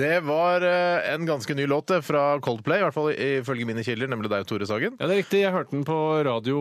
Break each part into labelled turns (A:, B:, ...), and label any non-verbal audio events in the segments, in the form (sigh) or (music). A: Det var eh, en ganske ny låt det, fra Coldplay, i hvert fall ifølge mine kilder, nemlig deg, Tore Sagen.
B: Ja, det er riktig. Jeg hørte den på radio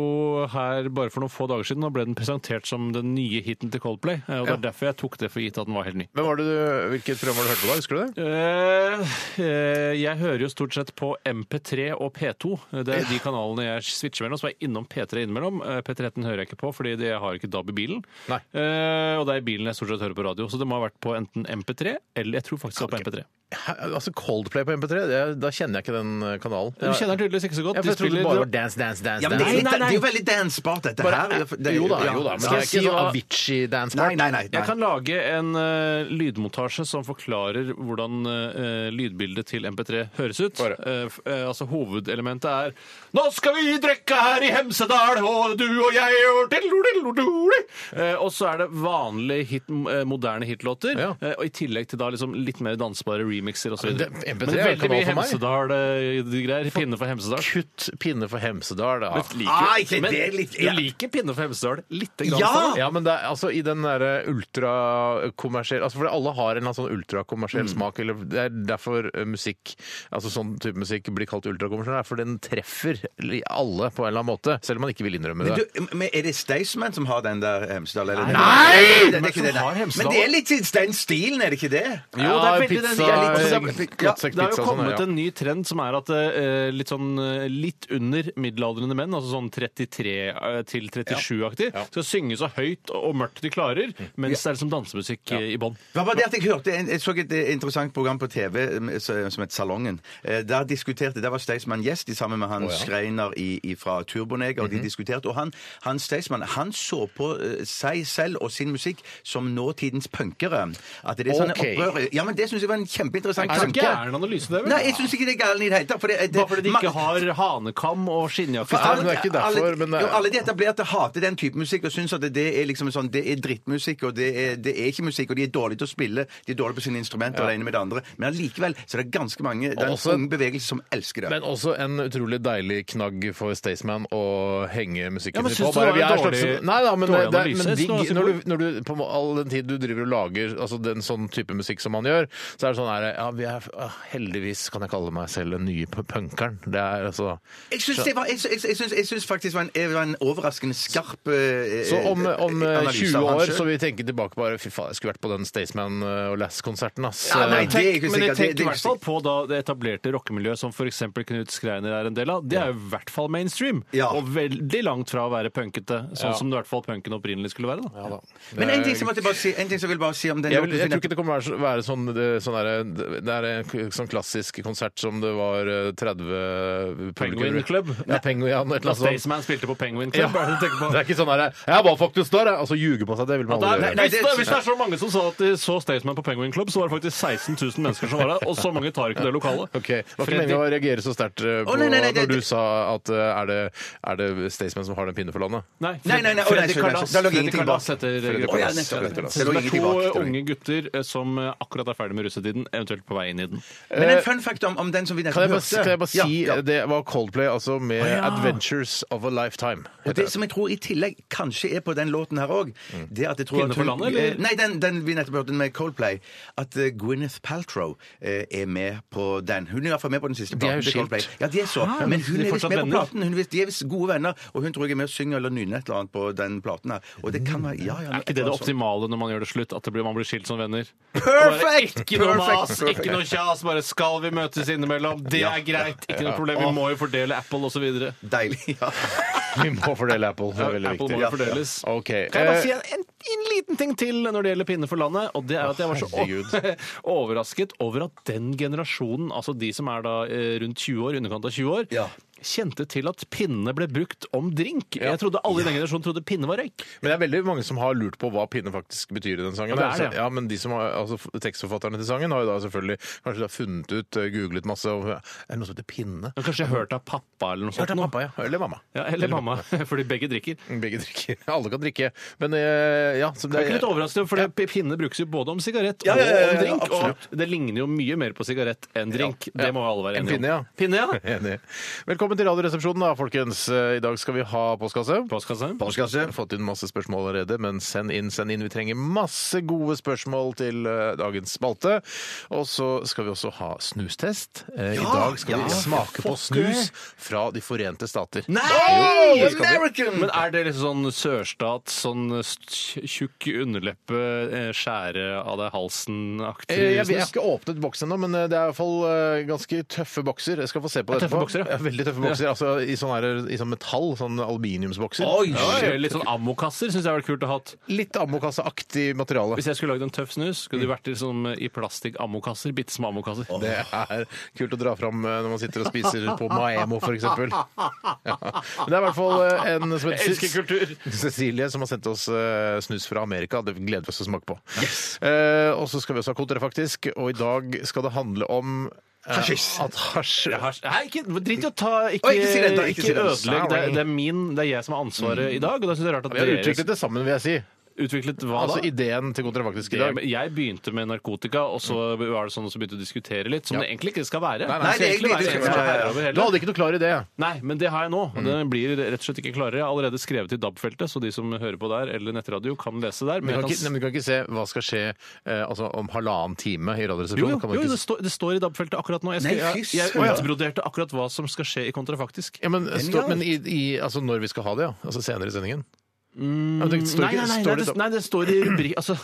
B: her bare for noen få dager siden. og ble den presentert som den nye hiten til Coldplay. eh, Og det er derfor jeg tok det for gitt at den var helt ny.
A: Hvem var det du, hvilket program var det du hørte på da? Husker du det?
B: Eh, eh, jeg hører jo stort sett på MP3 og P2. Det er de kanalene jeg switcher mellom. Så er jeg innom P3 innimellom. Eh, P13 hører jeg ikke på, fordi det- jeg har ikke DAB i bilen.
A: Nei.
B: Eh, og det er i bilen jeg stort sett hører på radio. Så det må ha vært på enten MP3 eller jeg tror faktisk det var på MP3.
A: Hæ, Altså Coldplay på MP3, det, da kjenner jeg ikke den eh, kanalen.
B: Du kjenner den tydeligvis ikke så godt.
A: Ja, for
B: De
A: jeg trodde det
B: spiller-
A: bare var Dance, Dance, Dance.
C: Ja, men det er,
A: dance.
C: litt, det er jo veldig dansbart, dette her. Det er- det er
A: jo da,
C: ja.
A: jo da. Men
B: Skal
A: det
B: jeg
A: er
B: si
A: ikke sånn
B: hva-
C: Nei,
A: Avicii-dansbart.
C: nei, nei.
B: Jeg
C: nei.
B: kan lage en eh, lydmontasje som forklarer hvordan eh, lydbildet til MP3 høres ut.
A: Bare.
B: Eh, f- eh, altså Hovedelementet er Nå skal vi drikke her i Hemsedal, og du og jeg og diddle-diddle-diddle». Eh, Og så er det vanlige hit, eh, moderne hitlåter,
A: Ja.
B: eh, og i tillegg til da liksom litt mer dansbare remixer osv.
A: Men det- MP3
B: Men
A: er jo
B: veldig
A: kanal
B: mye
A: for meg.
B: Hemsedal-greier. Pinne for Hemsedal.
A: Kutt pinne for Hemsedal. da.
B: Men liker-
C: Ah, ikke
B: men
C: det, litt-
B: du liker Pinne for Hemsedal lite grann?
C: Ja!
B: Steinar.
A: Ja, men det er, altså i den derre ultrakommersielle altså, For alle har en eller annen sånn ultrakommersiell
B: Mm.
A: smak. Eller, det er derfor eh, musikk Altså sånn type musikk blir kalt ultrakommersiell. det er For den treffer li- alle på en eller annen måte. Selv om man ikke vil innrømme
C: Men,
A: det.
C: du, men Er det Staysman som har den der Hemsedal? Eller?
A: Nei!
C: Det er ikke
B: Hvem
C: det,
B: som har
C: nei.
B: Hemsedal?
C: Men det er litt i den stilen, er det ikke det?
B: Jo, det er
A: Ja,
B: veldig den-
A: pizza,
B: jeg liker-
A: eh,
B: det er- ja,
A: knattsekk
B: Det er
A: pizza
B: jo
A: og sånn,
B: kommet
A: ja.
B: en ny trend som er at eh, litt sånn eh, litt under middelaldrende menn, altså sånn 33 eh, til 37-aktig, skal synge så høyt og mørkt de klarer,
C: Mm.
B: mens det er liksom dansemusikk eh, i bånn.
C: Det var bare det at Jeg hørte, en- jeg så et eh, interessant program på TV med- så- eh, som het Salongen. Eh, Der diskuterte, der var Staysman gjest i sammen med han Schreiner i, i, fra Turboneger.
B: Mhm.
C: og De diskuterte, og han, han Staysman han så på eh, seg selv og sin musikk som nåtidens punkere. At det er sånne
A: Ok.
C: opprørere. Ja, men Det syns jeg var en kjempeinteressant
B: Er det
C: tanke.
B: gæren analyse, det? vel?
C: Nei, jeg syns ikke det er gæren i det hele tatt. for det- det-
B: Bare fordi de
C: ma-
B: ikke har hanekam og
C: for
B: skinnjakke.
A: Nei, men det er ikke derfor,
C: alle,
A: men eh, det er-
C: jo, alle de etablerte hater den type musikk og syns at det, det er liksom sånn, det er drittmusikk, og det er, det er ikke musikk, og de er dårlige til å spille, de er dårlige på sine instrumenter, og det ene med det andre. Men allikevel så er det ganske mange Det er
A: Også-
C: en ung bevegelse som elsker det.
A: Men også en utrolig deilig knagg for Staysman å henge musikken
B: Ja, men
A: sin på.
B: synes du det var
A: vi
B: en
A: er
B: dårlig-
A: slags- Nei da, men, det,
B: dårlig
A: det,
B: analyse?
A: men
B: Jeg synes det var
A: digg
B: ganske
A: når du,
B: god.
A: når du På all den tid du driver og lager altså, den sånn type musikk som han gjør, så er det sånn her Ja, vi er, ah, heldigvis kan jeg kalle meg selv den nye p- punkeren. Det er altså
C: Jeg syns, det var, jeg, jeg, jeg syns, jeg syns faktisk det var en, det var en overraskende skarp eh,
A: Så om, om
C: eh,
A: eh,
C: analyse
A: 20
C: av han
A: år
C: selv.
A: så vil vi tenke tilbake bare Fy faen, jeg skulle vært på den Staysman eh, og Lass-konserten, ass.
C: Ja, nei,
A: Eh,
C: det er ikke
B: men jeg
C: sikkert. Det-
B: tenker
C: det
B: i
C: er
B: hvert fall på da det etablerte rockemiljøet som f.eks. Knut Skreiner er en del av. Det er jo i hvert fall mainstream,
C: Ja.
B: og veldig langt fra å være punkete, sånn som det i hvert fall punken opprinnelig skulle være. da.
A: ja da.
C: Men en ting,
A: Det-
C: som jeg måtte bare si, en ting som jeg vil bare si om den
A: Jeg, vil,
C: låten-
A: jeg tror ikke det kommer til å være sånn, det, sånn der, det er en k- sånn klassisk konsert som det var eh, 30
B: Penguin Club? Altså,
A: Ja, Penguin, ja, et eller
B: Da
A: annet sånt.
B: Staysman spilte på Penguin
A: Ja.
B: Club. hva er det du tenker på?
A: Det er ikke sånn herre Jeg var faktisk der, jeg. Altså ljuge på seg. Det vil man
B: Da-
A: aldri
C: nei,
A: gjøre.
C: nei,
B: hvis,
C: det-
B: det, hvis det er så mange som sa at de så Staysman på Penguin Club, så var det faktisk 16 000 mennesker som var der, og så mange tar ikke det lokalet.
A: Ok, Det var ikke
B: Fredrik-
A: meningen å reagere så sterkt eh, på
C: Å, nei, nei, nei, det-
A: når du sa at eh, er det, er det Staysman som har den pinne for landet?
B: Nei,
C: Nei, nei, nei, å, nei,
B: Fredrik
C: sorry, sorry.
B: Kalas.
C: Da lå
B: Fredrik
C: ingenting
B: Kalas
C: bak.
B: heter
A: Fredrik
B: gruppa.
C: Å, ja,
A: Kalas.
C: nettopp, nettopp.
B: Så
C: Det
B: det
C: lå
B: er
C: ingenting
B: to
C: bak. Det lå
B: unge gutter eh, som eh, akkurat er ferdig med russetiden, eventuelt på vei inn i den.
C: Men en fun fact om, om den som vi nettopp
A: Kan jeg bare,
C: hørte.
A: kan jeg bare si eh,
C: Ja, ja.
A: Det var Coldplay, altså med 'Adventures of a Lifetime'.
C: Og det som jeg tror i tillegg kanskje er på den låten her òg det at jeg tror
B: Pinne
C: at
B: for
C: hun-
B: Mm. landet, eller?
C: eh, Nei, den, den vi nettopp hørte med Coldplay. At eh, Gwyneth Paltrow eh, er med på den. Hun er i hvert fall med på den siste
A: De er jo
C: platen til
A: skilt.
C: Coldplay. Ja, de er så.
B: Ah,
C: men
B: de
C: hun
B: er
C: er visst
B: fortsatt
C: med på
B: venner.
C: platen. Hun er visst, de er visst gode venner. Og hun tror jeg er med og synger eller nynner et eller annet på den platen her. Og det kan være Ja, ja.
B: Er ikke det det optimale når man gjør det slutt? At det blir, man blir skilt som venner?
C: Perfect!
B: Bare, Ikke noe mas,
C: Perfect, perfect.
B: ikke noe kjas. Bare skal vi møtes innimellom? Det er greit. Ikke noe problem. Vi må jo fordele Apple osv.
C: Deilig. ja.
A: Vi må fordele Apple. Det er veldig
B: Apple må
A: viktig.
B: jo fordeles.
A: Ok.
B: Kan jeg bare
A: eh,
B: si en, en, en liten ting til når det gjelder Pinne for landet? Og det er at jeg var så
A: herregud.
B: (laughs) o- overrasket over at den generasjonen, altså de som er da eh, rundt 20 år, i underkant av 20 år,
C: Ja.
B: kjente til at pinne ble brukt om drink. Jeg trodde alle i den generasjonen trodde pinne var røyk.
A: Men det er veldig mange som har lurt på hva pinne faktisk betyr i den sangen.
B: Ja, det er
A: Altså,
B: det, ja.
A: ja, men de som har, altså, f- Tekstforfatterne til sangen har jo da selvfølgelig kanskje da funnet ut, eh, googlet masse og Er det noe som heter pinne?
B: Men Kanskje jeg hørte av pappa eller noe sånt.
A: Hørte jeg
B: nå.
A: pappa, ja. Eller mamma.
B: Ja, eller mamma, (laughs) fordi begge drikker. Det
A: Begge drikker. (laughs) Alle kan drikke. Men eh, ja så
B: er ikke litt overraskende, for det- pinne brukes jo både om sigarett
A: ja, ja, ja,
B: og om drink.
A: absolutt.
B: og det ligner jo mye mer på sigarett enn drink.
A: Ja.
B: Det må jo alle være
A: En
B: enige om.
A: pinne, ja.
B: Pinne, ja.
A: Enig. Velkommen til Radioresepsjonen, da, folkens. Eh, I dag skal vi ha postkasse.
B: Postkasse.
A: Postkasse. Jeg har fått inn masse spørsmål allerede, men send inn, send inn. Vi trenger masse gode spørsmål til eh, dagens spalte. Og så skal vi også ha snustest. Eh, I dag skal vi smake på snus fra De forente stater.
B: Nei!
A: Jo, det skal vi.
B: Men er det liksom sånn sørstat, sånn st- tjukk underleppe, eh, skjære av deg halsen-aktig?
A: Eh, Jeg, vet- jeg har
B: snus?
A: ikke åpnet boksen ennå, men eh, det er i hvert fall eh, ganske tøffe bokser. Jeg skal få se på det
B: tøffe
A: etterpå.
B: bokser, ja.
A: ja. Veldig tøffe bokser. Altså, I sånn her- i sånn metall, sånn aluminiumsbokser.
B: Ja, litt sånn ammokasser syns jeg hadde vært kult å ha.
A: Litt ammokasseaktig materiale.
B: Hvis jeg skulle lagd en tøff snus, skulle det vært liksom i plastikk-ammokasser. Bitte små ammokasser.
A: Det er kult å dra fram eh, når man sitter og spiser på Maemo, f.eks.
B: (laughs)
A: Ja. Men det er i hvert fall eh, en som
B: Jeg elsker kultur.
A: (laughs) Cecilie som har sendt oss eh, snus fra Amerika. Det gleder vi oss til å smake på. Eh, og så skal vi også ha kontra, faktisk. Og i dag skal det handle om eh,
C: Hasjis.
A: At hasj
B: Nei, ikke, drit i å ta Ikke,
C: Å, ikke si det, da, ikke
B: ikke
C: si det.
B: ødelegg. Det, er-
A: Sorry.
B: det, er min, det er jeg som har ansvaret i dag. Og da syns jeg det er rart at
A: Vi har
B: dere
A: utviklet det sammen, vil jeg si.
B: utviklet hva
A: Altså
B: da?
A: ideen til kontra, faktisk. i
B: Det,
A: dag.
B: jeg begynte med narkotika, og så var det sånn at vi begynte å diskutere litt, som det egentlig ikke skal være.
A: Mm. nei,
B: det skal
C: det er egentlig
B: være
C: ikke-
B: en som er
C: ja, ja,
B: herre
C: ja.
B: over hele.
A: Du hadde ikke noe klar idé?
B: Nei, men det har jeg nå. og
A: Mm.
B: Den blir rett og slett ikke klarere. Jeg har allerede skrevet i DAB-feltet, så de som hører på der, eller nettradio, kan lese der.
A: Men
B: Men
A: du, kan
B: jeg
A: ikke, nei,
B: kan...
A: men du kan ikke se hva skal skje eh, altså, om halvannen time i
B: Jo,
A: Radioresepsjonen?
B: jo,
A: kan man
B: jo
A: ikke
B: det,
A: se.
B: står, det står i DAB-feltet akkurat nå. Jeg,
C: Nei,
B: skrev, jeg,
C: fy
B: jeg
C: søren.
B: utbroderte akkurat hva som skal skje i kontrafaktisk.
A: Ja, men stå,
C: Genial.
A: men i, i, altså, når vi skal ha det, ja? Altså senere i sendingen? Ja, men det står
B: Mm, Nei,
A: ikke-
B: nei, nei,
A: står
B: nei, det,
A: det-
B: nei, det står i rubrik... Altså,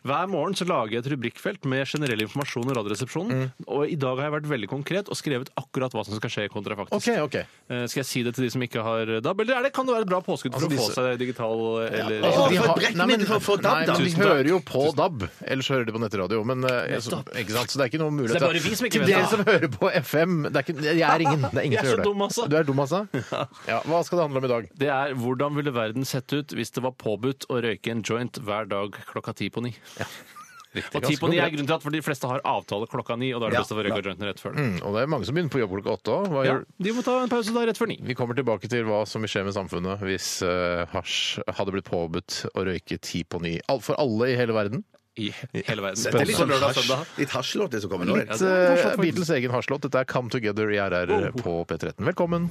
B: (laughs) hver morgen så lager jeg et rubrikkfelt med generell informasjon om Radioresepsjonen,
A: Mm.
B: og i dag har jeg vært veldig konkret og skrevet akkurat hva som skal skje i kontrafaktisk.
A: OK, OK.
B: Eh, Skal jeg si det til de som ikke har DAB, eller er det, kan det være et bra påskudd for
A: Altså,
B: å få
A: disse-
B: seg digital eller
C: altså,
A: de
C: for et
A: har-
C: brekkemiddel
A: nei, men-
C: for å få DAB,
A: nei,
C: da.
A: men de
B: Tusen takk.
A: hører jo på DAB, ellers hører de på nettradio. Men, eh, så, ikke sant? Så det er ikke noe mulighet
B: Så det er bare vi som
A: Til
B: ikke vet
A: dere
B: det.
A: som hører på FM det er ikke, Jeg er ingen. Det er ingen
B: (laughs) Jeg
A: som
B: er så
A: gjør det.
B: dum, altså.
A: Du er dum,
B: (laughs)
A: altså? Ja, hva skal det handle om i dag?
B: Det er hvordan ville verden sett ut hvis det var påbudt å røyke en joint hver dag klokka ti på ni. Og ti
A: ganske
B: på ni er
A: konkret.
B: grunnen til at for de fleste har avtale klokka ni, og da er det
C: Ja,
B: best å få røyka jointen rett før det.
A: Mm, Og det er mange som begynner på jobb klokka åtte òg. Hva
B: Ja,
A: gjør
B: de må ta en pause da rett før ni.
A: Vi kommer tilbake til hva som vil skje med samfunnet hvis eh, hasj hadde blitt påbudt å røyke ti på ni. Al- For alle i hele verden.
B: I he- hele verden.
C: Det er litt
B: Også
C: sånn
B: lørdag og
C: hasj-
B: søndag.
C: litt hasjlåt, det som kommer nå.
A: Et,
B: Mm. det er hasj,
A: eh,
B: faktisk.
A: Beatles' egen hasjlåt. Dette er Come Together i RR på P13. Velkommen.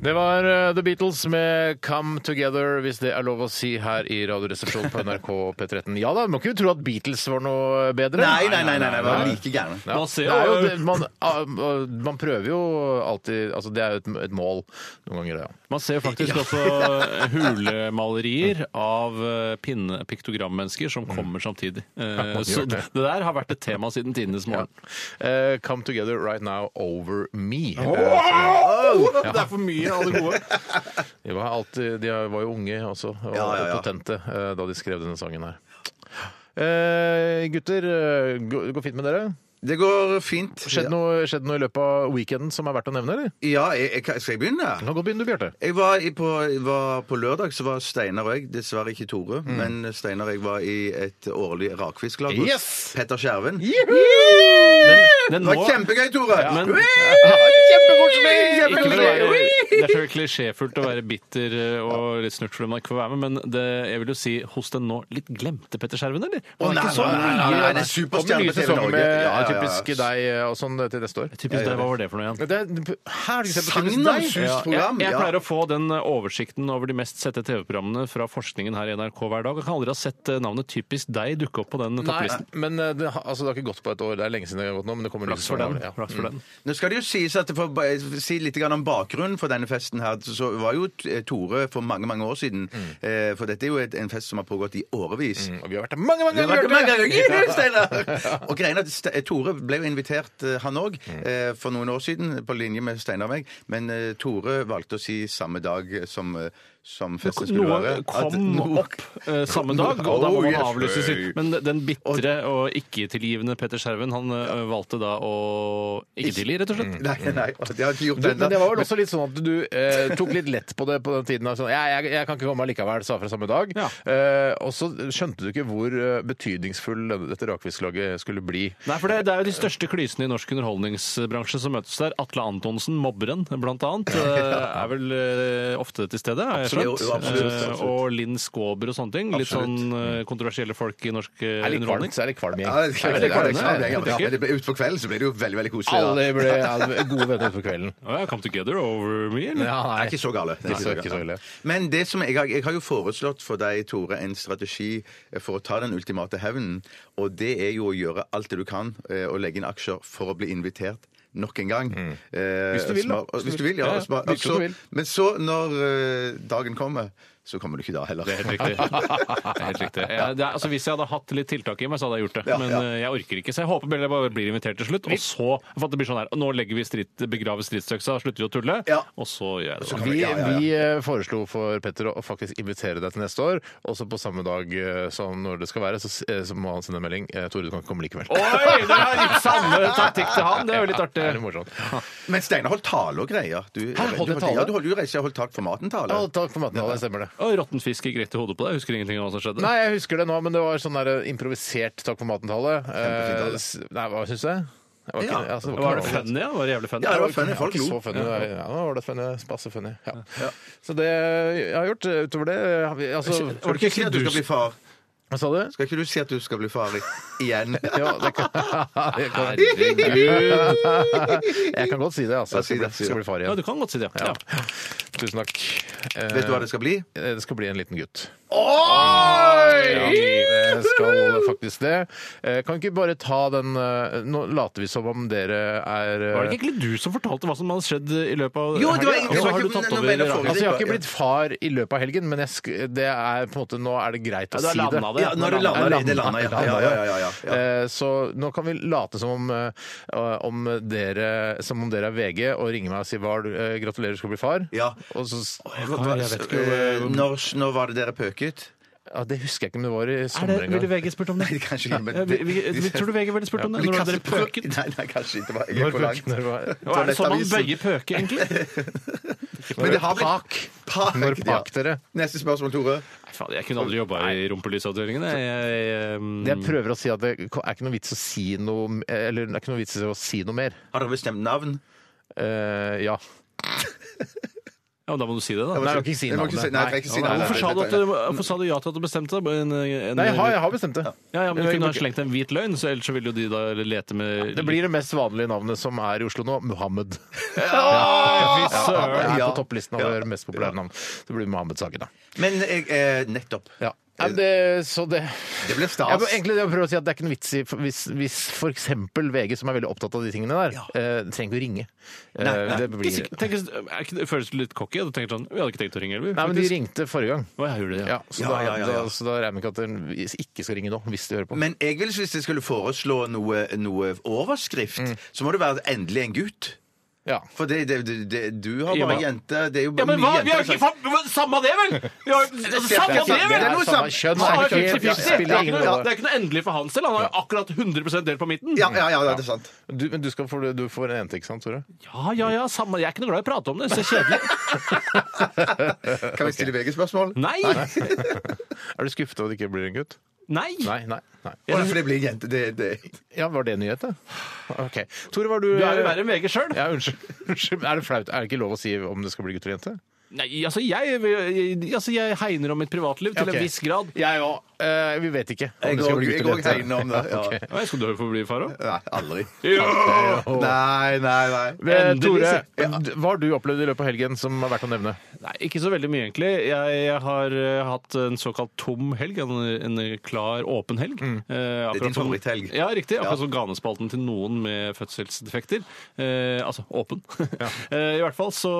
A: Det var eh, The Beatles med Come Together, hvis det er lov å si her i Radioresepsjonen på NRK P13. Ja da, må ikke du tro at Beatles var noe bedre.
C: Nei, nei, nei, nei, nei, var like gærne.
A: Ja,
B: Man ser
A: det er jo,
B: jo-
A: det, man, ah, man prøver jo alltid altså Det er jo et, et mål noen ganger, ja.
B: Man ser jo faktisk
A: (laughs)
B: også hulemalerier av eh, pinnepiktogrammennesker som kommer samtidig. Eh,
A: man
B: Så
A: gjør
B: det
A: det.
B: der har vært et tema siden tidenes morgen.
A: Eh, come Together Right Now Over Me. Eh,
B: Det er for mye av det gode. (laughs)
A: De var, alltid, de var jo unge også, og
C: Ja, ja, ja.
A: potente, eh, da de skrev denne sangen her. Eh, gutter, eh, gå- det går fint med dere?
C: Det går fint.
A: Skjedde noe, skjedde noe i løpet av weekenden som er verdt å nevne, eller?
C: Ja, jeg, jeg, kan- skal jeg begynne?
A: Du kan godt begynne, du, Bjarte.
C: Jeg var, i på, var på lørdag så var Steinar og jeg, dessverre ikke Tore,
B: Mm.
C: men Steinar og jeg var i et årlig rakfisklag hos
A: Yes!
C: Petter Skjerven.
B: Den
C: Det var
B: nå-
C: kjempegøy, Tore!
B: Ja, men-
A: (laughs) Kjempekoselig!
B: Ikke for å være, det er så klisjéfullt å være bitter eh, og litt snurt fordi man ikke får være med, men det, jeg vil jo si hos den nå litt glemte Petter Skjerven, eller?
C: Å,
B: Han er
C: nei,
B: ikke så
C: nei, nei, nei,
B: mye-
C: nei, det er
A: Kommer
C: superstjerne
A: nye
C: på TV
A: sesonger
C: Norge.
A: med
C: Ja, ja, ja.
A: Typisk deg og sånn til neste år.
B: Typisk deg, hva var det for noe igjen?
A: Det er, her har du ikke sett på Typisk deg?
C: Sagnomsust
B: jeg,
C: program.
B: jeg
C: ja.
B: pleier å få den eh, oversikten over de mest sette TV-programmene fra forskningen her i NRK hver dag. Jeg kan aldri ha sett eh, navnet Typisk deg dukke opp på den
A: Nei,
B: topplisten.
A: men eh, det, har- altså, det har ikke gått på et år. Det er lenge siden det har gått nå, men det kommer nye
B: Flaks for
A: sesonger.
B: den.
A: Ja.
B: Flaks for den.
C: Nå skal det jo sies at for, å si litt grann om bakgrunnen for denne festen her, så var jo T- Tore for mange, mange år siden,
B: Mm.
C: eh, for dette er jo et, en fest som har pågått i årevis.
A: Og vi har vært der mange, mange
C: Det
A: ganger!
C: var ikke mange
A: Bjarte!
C: ganger, Steinar! Og greien er at Ste- eh, Tore ble jo invitert, eh, han òg, eh, for noen år siden, på linje med Steinar og meg, men eh, Tore valgte å si samme dag som eh, som festen skulle
B: Noe
C: være. at
B: kom
C: (laughs) noe-
B: opp eh, samme dag, og da
C: Oh,
B: må man
C: yes,
B: avlyse
C: hey.
B: sitt. Men den bitre og ikke-tilgivende Petter Skjerven, han eh, valgte da å ikke tilgi, rett og slett.
C: Nei, nei, det har jeg ikke gjort
A: Du,
C: ennå.
A: (laughs) men det var vel også litt sånn at du eh, tok litt lett på det på den tiden. Altså, jeg, jeg, jeg kan ikke komme likevel, sa fra samme dag.
B: Ja.
A: Eh, og så skjønte du ikke hvor eh, betydningsfull denne- dette rakfisklaget skulle bli.
B: Nei, for det, det er jo de største klysene i norsk underholdningsbransje som møtes der. Atle Antonsen, mobberen, blant
C: (laughs)
B: annet, eh, er vel eh, ofte til stede, har jeg
C: Absolutt,
B: skjønt.
C: jo, absolutt,
B: Eh,
C: absolutt. Mm.
B: Og Linn Skåber og sånne ting. Litt sånn eh, kontroversielle folk i norsk eh,
A: Det er litt
B: underholdning.
A: kvalmt, så er det litt kvalm i.
C: Ja, det
B: Er
C: er
B: det
C: klart, det er klart,
B: det?
C: det er klart.
B: Ja,
C: Men det ble- utpå kvelden så ble det jo veldig veldig koselig. da.
A: Alle ble ja, gode venner for kvelden.
B: Oh, ja, come together over me, eller?
A: (laughs) Ja,
C: Det er ikke så gale. Det er
A: Nei, ikke så ille.
C: Men det som jeg, har- jeg har jo foreslått for deg, Tore, en strategi eh, for å ta den ultimate hevnen. Og det er jo å gjøre alt det du kan eh, og legge inn aksjer for å bli invitert. Nok en gang. Eh,
A: Mm. Hvis du vil, da.
C: smar- Hvis du vil, ja.
A: Ja, ja.
C: og smar-
A: Virker som
C: så-
A: du vil.
C: Men så, når eh, dagen kommer, så kommer du ikke da heller.
B: Det er helt (laughs) riktig. Det er helt riktig. Jeg, det er, altså, hvis jeg hadde hatt litt tiltak i meg, så hadde jeg gjort det.
C: Ja,
B: Men
C: ja.
B: eh, jeg orker ikke, så jeg håper jeg bare blir invitert til slutt. Og så for at det blir sånn her, nå legger vi strid, begraver stridsøksa, slutter å tulle,
C: Ja.
B: og så gjør jeg det. da.
C: kan
A: Vi,
C: Ja, ja, ja.
A: vi eh, foreslo for Petter å å faktisk invitere deg til neste år, også på samme dag eh, som når det skal være, så, s- eh, så må han sende en melding. eh, Tore, du kan ikke komme likevel.
B: Oi, det er litt samme taktikk til han. Det er jo litt artig.
A: Ja, det er litt morsomt.
C: (laughs) Men Steinar holdt tale og greier. Du,
A: holdt jeg
C: du, holdt-
A: tale?
C: Ja, du holdt jo reise og holdt tak for maten-tale.
A: Ja, takk for maten, det stemmer det.
B: Og råttenfisk gikk rett i hodet på deg. Jeg Husker ingenting av hva som
A: (laughs)
B: skjedde.
A: Nei, jeg husker det nå, men det var sånn der improvisert takk for maten-tale.
C: Kjempefint
A: Eh,
C: tale.
A: s- Nei, hva syns jeg? Det var ikke,
C: Ja.
A: altså, det var
B: Var
A: ikke
B: det
A: noe-
B: funny? Ja? Var det jævlig funny?
C: Ja, det var
A: Ja,
C: funny. Folk
A: ikke
C: lo.
A: Så funny. Ja, ja, nå var det funny. Spasse funny. Ja. Så det jeg har gjort eh, utover det har vi- altså,
C: Skal du ikke si at du skal bli far?
A: Hva sa du?
C: Skal ikke du si at du skal bli far i-
A: (laughs)
C: igjen?
A: Ja, det kan,
C: (laughs)
A: det kan.
B: Herregud.
A: Jeg kan godt si det, altså.
C: Ja, si det, si det.
A: Skal bli far
B: Ja,
A: igjen.
B: du kan godt si det. Ja.
A: Tusen takk. Eh,
C: Vet du hva det skal bli?
A: Eh, Det skal bli en liten gutt.
C: Oi!
A: Det skal faktisk det. Eh, Kan ikke bare ta den eh, Nå later vi som om dere er eh,
B: Var det ikke egentlig du som fortalte hva som hadde skjedd i løpet av
C: Jo, det var
B: helgen?
C: egentlig-
B: Og så har
C: det
B: du
C: var
B: tatt over
C: ikke- nå ble
B: i
C: det forrige-
B: radioen.
A: Altså, Jeg har ikke blitt far i løpet av helgen, men jeg sk det er på en måte, nå er det greit å
B: Ja, du har
A: si det.
B: landet det.
C: Ja, nå har du
A: Jeg
C: landa i det
A: landet,
C: landet, ja. Ja, ja, ja, ja, ja.
A: Eh, Så nå kan vi late som om, eh, om dere, som om dere er VG og ringer meg og sier hva, er du- eh, 'gratulerer, du skal bli far'.
C: Ja.
A: Og så, s-
B: jeg vet ikke.
C: Eh, Når, når var det dere pøket? (laughs)
A: ja, det husker jeg ikke om det var i
B: Er
A: sommer
B: det, ville
A: engang.
B: VG spurt om det?
C: Nei, kanskje ikke, men
B: Ja, Eh, vi- vi- vi-
C: (laughs)
B: Tror du VG ville spurt om det?
C: De
B: Når var dere
C: kastet pø-
B: pøket?
C: Nei, nei, kanskje ikke. Det var, jeg
A: Når
C: gikk for
A: pøk-
C: langt.
A: når var-
B: Og er det sånn man
C: Toalettavisen.
B: bøyer pøke, egentlig?
C: Men det har blitt
A: Pak.
C: Pak,
A: Når
C: ja.
A: pak dere?
C: Neste spørsmål, Tore.
B: Nei, (laughs) faen, Jeg kunne aldri jobba i rumpelysavdelingen. jeg. Jeg, um,
A: Jeg prøver å si at det er ikke noe vits å si noe Eller det er ikke noe vits å si noe mer.
C: Har dere bestemt navn?
A: Eh, ja.
B: Ja, men Da må du si det, da.
A: Nei, jeg kan ikke si
C: Jeg må
A: navnet.
C: si- nei, jeg kan ikke si navnet.
B: Hvorfor sa, du at, hvorfor sa du ja til at du bestemte deg? En, en,
A: Nei, jeg har, jeg har bestemt det.
B: Ja, ja, men Du kunne ha slengt en hvit løgn, så ellers så ville jo de da lete med
A: Det blir det mest vanlige navnet som er i Oslo nå. Muhammed.
B: Ja, fy
A: (laughs) Ja, det
B: søren!
A: er
C: Ja.
A: på topplisten over mest populære navn. Det blir Muhammed-saken, da.
C: Men jeg, eh, nettopp.
A: Ja. Nei, men det, så det
C: Det ble stas.
A: Jeg må egentlig det jeg prøver å si at det er ikke noen vits i hvis, hvis f.eks. VG, som er veldig opptatt av de tingene der, eh, trenger ikke å ringe. Eh, det blir,
B: Tenk, er ikke- det føles litt cocky. Du tenker sånn, Vi hadde ikke tenkt å ringe, eller?
A: nei, men de ringte forrige gang.
B: Å, jeg gjorde det, ja.
A: Ja, så,
C: Ja,
A: da,
C: ja, ja, ja.
A: Da, så da regner jeg med at de ikke skal ringe nå, hvis de hører på.
C: Men jeg vil, hvis jeg skulle foreslå noe, noe overskrift,
B: Mm.
C: så må det være 'endelig en gutt'.
A: Ja.
C: For det, det, det, det, du har
B: Ja,
C: bare
B: men-
C: jente. Det er jo
B: Ja,
C: bare
B: men hva? Vi har
C: jenter.
B: jo ikke fa- Samme det, vel?! Vi har, samme det,
A: Det
B: vel?!
A: er noe samme kjønn.
B: Han har
A: det er
B: jo
A: ikke-
B: 50-50.
A: det spiller ingen rolle.
B: Det er ikke noe endelig for hans del. Han har jo akkurat 100 delt på midten.
C: Ja, ja, ja, det er sant.
A: Du, men du, skal få, du får en jente, ikke sant, Tore?
B: Ja, ja, ja, samme. Jeg er ikke noe glad i å prate om det. Så kjedelig.
C: Kan vi stille VG-spørsmål?
B: Nei!
A: Er du skuffet over at det ikke blir en gutt?
B: Nei!
A: Nei, nei. nei.
C: Å, For det blir jente. Det, det.
A: Ja, Var det nyhet, da? OK. Tore, var du
B: Du er jo verre enn VG sjøl.
A: Ja, unnskyld. (laughs) unnskyld. Er det flaut? Er det ikke lov å si om det skal bli gutt eller jente?
B: Nei, altså jeg, jeg- altså jeg hegner om mitt privatliv til
A: Ok.
B: en viss grad.
A: Jeg òg. Eh, vi vet ikke om
C: Jeg
A: det skal bli gutt
C: òg
A: eller jente.
C: hegner om
A: (laughs)
C: det. Ja.
B: Ja, skal du få bli far òg?
C: Nei, aldri.
B: Ja!
C: Nei, nei, nei.
A: Eh, Tore,
B: Endelig,
A: d- hva har du opplevd i løpet av helgen som er verdt å nevne?
B: Nei, ikke så veldig mye, egentlig. Jeg, jeg har eh, hatt en såkalt tom helg. En, en klar, åpen helg. Eh,
C: Mm. Det er din
B: akkurat som-
C: favoritthelg.
B: Ja, riktig. Akkurat som ganespalten til noen med fødselsdefekter. Eh, altså åpen. (laughs) Eh, I hvert fall så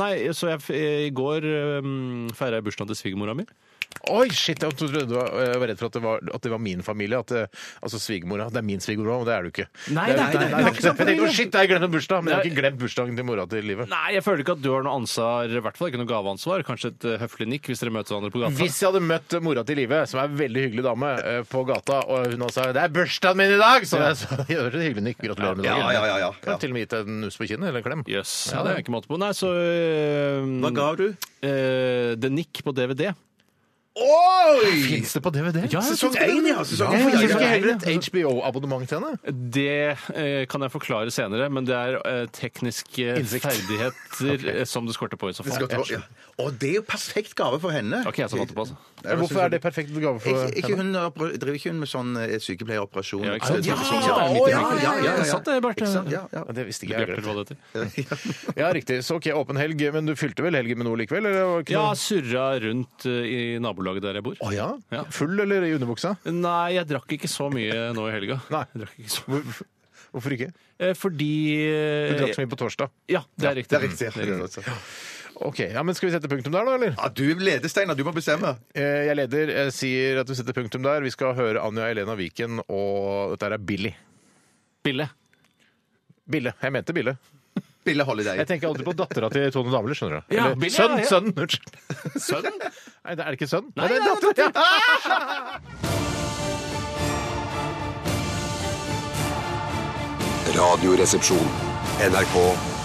B: Nei, så jeg, f- i går um, feira jeg eh, bursdagen til svigermora mi.
A: Oi, shit! Jeg trodde du var, jeg var redd for at det var, at det var min familie. At, det- altså svigermora. Det er min svigermor òg, men det er du ikke.
B: Nei,
A: Det er-
B: nei, nei,
A: det
B: vi har
A: er
B: ikke
A: ikke
B: sånn
A: det. Jeg tenkte, å shit, jeg har glemt en bursdag! Men jeg har
B: Nei.
A: ikke glemt bursdagen til mora til livet.
B: Nei, jeg føler ikke at du har noe ansvar, i hvert fall ikke noe gaveansvar. Kanskje et eh, høflig nikk hvis dere møter hverandre på gata.
A: Hvis jeg hadde møtt mora til Live, som er en veldig hyggelig dame, eh, på gata, og hun også sa 'det er bursdagen min i dag', så jeg sa (laughs) det høres hyggelig Nick, gratulerer med dagen.
C: Ja, ja, ja, ja.
A: Kan til og med gitt deg en nuss på kinnet eller en klem.
B: Jøss. Ja, det er ikke måte på. Nei, så eh,
C: Hva ga du?
B: eh, The Nick på DVD.
C: Oi!
A: Fins det på DVD?
B: Ja,
C: Sesong én, ja! Sesong
A: Hvorfor
C: én.
A: gir du ikke
C: ja.
A: heller et HBO-abonnement til henne?
B: Det eh, kan jeg forklare senere, men det er eh, tekniske
A: Innsikt.
B: ferdigheter eh, som det skorter på i så
C: Det skal
B: fall.
C: gå til- ja. Og det er jo perfekt gave for henne.
B: Ok, jeg som fant det på, altså.
A: Hvorfor er det perfekt gave for
C: Ikke, ikke
A: henne?
C: hun oppera- driver ikke hun med sånn eh, sykepleieroperasjon?
B: Ja, ikke sant?
C: Ja,
B: Sånn,
C: ja,
B: sånn,
C: ja,
B: midt i
C: ja,
B: nakken.
C: ja, ja, ja.
B: Det satt det, Bert.
C: Ikke sant? Ja, ja.
A: Ja, det visste ikke jeg.
B: Bjarte, eller hva det heter.
A: Ja, riktig. Så OK, åpen helg. Men du fylte vel helgen med noe likevel? Eller var det ikke
B: Ja,
A: noe?
B: surra rundt eh, i nabolaget der jeg bor.
A: Å
B: Ja.
A: ja? Full eller i underbuksa?
B: Nei, jeg drakk ikke så mye nå i helga.
A: Nei.
B: Jeg drakk ikke så mye.
A: Hvor- Hvorfor ikke?
B: Eh, Fordi
A: Du drakk så
B: eh,
A: mye på torsdag.
B: Ja, det er riktig.
C: Det er riktig. Ja.
A: OK, ja, men skal vi sette punktum der, da, eller?
C: Ja, du leder, Steinar. Du må bestemme.
A: Eh, Jeg leder eh, sier at du setter punktum der. Vi skal høre Anja Elena Viken, og dette her er Billy.
B: Bille.
A: Bille. Jeg mente Bille.
C: Bille Holiday.
A: Jeg tenker alltid på dattera til Tone Damli, skjønner du.
B: Ja,
A: Eller
B: Billie,
A: sønn,
B: ja, ja.
A: sønn, unnskyld.
B: (laughs) Sønn?
A: Nei, det er ikke sønn.
B: Nei,
A: det er
B: nei,
A: dattera til
D: Radioresepsjon. NRK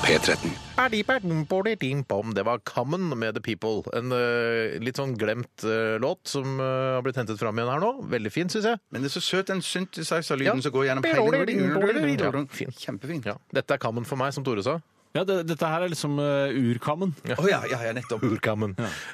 D: P13.
A: Erdi-perdi-pom-pom. Det var Common med The People. En eh, litt sånn glemt eh, låt som eh, har blitt hentet fram igjen her nå. Veldig fin, syns jeg.
C: Men det er så søt den synthesizer-lyden
A: Ja.
C: som går gjennom hele
A: Ja,
C: Kjempefin. Å
A: Ja. Dette er Common for meg, som Tore sa.
B: Ja, det, dette her er liksom eh, urkammen.
C: ja, ja, ja, nettopp.
A: Urkammen.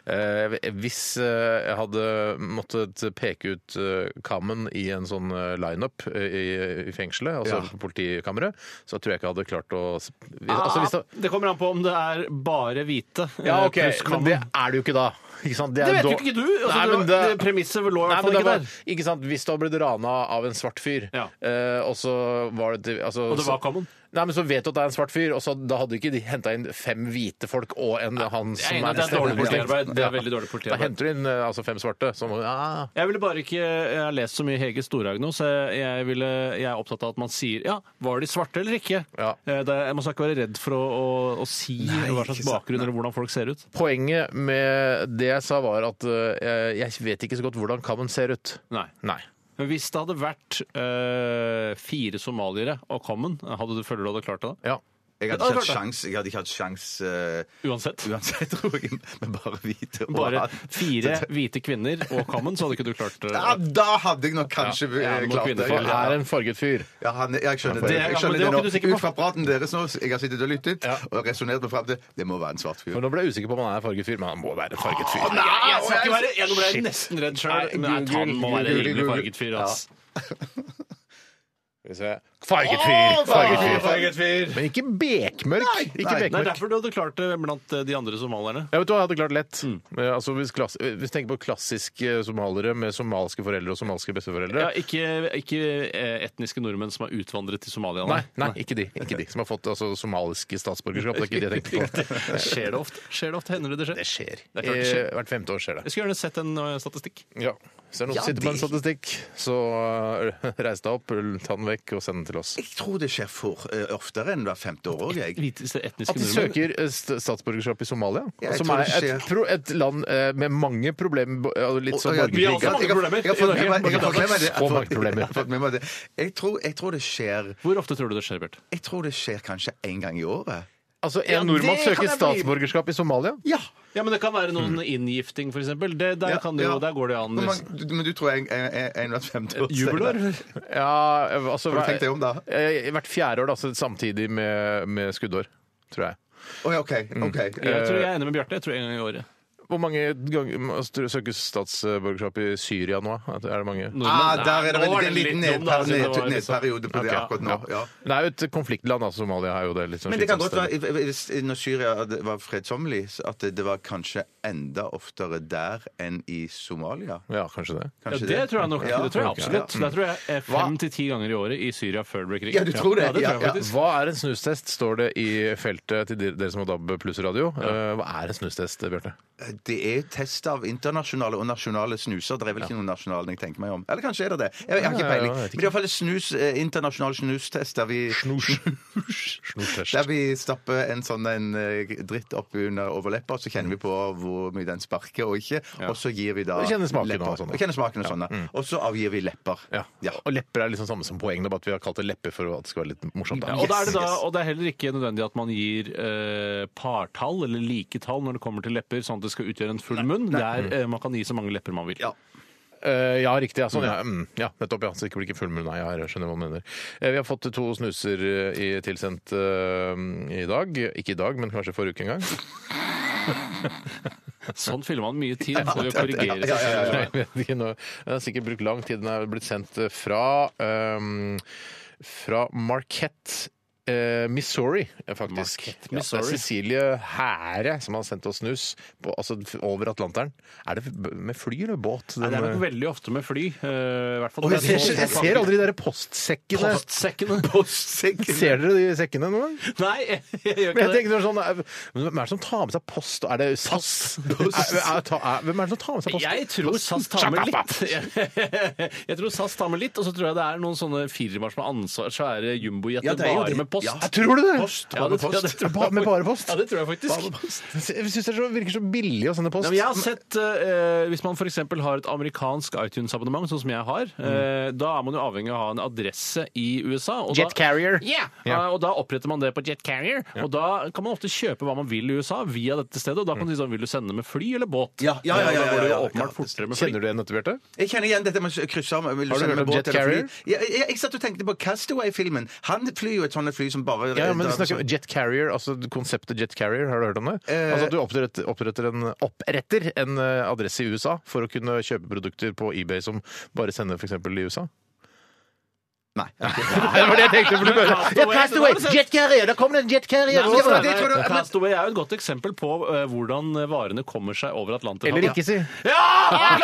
A: Eh, hvis eh, jeg hadde måttet peke ut eh, kammen i en sånn eh, lineup eh, i, i fengselet, altså politikammeret, så tror jeg ikke jeg hadde klart å s- vi- altså, hvis det,
B: det kommer an på om det er bare hvite. eh,
A: ja, ok,
B: pluss
A: men
B: kammen.
A: det er det jo ikke da. Ikke sant?
B: Det vet
A: er
B: jo
A: Eh, da-
B: ikke du! Altså,
A: Nei,
B: det,
A: men
B: var- det premisset lå i
A: Nei,
B: hvert
A: men
B: fall
A: da
B: ikke
A: var,
B: der.
A: ikke sant, Hvis du hadde blitt rana av en svart fyr,
B: Ja.
A: eh, og så var det altså,
B: Og det var
A: så-
B: common.
A: Nei, men Så vet du at det er en svart fyr, og så da hadde ikke de henta inn fem hvite folk og en han
B: Jeg er
A: som
B: enig i at det er dårlig
A: bestemt.
B: politiarbeid. Det er
A: Ja.
B: veldig dårlig
A: Da
B: politiarbeid.
A: henter du inn eh, altså, fem svarte. Som, ja.
B: Jeg ville bare ikke, eh, jeg har lest så mye Hege Storhaug nå, så jeg, jeg, ville, jeg er opptatt av at man sier ja, var de svarte eller ikke?
A: Ja.
B: Eh, Det, man skal ikke være redd for å, å, å si hva slags bakgrunn eller hvordan folk ser ut.
A: Poenget med det jeg sa, var at eh, jeg vet ikke så godt hvordan kammen ser ut.
B: Nei.
A: Nei.
B: Men hvis det hadde vært eh, fire somaliere og Common, hadde du føler du hadde klart det da?
A: Ja.
C: Jeg
B: Ja, det
C: hadde ikke
B: var
C: hatt
B: klart.
C: sjans, jeg hadde ikke hatt sjans eh,
B: Uansett.
C: uansett, (laughs) tror jeg. Men bare hvite og
B: Bare
C: alt.
B: fire hvite kvinner og Common, så hadde ikke du klart eh, det.
C: ja, Da hadde jeg nok kanskje
B: Ja,
C: eh,
B: mot
C: klart det.
B: kvinnefolk.
A: For
C: Ja,
A: er en farget fyr.
C: ja, han, jeg skjønner det.
B: Det- ja,
C: Jeg
B: men
C: skjønner
B: det
C: det
B: var
C: nå.
B: ikke du sikker på.
C: Ut fra praten deres nå, jeg har sittet og lyttet og resonnert meg fram til det må være en svart fyr.
A: Men nå ble jeg usikker på om han er en farget fyr, men han må være en farget fyr.
B: Nei, jeg skal ikke være, jeg, nå ble jeg nesten redd sjøl.
A: Nei,
B: Men jeg,
A: Google,
B: han må være
A: Google,
B: rimelig
A: Google.
B: farget fyr, ass.
A: Skal vi se. Farget fyr! Farget fyr.
B: farget fyr!
A: Men ikke bekmørk. ikke
C: nei.
B: Det er
A: bekmørk.
B: derfor du hadde klart det blant eh, de andre somalierne.
A: Jeg vet du hva, jeg hadde klart lett.
B: Mm.
A: Eh, Altså, hvis, klass, eh, hvis du tenker på klassiske eh, somaliere med somalske foreldre og somalske besteforeldre
B: Ja, ikke, ikke eh, etniske nordmenn som har utvandret til Somalia.
A: Nei, nei, ikke de. Ikke de som har fått altså, somaliske statsborgerskap. Det er ikke det jeg tenkte på.
B: Skjer (laughs) det ofte? Skjer det ofte? Hender det det skjer?
A: Det skjer.
B: Det er klart det skjer.
A: Eh, Hvert femte år skjer det.
B: Jeg skulle gjerne sett en eh, statistikk.
A: Ja. Hvis det er noen som sitter med en statistikk, så uh, reis deg opp, ta den vekk og send den til oss.
C: Jeg tror det skjer for eh, oftere enn hvert femte år òg, jeg.
B: Hviteste etniske
A: At de
B: nordmenn.
A: søker eh, st- statsborgerskap i Somalia,
C: Ja, jeg
A: som
C: tror
A: er
C: det
A: et,
C: skjer.
A: pro, et land eh, med mange problemer bo- eh, Litt sånn
C: Og-
A: borgerkrig.
C: og jeg-
B: Vi har også mange
C: Jeg har-
B: problemer
C: jeg har fått
B: i Norge.
C: med meg- jeg har fått med meg det.
A: Så mange problemer.
C: Jeg har fått med meg det. Jeg tror, jeg tror det skjer
B: Hvor ofte tror du det skjer, Bert?
C: Jeg tror det skjer kanskje en gang i året.
A: Altså,
B: Ja,
A: en nordmann
B: det kan
A: søker
B: jeg bli-
A: statsborgerskap i Somalia.
C: Ja!
B: Ja, men Det kan være noen inngifting, f.eks. Der,
C: Ja,
B: kan det jo-
C: ja.
B: der går det an.
C: Men, man, du- men du tror en, en, en, en hvert femte år
B: Jubelår?
A: Ja, eh, altså,
C: Har du
A: hva-
C: tenkt deg om da?
A: eh, Hvert fjerde år, da, så samtidig med, med skuddår, tror jeg.
C: Å ja, OK. ok.
B: Jeg tror jeg er enig med Bjarte. Jeg tror en gang i året.
A: Hvor mange ganger må- stru- søkes statsborgerskap i Syria nå? At- Er det mange?
B: Nordmenn.
C: Ah, der er
B: Nei,
C: det
B: nå
C: en,
B: var
C: det er en liten
B: litt dum, da,
C: nedper-
B: siden det var
C: ned-
B: liksom-
C: nedperiode på det
A: Ok,
C: akkurat nå. Ja.
A: Det er jo et konfliktland, altså, Somalia er jo det. Litt sånn
C: Men det kan
A: slitsomt
C: godt
A: sted.
C: være hvis- når Syria hadde- var fredsommelig, så at det var kanskje enda oftere der enn i Somalia.
A: Ja, kanskje det.
B: Ja,
C: Kanskje
B: det tror jeg nok.
C: Ja,
B: det tror jeg
C: ok,
B: absolutt.
C: ja.
B: Det tror jeg er fem til ti ganger i året i Syria før det blir krig.
C: Ja, du tror det?
B: Ja, det tror
C: Ja,
B: jeg
C: ja.
B: faktisk.
A: Hva er en snustest, står det i feltet til de- dere som har DAB pluss radio. Eh, Hva er en snustest, Bjarte?
C: Eh, det er test av internasjonale og nasjonale snuser. Det er vel ikke noen nasjonale når jeg tenker meg om. Eller kanskje er det det. Jeg, jeg har
A: Ja,
C: ikke
A: ja,
C: peiling.
A: jeg vet ikke.
C: Men iallfall snus, eh, internasjonal snustest der vi
A: Snus.
C: der vi stapper en sånn en eh, dritt opp under overleppa, så kjenner vi på hvor mye den sparker og ikke. Og så gir vi da
A: Og kjenner smaken
C: lepper.
A: og sånn, da.
C: Og kjenner smaken og sånn, da. Og så avgir vi lepper.
A: Ja.
C: Ja.
A: Og lepper er liksom samme som poeng, det er bare at vi har kalt det lepper for at det skal være litt morsomt.
B: Ja, og, da er det da, og det er heller ikke nødvendig at man gir eh, partall eller like tall når det kommer til lepper, sånn at det skal utgjøre en full munn. Det er, eh, man kan gi så mange lepper man vil.
C: Ja.
A: Eh, ja, riktig. Ja, sånn, ja. Mm, ja, nettopp. ja, Så det ikke blir ikke fullmunn. Nei, jeg skjønner hva du mener. Eh, vi har fått to snuser eh, i, tilsendt eh, i dag. Ikke i dag, men kanskje forrige uke en gang.
B: Sånn fyller man mye tid for å
C: (laughs)
B: korrigere seg.
A: Nei, (laughs) jeg vet ikke nå. Den har sikkert brukt lang tid. Den er blitt sendt eh, fra, eh, fra Marquette. eh, Missouri, eh, faktisk.
B: Marquette,
A: Ja,
B: Missouri.
A: Det er Cecilie Hære som har sendt oss snus på, altså, f- over Atlanteren. Er det b- med fly eller båt?
B: Nei, det er
A: den,
B: nok
A: eh?
B: veldig ofte med fly. eh, i hvert fall.
A: Å, jeg, ser, jeg ser aldri de der postsekkene. (laughs)
B: postsekkene.
A: Ser dere de sekkene noen gang?
B: (laughs) Nei, jeg,
A: Men
B: jeg gjør ikke
A: jeg
B: det.
A: tenker sånn, er- men Hvem er det som tar med seg post? Er det SAS? Er, er, ta- er, hvem er det som tar med seg post?
B: Jeg tror SAS tar med litt. (laughs) Jeg tror SAS tar med litt, og så tror jeg det er noen sånne firmaer som har ansvar, svære
C: Ja,
B: jumbojetter,
C: det er jo
B: bare
C: det.
B: med post.
C: Ja.
A: Jeg tror du det?
C: Post,
B: Ja,
C: bare
B: det- ja,
C: post.
B: det tror jeg
A: Ba- med bare post?
B: Ja, det tror jeg faktisk.
A: Jeg syns det er så- virker så billig å sende post.
B: Ja, men jeg har sett, eh, Hvis man f.eks. har et amerikansk iTunes-abonnement, sånn som jeg har, eh, da er man jo avhengig av å ha en adresse i USA. og
A: Jet
B: da-
A: Carrier.
B: Ja,
A: Ja.
B: eh, og da oppretter man det på Jet Carrier, og da kan man ofte kjøpe hva man vil i USA via dette stedet. og Da kan du si sånn, vil du sende med fly eller båt? Eh,
C: Ja, ja, ja, ja,
B: Og Da går det jo
C: ja, ja,
B: åpenbart
C: ja.
B: fortere med fly.
A: Kjenner du igjen dette, Bjarte?
C: Jeg kjenner igjen dette med å krysse av. Vil
A: Har du
C: sende
A: hørt
C: med
A: om
C: båt
A: Jet
C: eller fly?
A: Carrier?
C: Ja, jeg, jeg satt og tenkte på Castaway-filmen. Han flyr jo et sånt fly som bare
A: Ja, men
C: drar-
A: snakker om Jet Carrier, altså konseptet Jet Carrier, har du hørt om det? altså at du oppretter, oppretter en, oppretter en eh, adresse i USA for å kunne kjøpe produkter på eBay som bare sender f.eks. i USA?
C: Nei.
A: (laughs) Nei, det var det jeg tenkte! For du bare, ja, Castaway! Jet Carrier! Da kom det en Jet Carrier!
B: Nei,
A: over!
B: men
C: det tror du-
B: Castaway- Castaway er jo et godt eksempel på eh, hvordan varene kommer seg over Atlanterhavet.
A: Eller ikke, si.
C: Ja,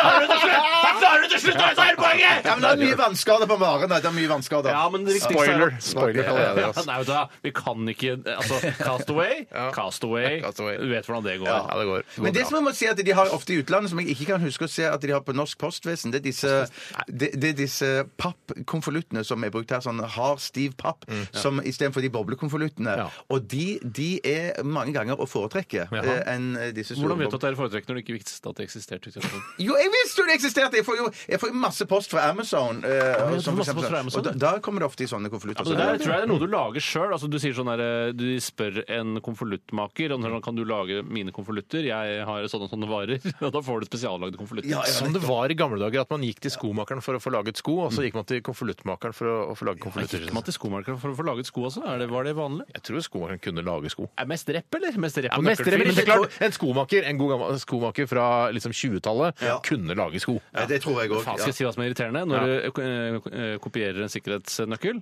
C: men det er mye vannskader på varen. Det er mye vannskader.
B: Ja, men det viktigste
A: Spoiler!
B: er
A: Spoiler kaller jeg det.
B: ja,
A: Altså.
B: nei, vet du, hva, vi kan ikke altså, Castaway, Castaway,
A: Castaway.
B: Du vet hvordan det går.
A: Ja, det går.
C: Men det
A: går
C: som
A: bra.
C: jeg må si at de har ofte i utlandet, som jeg ikke kan huske å se at de har på norsk postvesen, det er disse, det, det er disse pappkonvoluttene som er brukt her, sånn hard, stiv papp,
B: Mm,
C: som istedenfor de boblekonvoluttene.
A: Ja.
C: Og de, de er mange ganger å foretrekke eh, enn disse store
B: Hvordan vet du
C: bob-
B: at det er foretrekk når du ikke visste at det eksisterte? i
C: (laughs)
B: utgangspunktet?
C: Jo, jeg visste jo det eksisterte! Jeg får jo jeg får jo masse post fra Amazon.
B: du
C: eh, og
B: får
C: sånn, for
B: masse
C: eksempel
B: post fra
C: sånn.
B: Amazon,
C: og da, da kommer det ofte i sånne konvolutter.
B: Altså, det der tror jeg er noe du lager sjøl. Altså, du sier sånn der, eh, du spør en konvoluttmaker om sånn, kan du lage mine konvolutter, jeg har sånne og sånne varer. (laughs) Og da får du spesiallagde konvolutter.
C: Ja, ja.
A: Som det var i gamle dager, at man gikk til skomakeren for å få laget sko, og så gikk man til konvoluttmakeren for å, å få laget
B: Men Gikk
A: konvolutter.
B: man til skomarkedet for å få laget sko også? Er det, var det vanlig?
A: Jeg tror skomakeren kunne lage sko.
B: Er mest rep, eller? Mest rep
A: Ja,
B: og
A: mest
B: nøkkelfil.
A: men det er klart, En skomaker en god gammel skomaker fra liksom 20-tallet
C: Ja.
A: kunne lage sko.
C: Ja, det tror jeg òg.
B: Faen, skal jeg si hva som er irriterende? Når du eh, eh, kopierer en sikkerhetsnøkkel,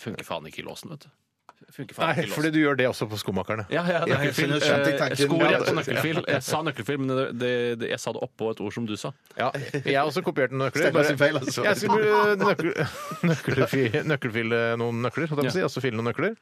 B: funker faen ikke i låsen, vet du. Funker faen
A: Nei,
B: ikke i
A: fordi
B: låsen.
A: du gjør det også på skomakerne.
B: Ja, ja,
C: Ja, jeg
B: nøkkelfil.
C: skjønner- skjønte
B: eh,
C: tanken.
B: Skor
C: Ja,
B: rett og
C: det-
B: nøkkelfil. Jeg sa nøkkelfil, men det, det, det, jeg sa det oppå et ord som du sa.
A: Ja, jeg har også kopiert noen nøkler.
C: Steinar sin feil, altså.
A: Jeg skulle nøkkel, nøkkelfi- nøkkelfile noen nøkler, holdt jeg på å si. Altså file noen nøkler.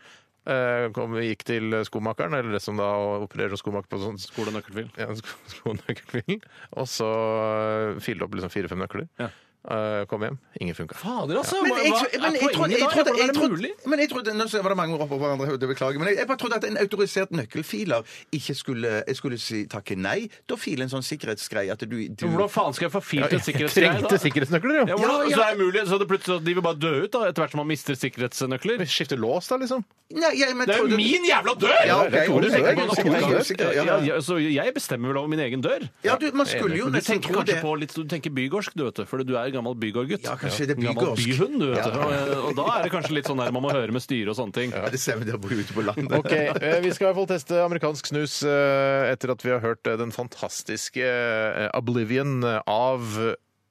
A: Eh, Kom, vi gikk til skomakeren, eller det som da opererer som skomaker på sånn
B: Skole og nøkkelfil.
A: ja, en sko- (laughs) skonøkkelfil, og så eh, fylle opp liksom fire-fem nøkler.
B: Ja.
A: Eh, kom hjem. Ingen funka.
B: Fader, altså!
C: Men
B: hva-
C: jeg,
B: hva
C: tro-
B: er
C: men jeg trodde,
B: poenget
C: jeg
B: da?
C: trodde,
B: Hvordan er
C: jeg
B: det
C: trodde,
B: mulig?
C: men jeg trodde, nå var det mange ord oppå hverandre, det beklager, men jeg, jeg bare trodde at en autorisert nøkkelfiler ikke skulle, jeg skulle si takke nei. Da file en sånn sikkerhetsgreie at du, du
B: Hvordan faen skal jeg få filt et sikkerhetsgreie,
A: Trengte
B: da?
A: sikkerhetsnøkler,
B: Ja,
A: jo!
B: hvordan,
C: Ja, ja.
B: Så er det mulig, så det plutselig, de vil bare dø ut da, etter hvert som man mister sikkerhetsnøkler.
A: Skifte lås, da, liksom.
C: Nei, jeg, men
B: Det er
C: trodde-
B: jo min jævla dør!
C: Ja, ok,
A: Det er Tore
C: ok,
A: Sørensen,
C: jeg er
A: man
C: usikker, jeg er
A: oppdager
C: usikker, ja,
B: Ja,
C: ja.
B: ja, så jeg bestemmer vel over min egen dør.
C: Ja, du, man skulle jo
B: Du
C: nesten
B: tenker
C: tro
B: kanskje
C: det.
B: på litt, sånn- du tenker bygårdsk, du vet det, for du er gammel bygårdgutt.
C: Ja, kanskje det er
B: Gammel
C: bygårdsk.
B: byhund, du vet det. Og, og da er det kanskje litt sånn der man må høre med styret og sånne ting.
C: Ja, det stemmer, det å bo ute på landet.
A: Ok, eh, Vi skal i hvert fall teste amerikansk snus eh, etter at vi har hørt eh, den fantastiske eh, Oblivion av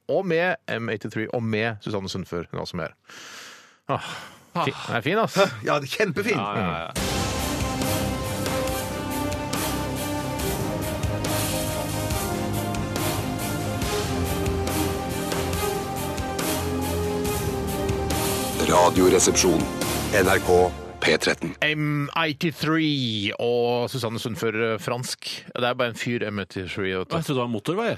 A: og med M83 og med Susanne Sundfør. Hun er også med her. Ah, fi- den er fin, ass.
C: Ja, det er kjempefint.
B: Ja, ja, ja.
D: Radioresepsjon. NRK P13.
A: M83 og Susanne Sundfør eh, fransk. Det er bare en fyr, M83. vet du.
B: Jeg trodde det var motorvei.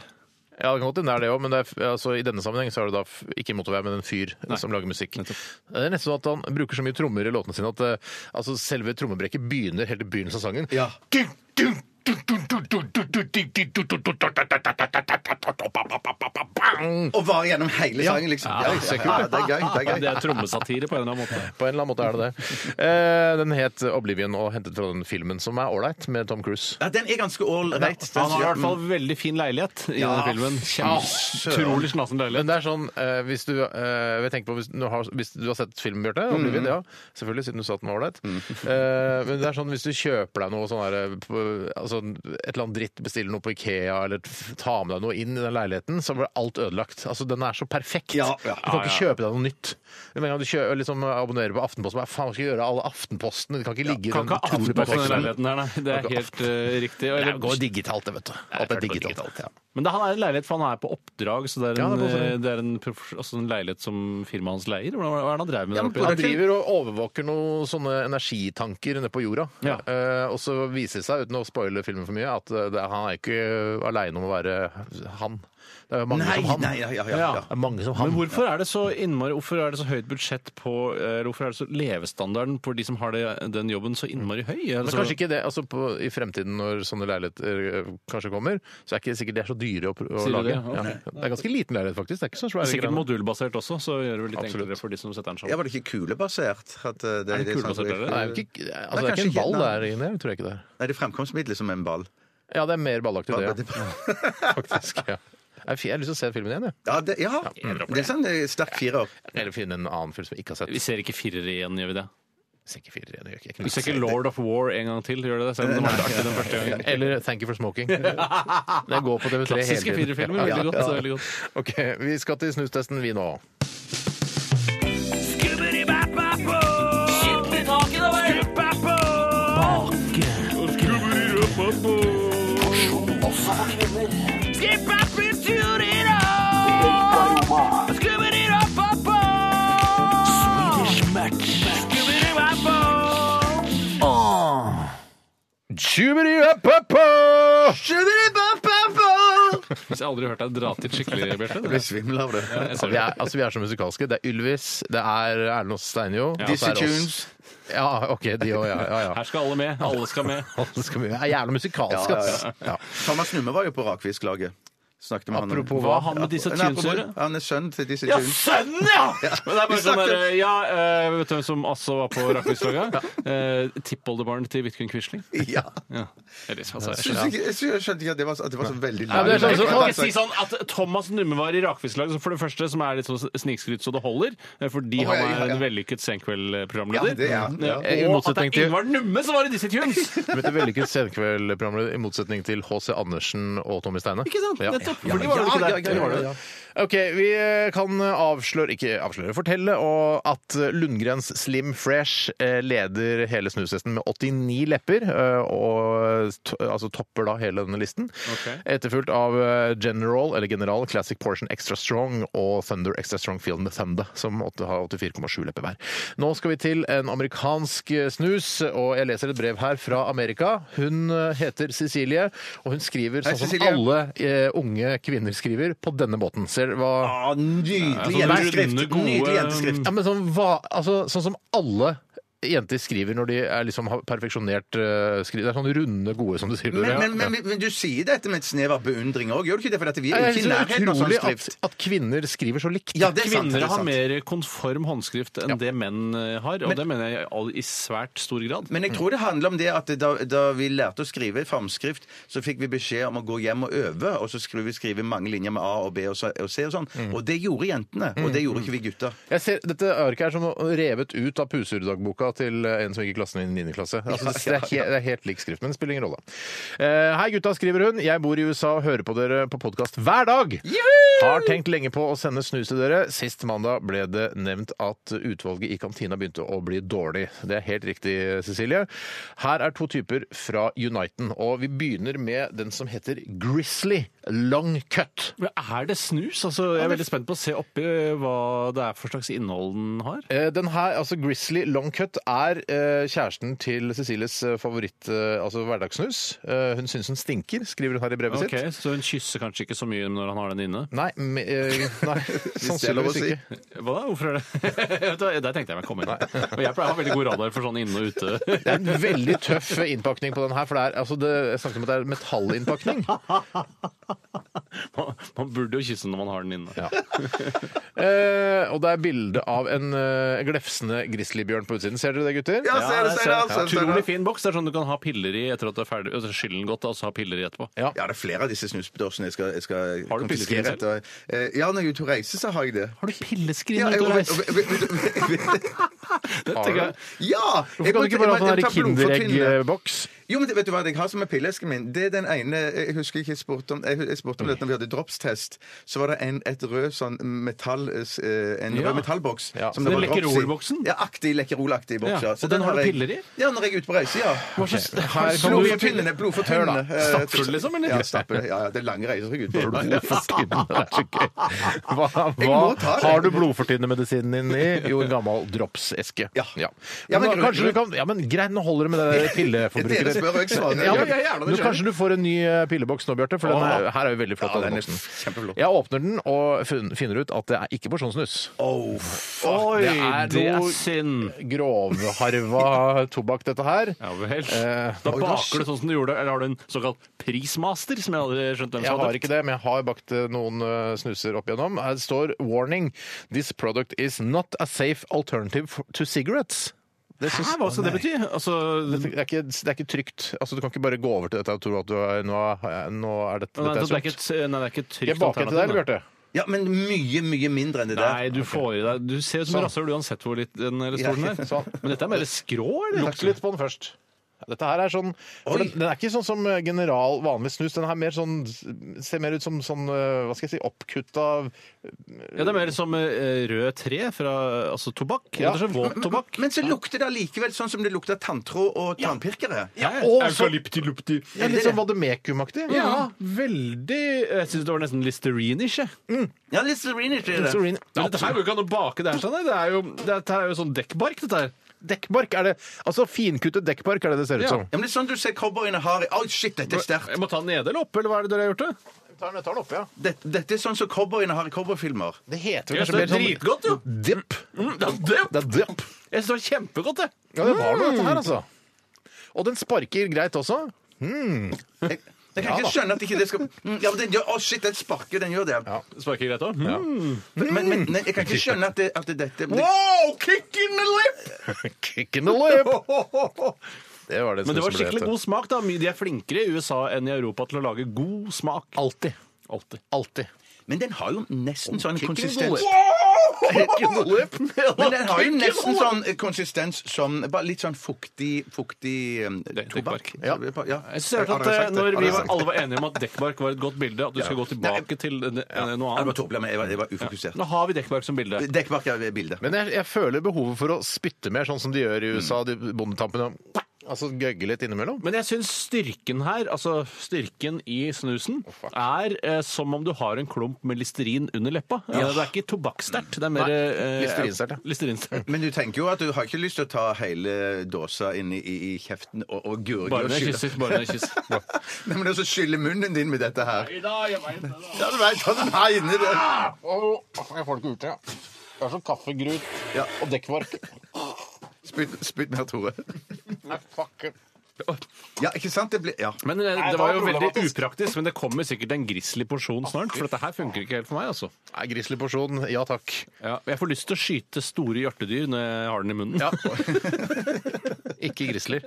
A: Ja, det kan godt hende det er det òg, men det er, f- altså, i denne sammenheng så er det da f- ikke en motorvei, men en fyr som lager musikk. Det er nesten sånn at han bruker så mye trommer i låtene sine at eh, altså, selve trommebrekket begynner helt i begynnelsen av sangen.
C: Ja.
A: Dun, dun, dun, dun, dun, dun, dun, dun, dun, dun, dun, dun, dun, dun, bang.
C: Og varer gjennom hele sangen, liksom. Ja,
A: det er
C: ja,
A: kult.
C: ja, det er gøy. det er
B: Det
C: gøy.
B: er trommesatire på en eller annen måte.
A: På en eller annen måte er det det. Eh, Den het Oblivion og hentet fra den filmen som er ålreit, med Tom Cruise.
C: Ja, den er ganske ålreit.
B: Han har i hvert fall veldig fin leilighet i denne filmen. Utrolig snassen leilighet.
A: Men det er sånn, eh, hvis du, eh, jeg tenker på, hvis, nå har, hvis du har sett filmen, Bjarte, Oblivion,
B: Mm.
A: ja, selvfølgelig, siden du sa at den var ålreit, (laughs) Eh, men det er sånn, hvis du kjøper deg noe sånn her, eh, på- altså, et eller annet dritt, bestiller noe på Ikea, eller f- tar med deg noe inn i den leiligheten, så blir alt ødelagt. Altså, den er så perfekt.
C: Ja, ja,
A: du kan ikke kjøpe deg noe nytt. Med en gang du kjø- liksom, abonnerer på Aftenposten, hva faen skal jeg gjøre alle Aftenposten? Det kan ikke ligge i
B: Kan
A: den
B: ikke ha
A: utrolig
B: aftenpost i den
A: perfekte
B: leiligheten her, nei. Det er
A: Kan ikke ha
B: helt eh, riktig. Og-
A: Nei, det går digitalt, det, vet du. Alt er
B: klart det går
A: digitalt. Ja.
B: Men det, han er i en leilighet, for han er på oppdrag, så det er
A: Ja, det er på
B: en, eh,
A: oppdrag.
B: det er en, prof- altså en leilighet som firmaet hans leier? Hvordan- Hva er det han drev med der oppe?
A: Han driver og overvåker noen sånne energitanker nede på jorda.
B: Ja.
A: Eh, og så viser det seg, uten å spoile filmen for mye, at eh, det, han er ikke aleine om å være han. Det er jo mange
C: Nei,
A: som han.
C: nei, ja, ja, ja.
B: Ja.
C: ja.
A: Det er mange som
B: Men
A: han.
B: hvorfor er det så innmari, hvorfor er det så høyt budsjett på eller Hvorfor er det så levestandarden på de som har det, den jobben, så innmari høy?
A: Men kanskje ikke det, altså på, I fremtiden, når sånne leiligheter eh, kanskje kommer, så er ikke sikkert de er så dyre å, pr- å
B: Sier du
A: lage.
B: det?
A: Ja. Det er ganske liten leilighet, faktisk. Det er ikke så svære
B: Sikkert
A: greiene.
B: modulbasert også, så gjør det litt
A: Absolutt.
B: enklere for de som setter den
C: Ja,
B: sammen.
C: Var det ikke kulebasert? At eh, det,
B: Er det
C: er sånn-
B: kulebasert, eller?
A: Nei, det er ikke, altså,
C: Nei,
A: det er ikke
C: kanskje
A: en ball
C: ikke, nei.
A: der inne, tror jeg ikke det er.
C: Nei, det er fremkomstmiddelet som er en ball.
A: Ja, det er mer ballaktig, det,
C: Ja,
A: ja. (laughs) faktisk. Ja. Jeg er fi- jeg har lyst til å se filmen igjen, jeg.
C: det, ja. det er sånn eh, sterk firer.
A: Eller finne en annen film som jeg ikke har sett.
B: Vi ser ikke firere igjen, gjør vi det?
A: ser ikke firer igjen, gjør ikke jeg.
B: Vi ser ikke Lord of War en gang til, gjør det det? Selv om det var litt artig den første gangen.
A: Eller Thank you for
B: (laughs)
A: smoking. Den går på TV3 hele tiden.
B: Klassiske firerfilmer.
A: Ja,
B: Veldig godt.
A: ja.
B: så Veldig godt.
A: Ok, vi skal til snustesten vi nå.
B: Hvis jeg aldri har hørt deg dra til skikkelig, Bjarte.
C: Jeg
B: det-
C: blir svimmel av det.
B: Jeg ser
A: Vi
B: det.
A: er, altså, vi er så musikalske. Det er Ylvis, det er Erlend Ås Steinjo. og så
C: Dizzie
A: er det oss.
C: Tunes.
A: Ja, ok, de òg. Ja, ja, ja.
B: Her skal alle med. Alle skal med.
A: Alle skal med. Det er jævla musikalsk,
C: Ja, ja,
A: ass. Ja.
C: Thomas Numme var jo på Rakfisk-laget. Snakket med
A: Apropos
B: Hva har han med disse
C: Nei, apropos-
B: tunes å gjøre?
C: Han er sønn til disse
B: Ja,
C: tunes.
B: sønnen, ja! Men det er bare
C: Vi
B: sånn
C: snakker-
B: der, ja, eh, Vet du hvem som også var på Rakfiskflagget? Eh, Tippoldebarn til Vidkun Quisling.
C: Ja.
B: Ja. Eller, altså, jeg
C: Syns
B: skjønner.
C: ikke- Jeg sy- jeg skjønte ikke at det var, at det var så veldig
A: Ja, det er sånn-
B: Jeg kan
C: Bare
B: ikke si
C: sagt-
B: sånn at Thomas Numme var i Rakfisk-lag, som for det første som er litt sånn snikskryt så det holder, eh, fordi
C: Å,
B: han
C: ja, ja,
B: er
C: ja.
B: en vellykket
C: Ja, det
B: Senkveld-programleder.
C: er han, ja.
B: Eh, Og at det
A: motsetning
B: er
A: til-
B: Ingvar Numme som var i disse tunes!
A: (laughs) Møtte vellykket senkveldprogramleder i motsetning til H.C. Andersen og Tommy Steine.
B: Ikke sant?
A: Ja.
B: Nettopp. For de var jo ikke der.
C: ja,
B: De var
C: ja,
B: det.
C: ja.
A: Ok, vi eh, kan avsløre, ikke avsløre, fortelle og at Lundgrens Slim Fresh eh, leder hele snusesten med 89 lepper, eh, og to, altså topper da hele denne listen.
B: Ok.
A: Etterfulgt av eh, General, eller General, Classic Portion Extra Strong og Thunder Extra Strong Field med Thunder, som åtte- har 84,7 lepper hver. Nå skal vi til en amerikansk eh, snus, og jeg leser et brev her fra Amerika. Hun eh, heter Cecilie, og hun skriver
C: Hei,
A: sånn som
C: Cecilie.
A: alle alle eh, unge kvinner skriver på denne måten. Ser hva
C: Ah, Nydelig
B: Ja, sånn
A: altså,
C: jenteskrift.
B: runde, gode-
C: Nydelig jenteskrift.
A: ja, men sånn, hva, altså, sånn som alle jenter skriver når de er liksom har perfeksjonert eh, skriv. Det er sånn runde, gode, som du sier.
C: Men,
A: Tore.
C: men,
A: Ja.
C: men, men du sier dette med et snev av beundring òg, gjør du ikke det? For dette, vi
A: Ja,
C: er jo
A: jeg
C: ikke i
A: synes det er
C: nærheten av sånn
A: utrolig at,
C: skrift.
A: at kvinner skriver så likt.
C: Ja, det er sant. det
B: Kvinner
C: er
B: har
C: sant.
B: mer konform håndskrift enn det menn eh, har, og det mener jeg i all- i svært stor grad.
C: Men jeg tror det handler om det at da, da vi lærte å skrive formskrift, så fikk vi beskjed om å gå hjem og øve, og så skulle vi skrive mange linjer med A og B og, så, og C og sånn. Og det gjorde jentene, og det gjorde ikke vi gutta.
A: Jeg ser, dette arket er som revet ut av puserdagboka til eh, en som gikk i klassen min i 9. klasse. Altså, det, er helt, det er helt lik skrift, men det spiller ingen rolle. Eh, Hei gutta, skriver hun. Jeg bor i USA og hører på dere på podkast hver dag. Har tenkt lenge på å sende snus til dere. Sist mandag ble det nevnt at utvalget i kantina begynte å bli dårlig. Det er helt riktig, Cecilie. Her er to typer fra Uniten, og vi begynner med den som heter Grizzly Long Cut.
B: Men er det snus? Altså, jeg er eh, veldig spent på å se oppi hva det er for slags innhold den har.
A: Eh, Den her, altså Grizzly Long Cut, er eh, kjæresten til Cecilies eh, favoritt, eh, altså hverdagssnus. Eh, hun syns hun stinker, skriver hun her i brevet
B: Ok,
A: sitt.
B: Så hun kysser kanskje ikke så mye når han har den inne?
A: Nei, me, eh,
C: (laughs)
A: nei
C: det er lov å
A: sannsynligvis
C: si.
A: ikke.
B: Hva da? Hvorfor er det (laughs) Vet du hva, Der tenkte jeg meg å komme inn. Og jeg pleier å ha veldig god radar for sånn inne og ute.
A: Det
B: (laughs)
A: er en veldig tøff innpakning på den her, for det er, altså det, jeg snakket om at det er
C: (laughs)
A: metallinnpakning.
B: Man, man burde jo kysse når man har den inne.
A: Eh, og det er bilde av en eh, glefsende grizzlybjørn på utsiden. Ser dere det, gutter?
C: Ja, ser det, ser det, altså, ser det.
B: Utrolig fin boks. Det er sånn du kan ha piller i etter at du er ferdig. altså, Skylle den godt, og så ha piller i etterpå.
A: Ja.
C: Ja, det er flere av disse snusbedåsene jeg skal, jeg skal
B: Har du
C: konfiskere
B: pilleskrin
C: etter. Eh, Ja, når jeg er ute og reiser, så har jeg det.
B: Har du pilleskrin
C: Ja, jeg,
B: ute og reiser?
C: vet- vet- vet- vet- vet-
A: Har du (laughs) det?
C: ja!
A: Hvorfor kan du ikke bare ha sånn her Kinderegg-boks?
C: Jo, men det- vet du hva jeg har som er pillesken min? Det er den ene Jeg husker ikke jeg spurte om Jeg, jeg spurte om det når vi hadde dropstest. Så var det en et rød sånn metall eh, En
B: Ja.
C: rød metallboks.
A: Ja,
C: som
A: så
C: det
B: det er
C: var drops i.
B: Lekkerol-boksen?
C: Ja, aktig Lekkerol-aktig boks.
B: Ja,
C: Ja.
B: og den har du
C: jeg-
B: piller i?
C: Ja, når jeg er ute på reise, ja.
A: Her kan du-
C: Blodfortynnende, blodfortynnende.
A: Hør da,
C: Eh,
B: stappfull, liksom, eller?
C: Ja, stappfull. Ja, ja, det er lange reiser jeg er ute på.
A: Blodfortynnende, det er så gøy. Hva,
C: Jeg
A: hva
C: må ta det.
A: har du blodfortynnende medisinen din i? Jo, en gammel dropseske.
C: Ja. Ja,
A: Men,
C: men
A: da,
C: grunn-
A: kanskje du kan, ja, men greit, nå holder det med det der
C: Dere
A: pilleforbruket ditt.
C: spør, og jeg svarer.
A: Ja, men
B: jeg er gjerne
A: nå
B: det selv.
A: kanskje du får en ny eh, pilleboks nå, Bjarte, for den er, her er jo veldig flott.
C: Ja,
A: denne
C: den er
A: boksen.
C: kjempeflott.
A: Jeg åpner den og fun- finner ut at det er ikke porsjonssnus.
C: Oh,
B: Oi,
A: det er
B: det er
A: noe-
B: synd!
A: Grovharva tobakk, dette her.
B: Ja vel.
A: Eh,
B: Da baker du sånn som du gjorde, eller har du en såkalt prismaster, som jeg aldri skjønte hvem
A: Jeg
B: som
A: har ikke det, men jeg har bakt eh, noen eh, snuser opp igjennom. Her står 'warning'. This product is not a safe alternative for- to cigarettes. Det syns-
B: Hæ, hva skal det bety? Altså,
A: Det er, ikke, det er ikke trygt. Altså, du kan ikke bare gå over til dette og tro at du er, nå, er- nå er dette,
B: nei,
A: dette er
B: så det er ikke
A: sunt.
B: et, nei, det er ikke et trygt
A: Jeg baker til deg, eller, Bjarte?
C: Ja, men mye, mye mindre enn det der.
B: Nei, du får i deg Du ser ut som et rasshøl uansett hvor liten eller stor den eh,
C: Ja,
A: (laughs)
B: er.
A: sånn.
B: Men dette er mer skrå, eller?
A: Lukt litt på den først. Dette her er sånn for den, den er ikke sånn som eh, general vanlig snus. Den her mer sånn, ser mer ut som sånn eh, hva skal jeg si, oppkutta
B: Ja, det er mer som eh, rød tre fra altså tobakk.
A: Ja.
B: Ja. Våt tobakk.
C: Men så lukter det allikevel sånn som det lukter tanntråd og tannpirkere.
B: Ja,
A: og så-
B: Eukalyptilupti.
A: ja, Litt sånn vademekum-aktig.
B: Ja, veldig Jeg syns det var nesten listerinish, jeg.
C: Ja, litt Serena tror jeg det.
A: Listerine.
B: Men dette her går jo ikke an å bake det her, sånn. Det er jo, dette her er jo sånn dekkbark, dette her.
A: Dekkbark er det. Altså finkuttet dekkbark er det det ser ut
B: Ja.
A: som.
C: Ja, men det er sånn du ser cowboyene har i Oi, shit, dette er
B: Jeg
C: sterkt.
B: må ta den nede eller oppe, eller hva er det dere har gjort? det?
A: Tar den- tar den opp, ja.
C: Dette, dette er sånn som cowboyene har i cowboyfilmer.
A: Det heter vel kanskje
B: Jeg synes
A: mer
B: det er
A: sånn
B: dritgodt, jo!
A: dipp.
B: Mm, det er det.
A: Det er dipp.
B: Jeg syns det var kjempegodt, det.
A: Ja, det var noe, dette her, altså. Og den sparker greit også.
C: Jeg, jeg kan
A: Ja, da.
C: ikke skjønne at ikke det skal Mm, Ja, men den gjør Å, shit, den sparker, den gjør det.
B: Sparker greit òg. Mm.
C: Men, men, men nei, jeg kan ikke skjønne at, det, at det, dette men det,
B: Wow, kick in the lip!
A: Kick in the lip! Det var det
B: Men det var
A: snusen ble
B: skikkelig
A: etter.
B: god smak, da. De er flinkere i USA enn i Europa til å lage god smak. Alltid. Alltid.
A: Alltid.
C: Men den har jo nesten sånn
A: Kick in the
C: konsistens
A: lip.
C: Men den har jo nesten sånn konsistens som bare litt sånn fuktig, fuktig um,
B: Det-
C: tobakk.
A: Ja.
C: Ja.
B: Jeg synes at
C: Har dere
B: eh,
C: sagt det?
B: Når
C: Har
B: vi
C: dere
B: var,
C: sagt det?
B: alle var enige om at dekkbark var et godt bilde, at du skal gå tilbake til eh, eh, noe
C: Ja, det var
B: annet
C: tåpelig, men jeg var, jeg var ufokusert.
B: Nå har vi dekkbark som bilde.
C: Dekkbark er bildet.
A: Men jeg, jeg føler behovet for å spytte mer, sånn som de gjør i USA, de bondetampene. Altså gøgge litt innimellom.
B: Men jeg syns styrken her, altså styrken i snusen, er eh, som om du har en klump med listerin under leppa. Eh, Det er ikke tobakksterkt. Det er mer
A: Nei,
B: eh,
A: listerinsterkt, ja.
B: listerinsterkt.
C: Men du tenker jo at du har ikke lyst til å ta hele dåsa inn i, i, i kjeften og, og gurgle
B: Bare
C: og
B: når jeg
C: skylle (laughs)
B: kysser. Bare når jeg kysser.
C: Nei, men også skylle munnen din med dette her.
B: I dag, jeg mente det.
C: Ja, du vet hva den har inni der.
A: Ah! Jeg får det ikke ut, ja. Det er som kaffegrut
C: Ja.
A: og dekkbark.
C: Spytt, spytt mer, Tore.
A: Fuck.
C: Ja, ikke sant? Det blir Ja.
B: Men eh,
A: det
B: det var
A: var
B: jo veldig
A: problematisk.
B: upraktisk, men det kommer sikkert en grislig porsjon snart. For dette her funker ikke helt for meg, altså.
A: Nei, Grislig porsjon, ja takk.
B: Ja, jeg får lyst til å skyte store hjertedyr når jeg har den i munnen. (laughs)
A: Ikke grizzly.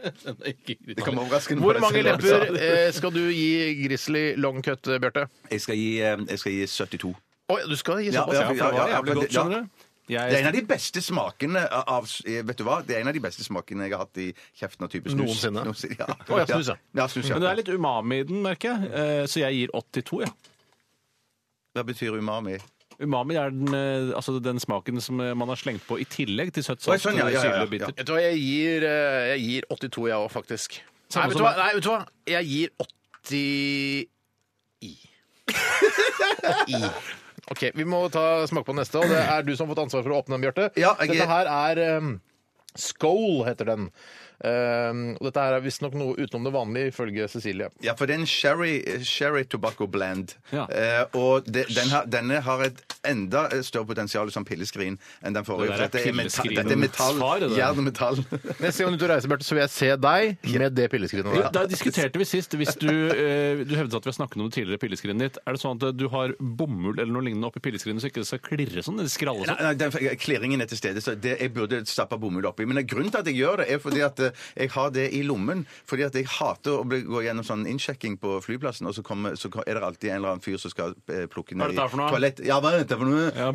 C: Det kom overraskende
A: Hvor
C: på deg
A: mange
C: selv, altså.
A: lepper eh, skal du gi grizzly long cut, Bjarte?
C: Jeg skal gi, eh, jeg skal gi 72.
A: Oi, du skal gi
C: Ja,
A: såpass?
C: ja,
A: Ja,
C: ja, ja, ja,
B: Jævlig
C: men
B: godt,
C: det- ja.
B: skjønner du.
C: Det er en
B: Jeg,
C: av de beste smakene av eh, Vet du hva? Det er en av de beste smakene jeg har hatt i kjeften av type snus.
A: Noensinne.
C: ja.
A: Å, ja, snus, ja.
C: ja snus, ja.
B: men det er litt umami i den, merker jeg. Eh, Så jeg gir 82, jeg.
C: Hva betyr umami?
B: Umami er den, eh, altså den smaken som eh, man har slengt på i tillegg til søtt
C: Oi,
B: salt,
C: sånn, ja, ja, ja,
B: syrlig
C: ja.
B: og bitter.
A: Vet du hva, jeg gir, eh, jeg gir 82 jeg òg, faktisk. Nei
B: Samme
A: vet, du
B: som
A: hva? Nei, vet du hva? Jeg gir 80 i. (laughs) 80 i. OK, vi må ta smake på den neste, og det er du som har fått ansvar for å åpne den, Bjarte.
C: Ja, jeg-
A: Dette her er um, Skål heter den. Ehm, og dette her er visstnok noe utenom det vanlige, ifølge Cecilie.
C: Ja, for det er en sherry, sherry tobacco blend.
B: Ja.
C: Eh, og det, den har, denne har et enda eh, større potensial som pilleskrin enn den
B: Det
C: forrige.
B: der er
C: for dette, er meta,
B: pilleskrinens
C: dette er metall.
B: far, det der.
C: Jern
B: (laughs)
C: og metall.
A: Neste gang du er ute og reiser, Bjarte, så vil jeg se deg med det pilleskrinet der.
B: Da diskuterte vi sist, hvis du, eh, du hevdet at vi har snakket om det tidligere pilleskrinet ditt, er det sånn at eh, du har bomull eller noe lignende oppi pilleskrinet så ikke det skal klirre sånn, eller skralle
C: Nei,
B: sånn?
C: nei, den, klirringen er til stede, så det, jeg burde stappe bomull oppi. Men grunnen til at jeg gjør det, er fordi at eh, jeg har det i lommen. Fordi at jeg hater å bli, gå gjennom sånn innsjekking på flyplassen, og så, kommer, så er det alltid en eller annen fyr som skal eh, plukke
B: Hva er
C: ned
B: dette her for noe?
C: toalett. Ja, hva er dette for noe? Ja,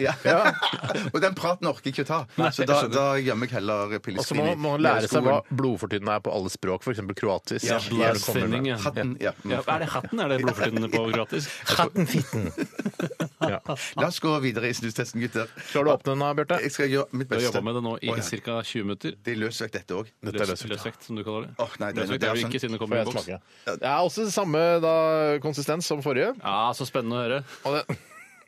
C: ja. (laughs) Ja. og den praten orker jeg ikke å ta. så da, da gjemmer jeg
A: Og så
C: heller
A: må
C: pilleskrinet
A: man må lære seg hva blodfortynnende er på alle språk, f.eks. kroatisk.
C: Ja,
A: Der kommer det.
B: Blodfortynning, ja.
C: Hatten, ja.
B: Ja, er det hatten? Er det blodfortynnende på gratis?
A: Hatten
B: (laughs)
A: fitten. ja.
C: La oss gå videre i snustesten, gutter.
A: Klarer du å åpne den, da, Bjarte?
C: Jeg skal gjøre mitt
B: Du har
C: beste.
B: jobba med det nå i ca. 20 minutter.
C: Det er løsvekt, dette òg.
A: Dette er
B: Løs-
A: løsvekt.
B: Løsvekt, som du kaller det.
C: Åh, nei, det er-
B: Løsvekt
C: det er
B: er det jo
C: sånn-
B: ikke, siden det
A: Får
B: kommer i
A: jeg
B: boks.
A: smake. Det er også samme da, konsistens som forrige.
B: Ja, så spennende å høre.
A: Og det,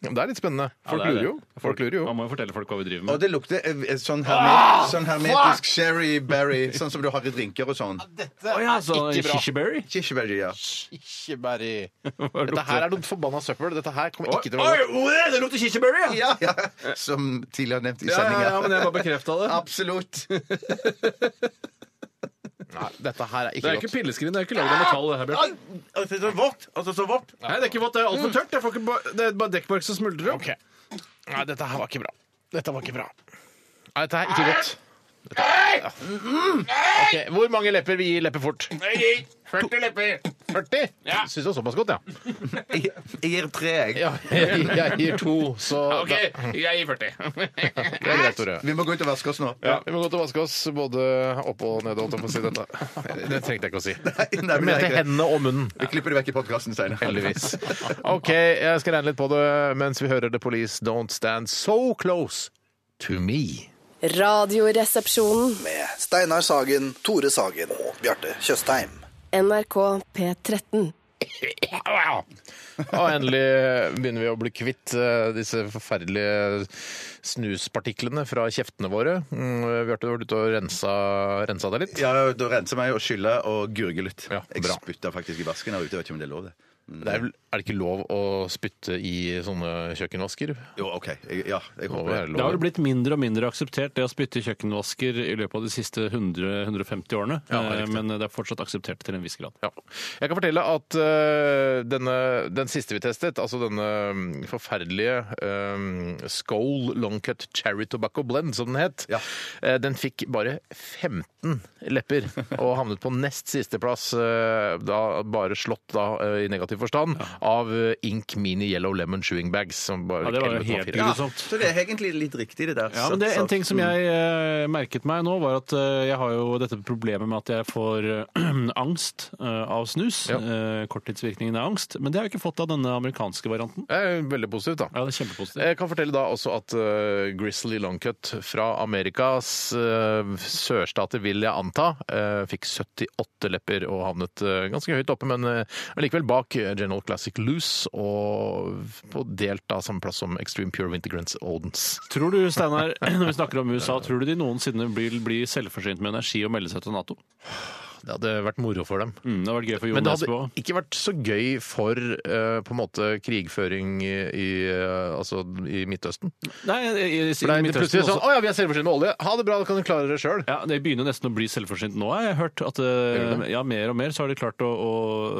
A: Ja, men (laughs) det er litt spennende.
B: Ja,
A: Folk
B: det er
A: lurer
B: det.
A: jo. Folk lurer jo.
B: Man må jo fortelle folk hva vi driver
C: Og
B: med.
C: det lukter eh, eh, sånn, herme
B: Ah!
C: sånn hermetisk sherry berry, sånn som du har i drinker og
B: Ah,
C: sånn.
A: Dette
B: Å ja, så Shishberry?
C: Kirsebærry, ja.
A: Ikke bare i Dette her er noe forbanna søppel. Dette her kommer ikke til å gå.
B: Oi, det lukter kirsebærry! Ja.
C: Ja, ja. Som tidligere nevnt i
B: Ja, ja, ja, men
C: sendinga.
B: jeg bare bekrefta det.
C: Absolutt.
A: Nei, dette her er
B: Det
A: ikke
B: er ikke
A: godt.
B: pilleskrin, det er ikke lagd av metall. det her, Bjørn.
C: Det er vått. Altså så vått.
B: Nei, det er ikke vått, det er altfor tørt. Jeg får ikke ba- det er bare dekkbark som smuldrer opp.
A: Mm. Ok. Nei, dette her var ikke bra. Dette var ikke bra. Nei, dette her er ikke godt. Dette... Ja. Ok, Hvor mange lepper vil gi lepper fort?
B: 40 lepper.
A: 40? Ja. Syns det var såpass godt, ja.
C: Jeg jeg gir tre, jeg.
A: ja jeg, jeg gir to, så
B: OK, jeg gir 40.
A: da, Det er greit, Tore.
C: Vi må gå ut og vaske oss nå.
A: Ja, vi må gå til å vaske oss både opp og ned. holdt jeg på å si dette. Det trengte jeg ikke å si.
C: nei, men
A: Jeg
C: det er
A: mente
C: greit.
A: hendene og munnen.
C: Vi klipper det vekk i podkasten seinere.
A: Heldigvis. OK, jeg skal regne litt på det mens vi hører The Police Don't Stand So Close To Me.
E: Radioresepsjonen.
F: med Steinar Sagen, Tore Sagen og Bjarte Tjøstheim.
E: NRK P13.
A: Og endelig begynner vi å bli kvitt eh, disse forferdelige snuspartiklene fra kjeftene våre. Mm, Bjarte, du har vært ute og rensa, rensa deg litt.
C: Ja, da renser meg og skyller og gurger litt.
A: Ja,
C: jeg
A: bra.
C: spytta faktisk i vasken her ute. Jeg vet ikke om det er lov, det.
A: Det er, vel- er det ikke lov å spytte i sånne kjøkkenvasker?
C: Jo, OK. Jeg, ja, jeg
A: Må
C: håper det.
A: være lov.
B: Det har jo blitt mindre og mindre akseptert det å spytte i kjøkkenvasker i løpet av de siste 100-150 årene,
A: Ja, riktig.
B: Eh, men det er fortsatt akseptert til en viss grad.
A: Ja. Jeg kan fortelle at øh, denne, den siste vi testet, altså denne mm, forferdelige øh, Skål Longcut Cherry Tobacco Blend, som den het,
C: Ja.
A: eh, den fikk bare 15 lepper og havnet på nest siste plass, eh, da, bare slått da, eh, i negativ forstand, av eh, Ink Mini Yellow Lemon Chewing Bags. Som bare
B: Ja, det var jo
A: fikk
B: helt
A: 11,4. Ja.
B: grusomt.
C: Så det er egentlig litt riktig, det der.
B: Ja, men det er En ting
A: mm.
B: som jeg eh, merket meg nå, var at eh, jeg har jo dette problemet med at jeg får eh, (clears throat) angst eh, av snus.
A: Ja.
B: Eh, korttidsvirkningen er angst. Men det har jeg ikke fått av denne amerikanske varianten. Eh,
A: Det er veldig positivt, da.
B: Ja, det er kjempepositivt.
A: Jeg kan fortelle da også at eh, Grizzly Longcut fra Amerikas eh, sørstater, vil jeg anta, eh, fikk 78 lepper og havnet eh, ganske høyt oppe, men eh, likevel bak eh, General Classic Loose og på delt da samme plass som Extreme Pure Wintergrants Odens.
B: Tror du, Steinar, (clears throat) når vi snakker om USA, tror du de noensinne blir, blir selvforsynt med energi og melder seg til Nato?
A: Det hadde vært moro for dem.
B: Mm, det hadde vært gøy for
A: Men
B: Jon
A: det
B: Nesbø
A: hadde
B: òg.
A: ikke vært så gøy for eh, på en måte krigføring i, i, eh, altså, i Midtøsten.
B: Nei, i, i, i,
A: For det er
B: Midtøsten
A: plutselig
B: også.
A: sånn Å ja, vi er selvforsynt med olje! Ha det bra, da kan du klare dere sjøl.
B: Ja, Det begynner nesten å bli selvforsynt nå. har Jeg hørt at
A: Gjør
B: eh, ja, mer og mer så har de klart å, å,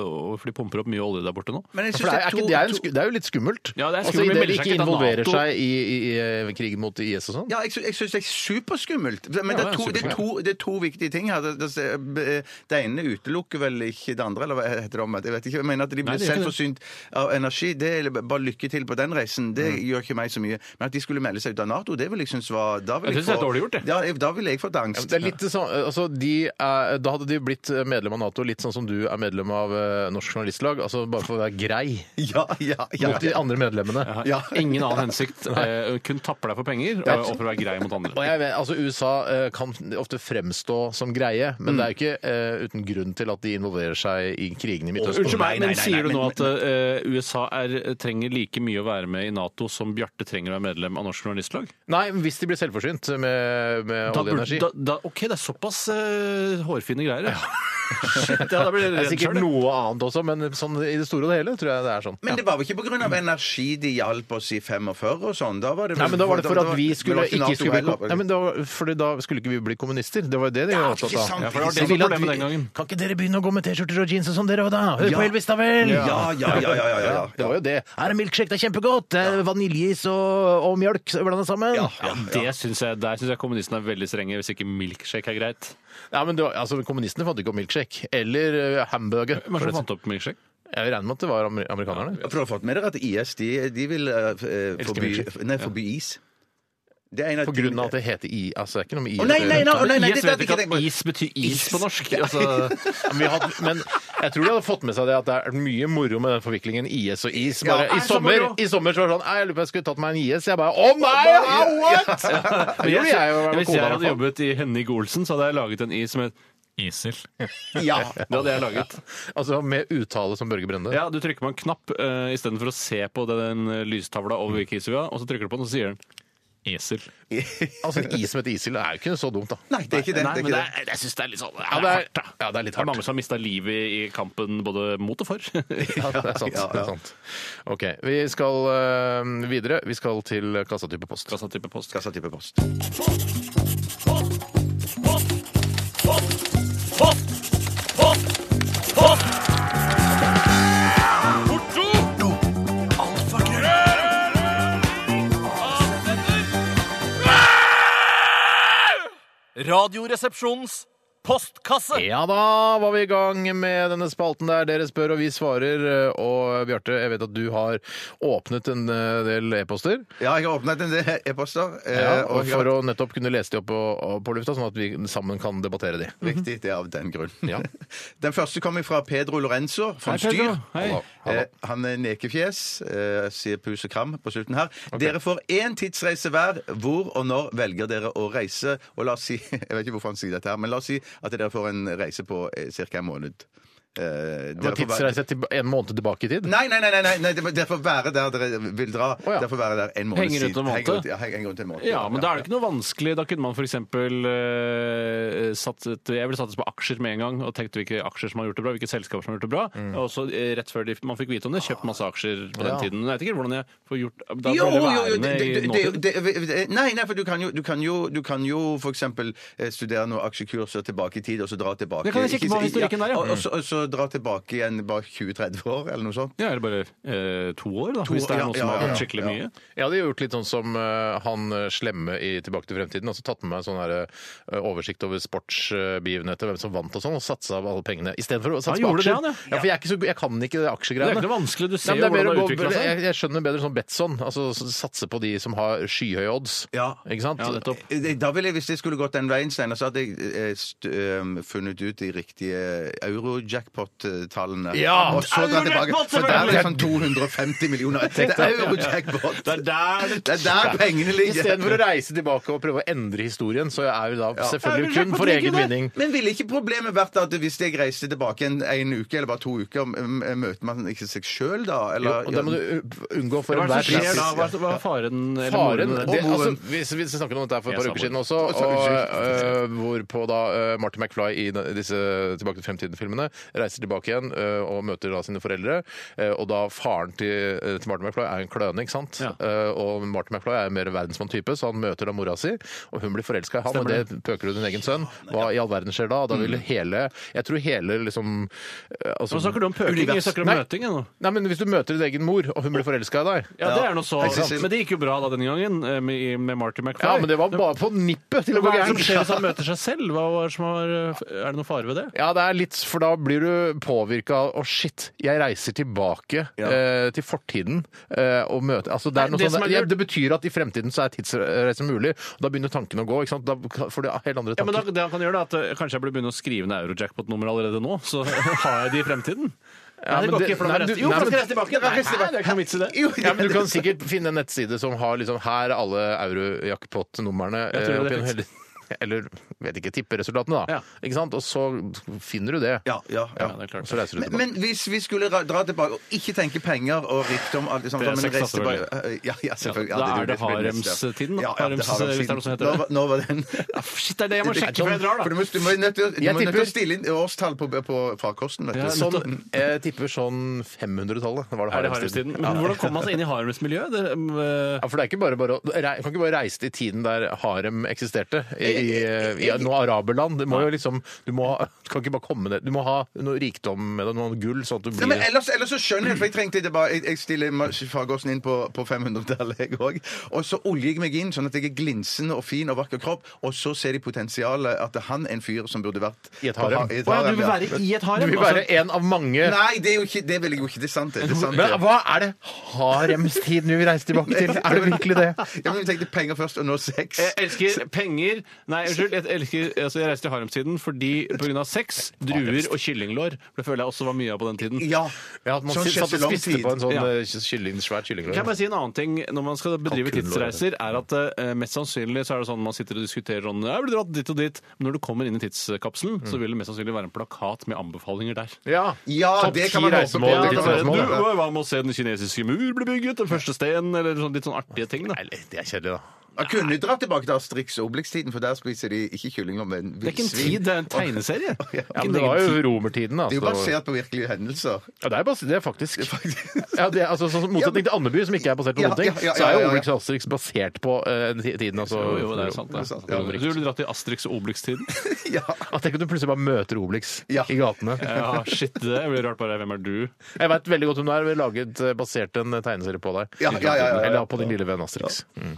B: å For de pumper opp mye olje der borte nå.
C: Men jeg
A: For
C: synes
A: det er,
C: to-
A: ikke, det, er en,
C: to-
A: sku- det er jo litt skummelt.
B: Ja, det er
A: altså,
B: skummelt,
A: i
B: men
A: det de
B: melder seg
A: ikke
B: ikke til
A: involverer
B: NATO.
A: seg i, i, i krigen mot IS og sånn.
C: Ja, jeg, sy- jeg syns det er superskummelt. Men det er, to, det, er to, det er to viktige ting her. Det, det, det ene utelukker vel ikke det andre, eller hva heter det om? Jeg vet ikke. Jeg mener at
B: Nei,
C: de blir
B: det gjør ikke
C: selvforsynt av energi. Det er bare lykke til på den reisen. Det
B: Mm.
C: gjør ikke meg så mye. Men at de skulle melde seg ut av Nato, det vil jeg synes var da vil
B: Jeg synes det er dårlig gjort, det.
C: Ja, jeg- da ville jeg fått
A: Ja, men
C: angst.
A: Det er litt det samme, altså de er, Da hadde de blitt medlem av Nato, litt sånn som du er medlem av eh, Norsk Journalistlag. altså Bare for å være grei
C: Ja, ja, ja.
A: mot de andre medlemmene.
B: Jeg har
C: Ja.
B: (laughs) Ingen annen hensikt. Eh, kun tapper deg for penger og, og for å være grei mot
A: Og
B: andre.
A: jeg vet, altså USA eh, kan ofte fremstå som greie, men det er jo ikke eh, eh, uten grunn til at de involverer seg i krigene i Midtøsten.
B: Unnskyld meg,
C: Nei, nei,
B: men
C: nei,
B: sier du
C: nei,
B: nå
C: men-
B: at eh, USA er, trenger like mye å være med i Nato som Bjarte trenger å være medlem av Norsk Journalistlag?
A: Nei, hvis de blir selvforsynt med, med olje
B: Da
A: og
B: burde,
A: energi.
B: da, da, OK, det er såpass eh, hårfine greier. Ja. (laughs) Shit, ja, da blir jeg
A: det er
B: redd
A: sikkert
B: sjøl.
A: noe annet også, men sånn, i det store og det hele tror jeg det er sånn.
C: Men det var vel ikke pga. energi de hjalp oss i 45 og sånn? Da var det vel-
A: Nei, men da var det for at vi skulle
C: det var
A: ikke
C: NATO
A: skulle bli
C: heller.
A: kom- Nei, men da, fordi da skulle ikke vi bli kommunister. Det var jo det de
C: Ja,
A: var
C: ikke
A: opptatt av.
C: sant,
A: Ja, for det
C: ikke
A: var det
C: sant.
A: som var
B: Problemet
A: problemet
B: den gangen.
A: Kan ikke dere begynne å gå med T-skjorter og jeans og sånn, dere òg, da? Hør
C: Ja.
A: på Elvis, da vel!
C: Ja, ja, ja, ja, ja, ja, ja.
A: Det var jo det. Her er milkshake, det er kjempegodt! Det er vaniljeis og, og mjølk blanda sammen. Ja,
B: Ja, det synes jeg, der syns jeg kommunistene er veldig strenge, hvis ikke milkshake er greit.
A: men det var, altså, Kommunistene fant ikke opp milkshake. Eller eh, hamburger.
B: Hvem er det som fant opp milkshake?
A: Jeg regner med at det var amer- amerikanerne.
C: For du har fått med dere at IS de, de vil eh, f- eh, forby,
A: milkshake.
C: nei, forby is? Det er en
A: På grunn av at det heter I... Altså, det er ikke noe med I
C: Å, nei, nei, nei, å, nei, nei,
B: Yes,
C: dette
B: vet du ikke
C: hadde ikke
B: at
C: jeg
B: is betyr is på norsk? Altså,
A: Men, vi hadde, men jeg tror de hadde fått med seg det at det er mye moro med den forviklingen IS og is. Bare, i,
B: Ja, er så
A: sommer,
B: moro.
A: I sommer så var det sånn «Ei, Jeg lurer på om jeg skulle tatt meg en IS. Jeg bare Å nei! au, what?! Det
B: Men
A: gjorde
B: jeg,
A: jeg jo med kona, i
B: hvis jeg
A: hvert
B: hadde
A: fall.
B: jobbet i Henning Olsen, så hadde jeg laget en is som het Isel.
A: Ja.
B: Det hadde jeg laget.
A: Altså med uttale som Børge Brende.
B: Ja, Du trykker på en knapp uh, istedenfor å se på den eh, lystavla over hvilken is vi har, og så trykker du på den, og så sier den Esel.
A: Altså en is som heter Isil, det er jo ikke så dumt, da.
C: Nei, det er ikke det.
B: Nei,
C: det, er
B: men
C: ikke
B: det
C: det.
B: er, jeg syns det er litt sånn det er
A: Ja, det er,
B: hardt, da.
A: ja, det er litt
B: Det er
A: hardt.
B: mange som har mista livet i, i kampen både mot og for. (laughs) Altså,
A: Ja, det er sant.
C: Ja, ja.
A: Det er sant. OK. Vi skal øh, videre. Vi skal til kassatype post.
B: Hva sånn type post?
C: Hva slags type post?
G: Radioresepsjonens
A: (laughs)
G: postkasse.
A: Ja da var vi i gang med denne spalten der dere spør og vi svarer. Og Bjarte, jeg vet at du har åpnet en eh, del e-poster.
C: Ja, jeg har åpnet en del e-poster. eh,
A: Ja, og
C: og jeg
A: for
C: har
A: å nettopp kunne lese de opp på, på lufta, sånn at vi sammen kan debattere de.
C: Riktig, det er av den grunn.
A: Ja.
C: (laughs) Den første kommer fra Pedro Lorenzo fra Styr.
B: Hei.
A: Hallo, hallo.
C: Eh, han er nekefjes, eh, sier pus og kram på slutten her. Dere får én tidsreise hver. Hvor og når velger dere å reise? Og la oss si, (laughs) Jeg vet ikke hvorfor han sier dette, her, men la oss si at dere får en reise på eh, ca. en måned. Eh,
A: Det var
C: dere får være-
A: tidsreise til en måned tilbake i tid.
C: Nei, nei, nei, nei, nei, nei, dere får være der dere vil dra.
A: ja.
C: Dere får være der en måned
B: Henger ut
C: siden.
B: en måned?
C: Henger ut- ja, henger ut en måned.
B: Ja, men da er det ikke noe vanskelig. Da kunne man f.eks. Uh, satset Jeg ville satset på aksjer med en gang, og tenkte hvilke aksjer som har gjort det bra, hvilke selskaper som har gjort det bra.
C: Mm.
B: Og så eh, rett før de, man fikk vite om det, kjøpt masse aksjer på den
A: Ja.
B: tiden. Men jeg vet ikke hvordan jeg får gjort Da
C: Jo,
B: burde
C: jo,
B: jeg
C: jo,
B: være
C: det,
B: med i
C: det, det,
B: nåtiden.
C: det, det- Nei, nei, for du kan jo, du kan jo, du kan jo for eksempel eh, studere noen aksjekurser tilbake i tid, og så dra tilbake
B: Det kan jeg kikke på
C: Ikke-
B: historikken der, ja.
C: Og, og, så, og så dra tilbake igjen bare 20-30 år, eller noe sånt.
B: Ja, eller bare eh, to år, da, hvis
C: år,
B: det er
C: ja,
B: noe som
C: ja,
B: har
C: ja,
B: vært skikkelig
C: ja.
B: mye.
A: Jeg hadde gjort litt sånn som eh, han eh, slemme i Tilbake til fremtiden. altså Tatt med meg en sånn her, eh, oversikt over sportsbegivenheter, hvem som vant og sånn, og satsa av alle pengene. Istedenfor å satse
B: Han
A: på
B: gjorde
A: aksjer.
B: det, han, ja.
A: ja. for jeg, er ikke så, god- jeg kan ikke det
B: Det er
A: aksjegreiene.
B: ikke noe vanskelig. Du
A: Nei,
B: ser
A: men det
B: jo
A: er mer
B: hvordan det
A: å
B: har
A: gå-
B: utvikla
A: jeg,
B: seg.
A: jeg skjønner bedre sånn Betson. Altså s- satse på de som har skyhøye odds.
C: Ja.
A: Ikke sant?
B: Ja, nettopp.
C: Eh, Da ville jeg, Hvis jeg skulle gått den veien, Steinar, så hadde jeg eh, st eh, funnet ut de riktige euro-jackpot-tallene.
A: Ja!
C: og så dra tilbake.
B: Euro-jackpot,
C: For der er det sånn 250 millioner. Det er euro-jackpot.
B: Det er der det
C: Det er der pengene ligger.
A: Istedenfor å reise tilbake og prøve å endre historien, så er det da selvfølgelig
B: Ja,
A: kun for egen vinning.
C: Men ville ikke problemet vært at hvis jeg reiste tilbake en, en uke eller bare to uker, m- m- møter man ikke seg sjøl da?
A: Jo,
C: Eller,
A: og det må du unngå for
B: Hva
A: enhver
B: er det som skjer
A: pris.
B: da? Hva er- Hva er faren eller
A: Faren
B: moren?
A: det, altså, vi, vi snakket om dette her for et
B: Jeg
A: par
B: sa
A: uker
B: moren.
A: siden også, og, øh, hvorpå da øh, Martin McFly i de- disse Tilbake til fremtiden-filmene reiser tilbake igjen øh, og møter da sine foreldre. øh, og da faren til, øh, til Martin McFly er en kløne, ikke sant?
B: Ja.
A: Øh, og Martin McFly er en mer verdensmann-type, så han møter da mora si, og hun blir forelska i han,
B: Stemmer
A: og det pøker hun din egen sønn. Hva i all verden skjer da? Da vil hele Jeg tror hele liksom øh, altså,
B: Nå snakker du om pøking, vi
A: univers-
B: snakker om
A: Nei,
B: møting. jeg, nå.
A: Nei, men hvis du møter din egen mor, og hun blir forelska i deg
B: Ja, det er noe så.
C: Hei, Cecil.
B: Men det gikk jo bra da den gangen, eh, med, med Marty McFly.
A: Ja, men det var bare på nippet til å
B: Hva
A: gå
B: er det som
A: gærent.
B: skjer hvis han møter seg selv? Hva er, det som har, eh, er det noe fare ved det?
A: Ja, det er litt, for da blir du påvirka av Å, shit, jeg reiser tilbake eh, til fortiden eh, og møter altså, det, er
B: Nei,
A: noe
B: det som
A: sånn,
B: er
A: ja,
B: lurt-
A: det betyr at i fremtiden så er tidsreise mulig. Og da begynner tankene å gå. ikke sant? Da kan- får du helt andre
B: Ja, men da,
A: tanker.
B: det han kan gjøre da, at eh, Kanskje jeg burde begynne å skrive ned Eurojackpot-nummer allerede nå? Så (laughs) har jeg det i fremtiden?
A: Ja,
B: Nei,
A: men
B: det går
A: det-
B: ikke, for da
A: nei,
B: må jeg
A: men
B: reise-
A: du-
B: Jo,
A: nei,
B: for da
A: men-
B: skal jeg reise tilbake! Nei, det er ikke noe vits i det.
A: Ja, men Du kan sikkert finne en nettside som har liksom Her er alle eurojackpot-numrene.
B: Jeg tror
A: eh,
B: det
A: opp
B: finnes.
A: igjen hele- Eller vet ikke, tipperesultatene, da.
B: Ja.
A: Ikke sant? Og så finner du det.
C: Ja, ja, ja.
B: Ja, det er klart.
A: Og så reiser du
C: Men,
A: tilbake.
C: men hvis vi skulle ra- dra tilbake og ikke tenke penger og rikdom alt, liksom,
B: Det er
C: som en
B: sex, da,
C: rest-
B: selvfølgelig.
C: Ja, ja, selvfølgelig. Ja,
B: Da
C: jo
B: er det
C: spennende.
B: haremstiden, da.
C: Ja, ja, det er
B: Harems- hvis det er noe som heter det.
C: Nå var- Nå var den
B: Ah, Shit, det er det jeg må
A: Det er
B: sjekke før jeg
C: For
B: drar,
C: du
B: da!
C: må, du må nødt til å- du
A: Jeg
C: må nødt til
A: tipper-
C: å stille inn årstall på, på farkosten, vet du.
B: Ja,
C: Så-
B: nettopp.
A: Sånn, jeg tipper sånn 500-tallet. Det var det
B: Er det
A: haremstiden.
B: haremstiden? Men hvordan kom man seg inn i haremsmiljøet? Det, um, eh,
A: Ja, for det er ikke bare, bare å, du rei- kan ikke bare reise til tiden der harem eksisterte, i, i,
C: Eh,
A: i noe araberland. Det må jo liksom, du, må, ha- du kan ikke bare komme ned. Du må ha noe rikdom med deg, noe gull, sånn at du
C: Nei,
A: blir
C: men ellers, ellers så skjønner jeg, for jeg trengte det bare Jeg, jeg stiller ma- farkosten inn på, på 500-tallet, jeg òg. Og så oljer jeg meg inn, sånn at jeg er glinsende og fin og vakker kropp. Og så ser de potensialet at han er en fyr som burde vært
A: I et harem.
C: på ha- i et
B: Å ja, du vil
C: ja.
B: være i et
A: Du
B: harem?
A: vil være en av mange
C: altså. Nei, det er jo ikke Det vil jeg jo ikke. Det er sant, det. det, er
B: (laughs)
C: sant,
A: Men
C: det.
A: hva er det haremstiden vi vil reise tilbake til? Er det virkelig det?
C: Ja, men vi tenkte penger først, og nå sex.
A: Eh,
B: Jeg elsker penger Nei, unnskyld. Jeg, elsker, altså jeg reiser til haremstiden fordi pga. sex, druer og kyllinglår. For det føler jeg også var mye av på den tiden.
C: Ja.
A: eh, Ja, at man
C: Sånn
A: satt og
C: skjeselong
A: spiste
C: tid.
A: på en sånn
B: Ja.
A: eh, kylling, svær kyllinglår.
B: Kan jeg bare si en annen ting når man skal bedrive
A: Kalkunlår,
B: tidsreiser, er at eh, mest sannsynlig så er det sånn man sitter og diskuterer sånn Jeg ble dratt dit og dit. Men når du kommer inn i tidskapselen, så vil det mest sannsynlig være en plakat med anbefalinger der.
A: Ja.
C: Ja,
A: Topp
C: det
A: ti
C: kan man håpe på.
A: reisemål,
C: det
B: det
C: kan
B: kan være,
C: man håpe
B: du,
C: på.
B: hva med å se den kinesiske mur bli bygget? Den første steinen? Eller sånn, litt sånn artige ting. Da.
A: Nei, det er kjedelig, da.
C: Jeg kunne dratt tilbake til Astrix og Obelix-tiden, for der spiser de ikke kyllinger, men
B: Det er ikke en
C: villsvin.
B: tid, det er en tegneserie.
A: (laughs) Ja, men det var jo romertiden, da.
C: Det er
A: så-
C: jo basert på virkelige hendelser.
A: Ja, det er, bas det er faktisk. Ja, det er, altså, sånn, som motsetning til Andeby, som ikke er basert på
C: Ja,
A: noen ting,
C: ja, ja,
A: så er
C: ja,
A: jo
C: ja.
A: Obelix og Asterix basert på eh, ti- tiden. Altså,
B: Jo, jo, det er sant. Det.
C: sant,
B: Du ville dratt i Asterix og
A: (laughs)
B: Obelix-tiden?
C: Ja.
A: Ja, Tenk om du plutselig bare møter Obelix
C: Ja.
A: i gatene.
B: Ja, shit, det blir rart bare. Hvem er du?
A: Jeg veit veldig godt hvem du er. Vi har laget eh, basert en tegneserie på deg.
C: Ja, ja, ja, ja, ja.
A: Eller på din lille venn Asterix. Mm.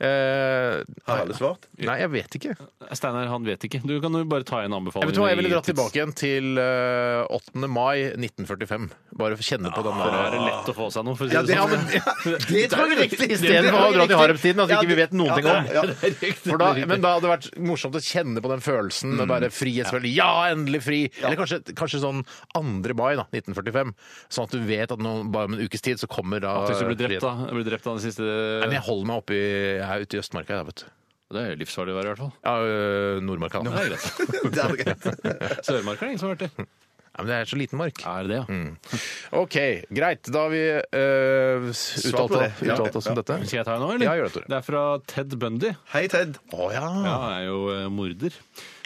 A: Eh,
C: Har alle svart?
A: nei, jeg vet ikke.
B: Steinar, han vet ikke. Du kan jo bare ta en anbefaling.
A: Jeg vet hva, jeg ville
B: i
A: dratt
B: tids-
A: tilbake igjen til eh, 8. mai 1945. Bare for å kjenne på den
B: Da er
A: der eh,
B: det lett å få seg noe, for å si
C: Ja,
B: det
C: det, ja,
B: sånn.
C: men, ja, det tror jeg er riktig. Det
A: Istedenfor å
C: tror jeg
A: dra til
C: riktig.
A: haremstiden, altså
C: Ja,
A: ikke vi vet noen ting om.
C: ja, ja.
B: (laughs) Det er riktig. Mm.
A: For da, men da hadde det vært morsomt å kjenne på den følelsen. Den der frihetsfølelsen. Ja, endelig fri! Eller kanskje, kanskje sånn 2. mai da, 1945. Sånn at du vet at nå, bare om en ukes tid så kommer da
B: Hvis du blir drept, da. Blir drept av den siste
A: Ah, Nei, men jeg holder meg oppe i, jeg er ute i Østmarka, jeg, vet du.
B: Det er jo livsfarlig å være, i hvert fall.
A: Ja, øh, Nordmarka.
B: Det
A: Nei,
B: er greit.
C: Det er greit.
B: Sørmarka er ingen som har vært det.
A: men det er så liten mark.
B: Er det,
A: Mm.
B: ja.
A: OK, greit. Da har vi øh, uttalt,
C: på det. Ja.
A: uttalt oss om dette.
B: Skal jeg ta en nå, eller?
A: Ja, gjør det, Tore.
B: Det er fra Ted Bundy.
C: Hei, Ted.
A: Å ja.
B: Ja, han er jo eh, morder.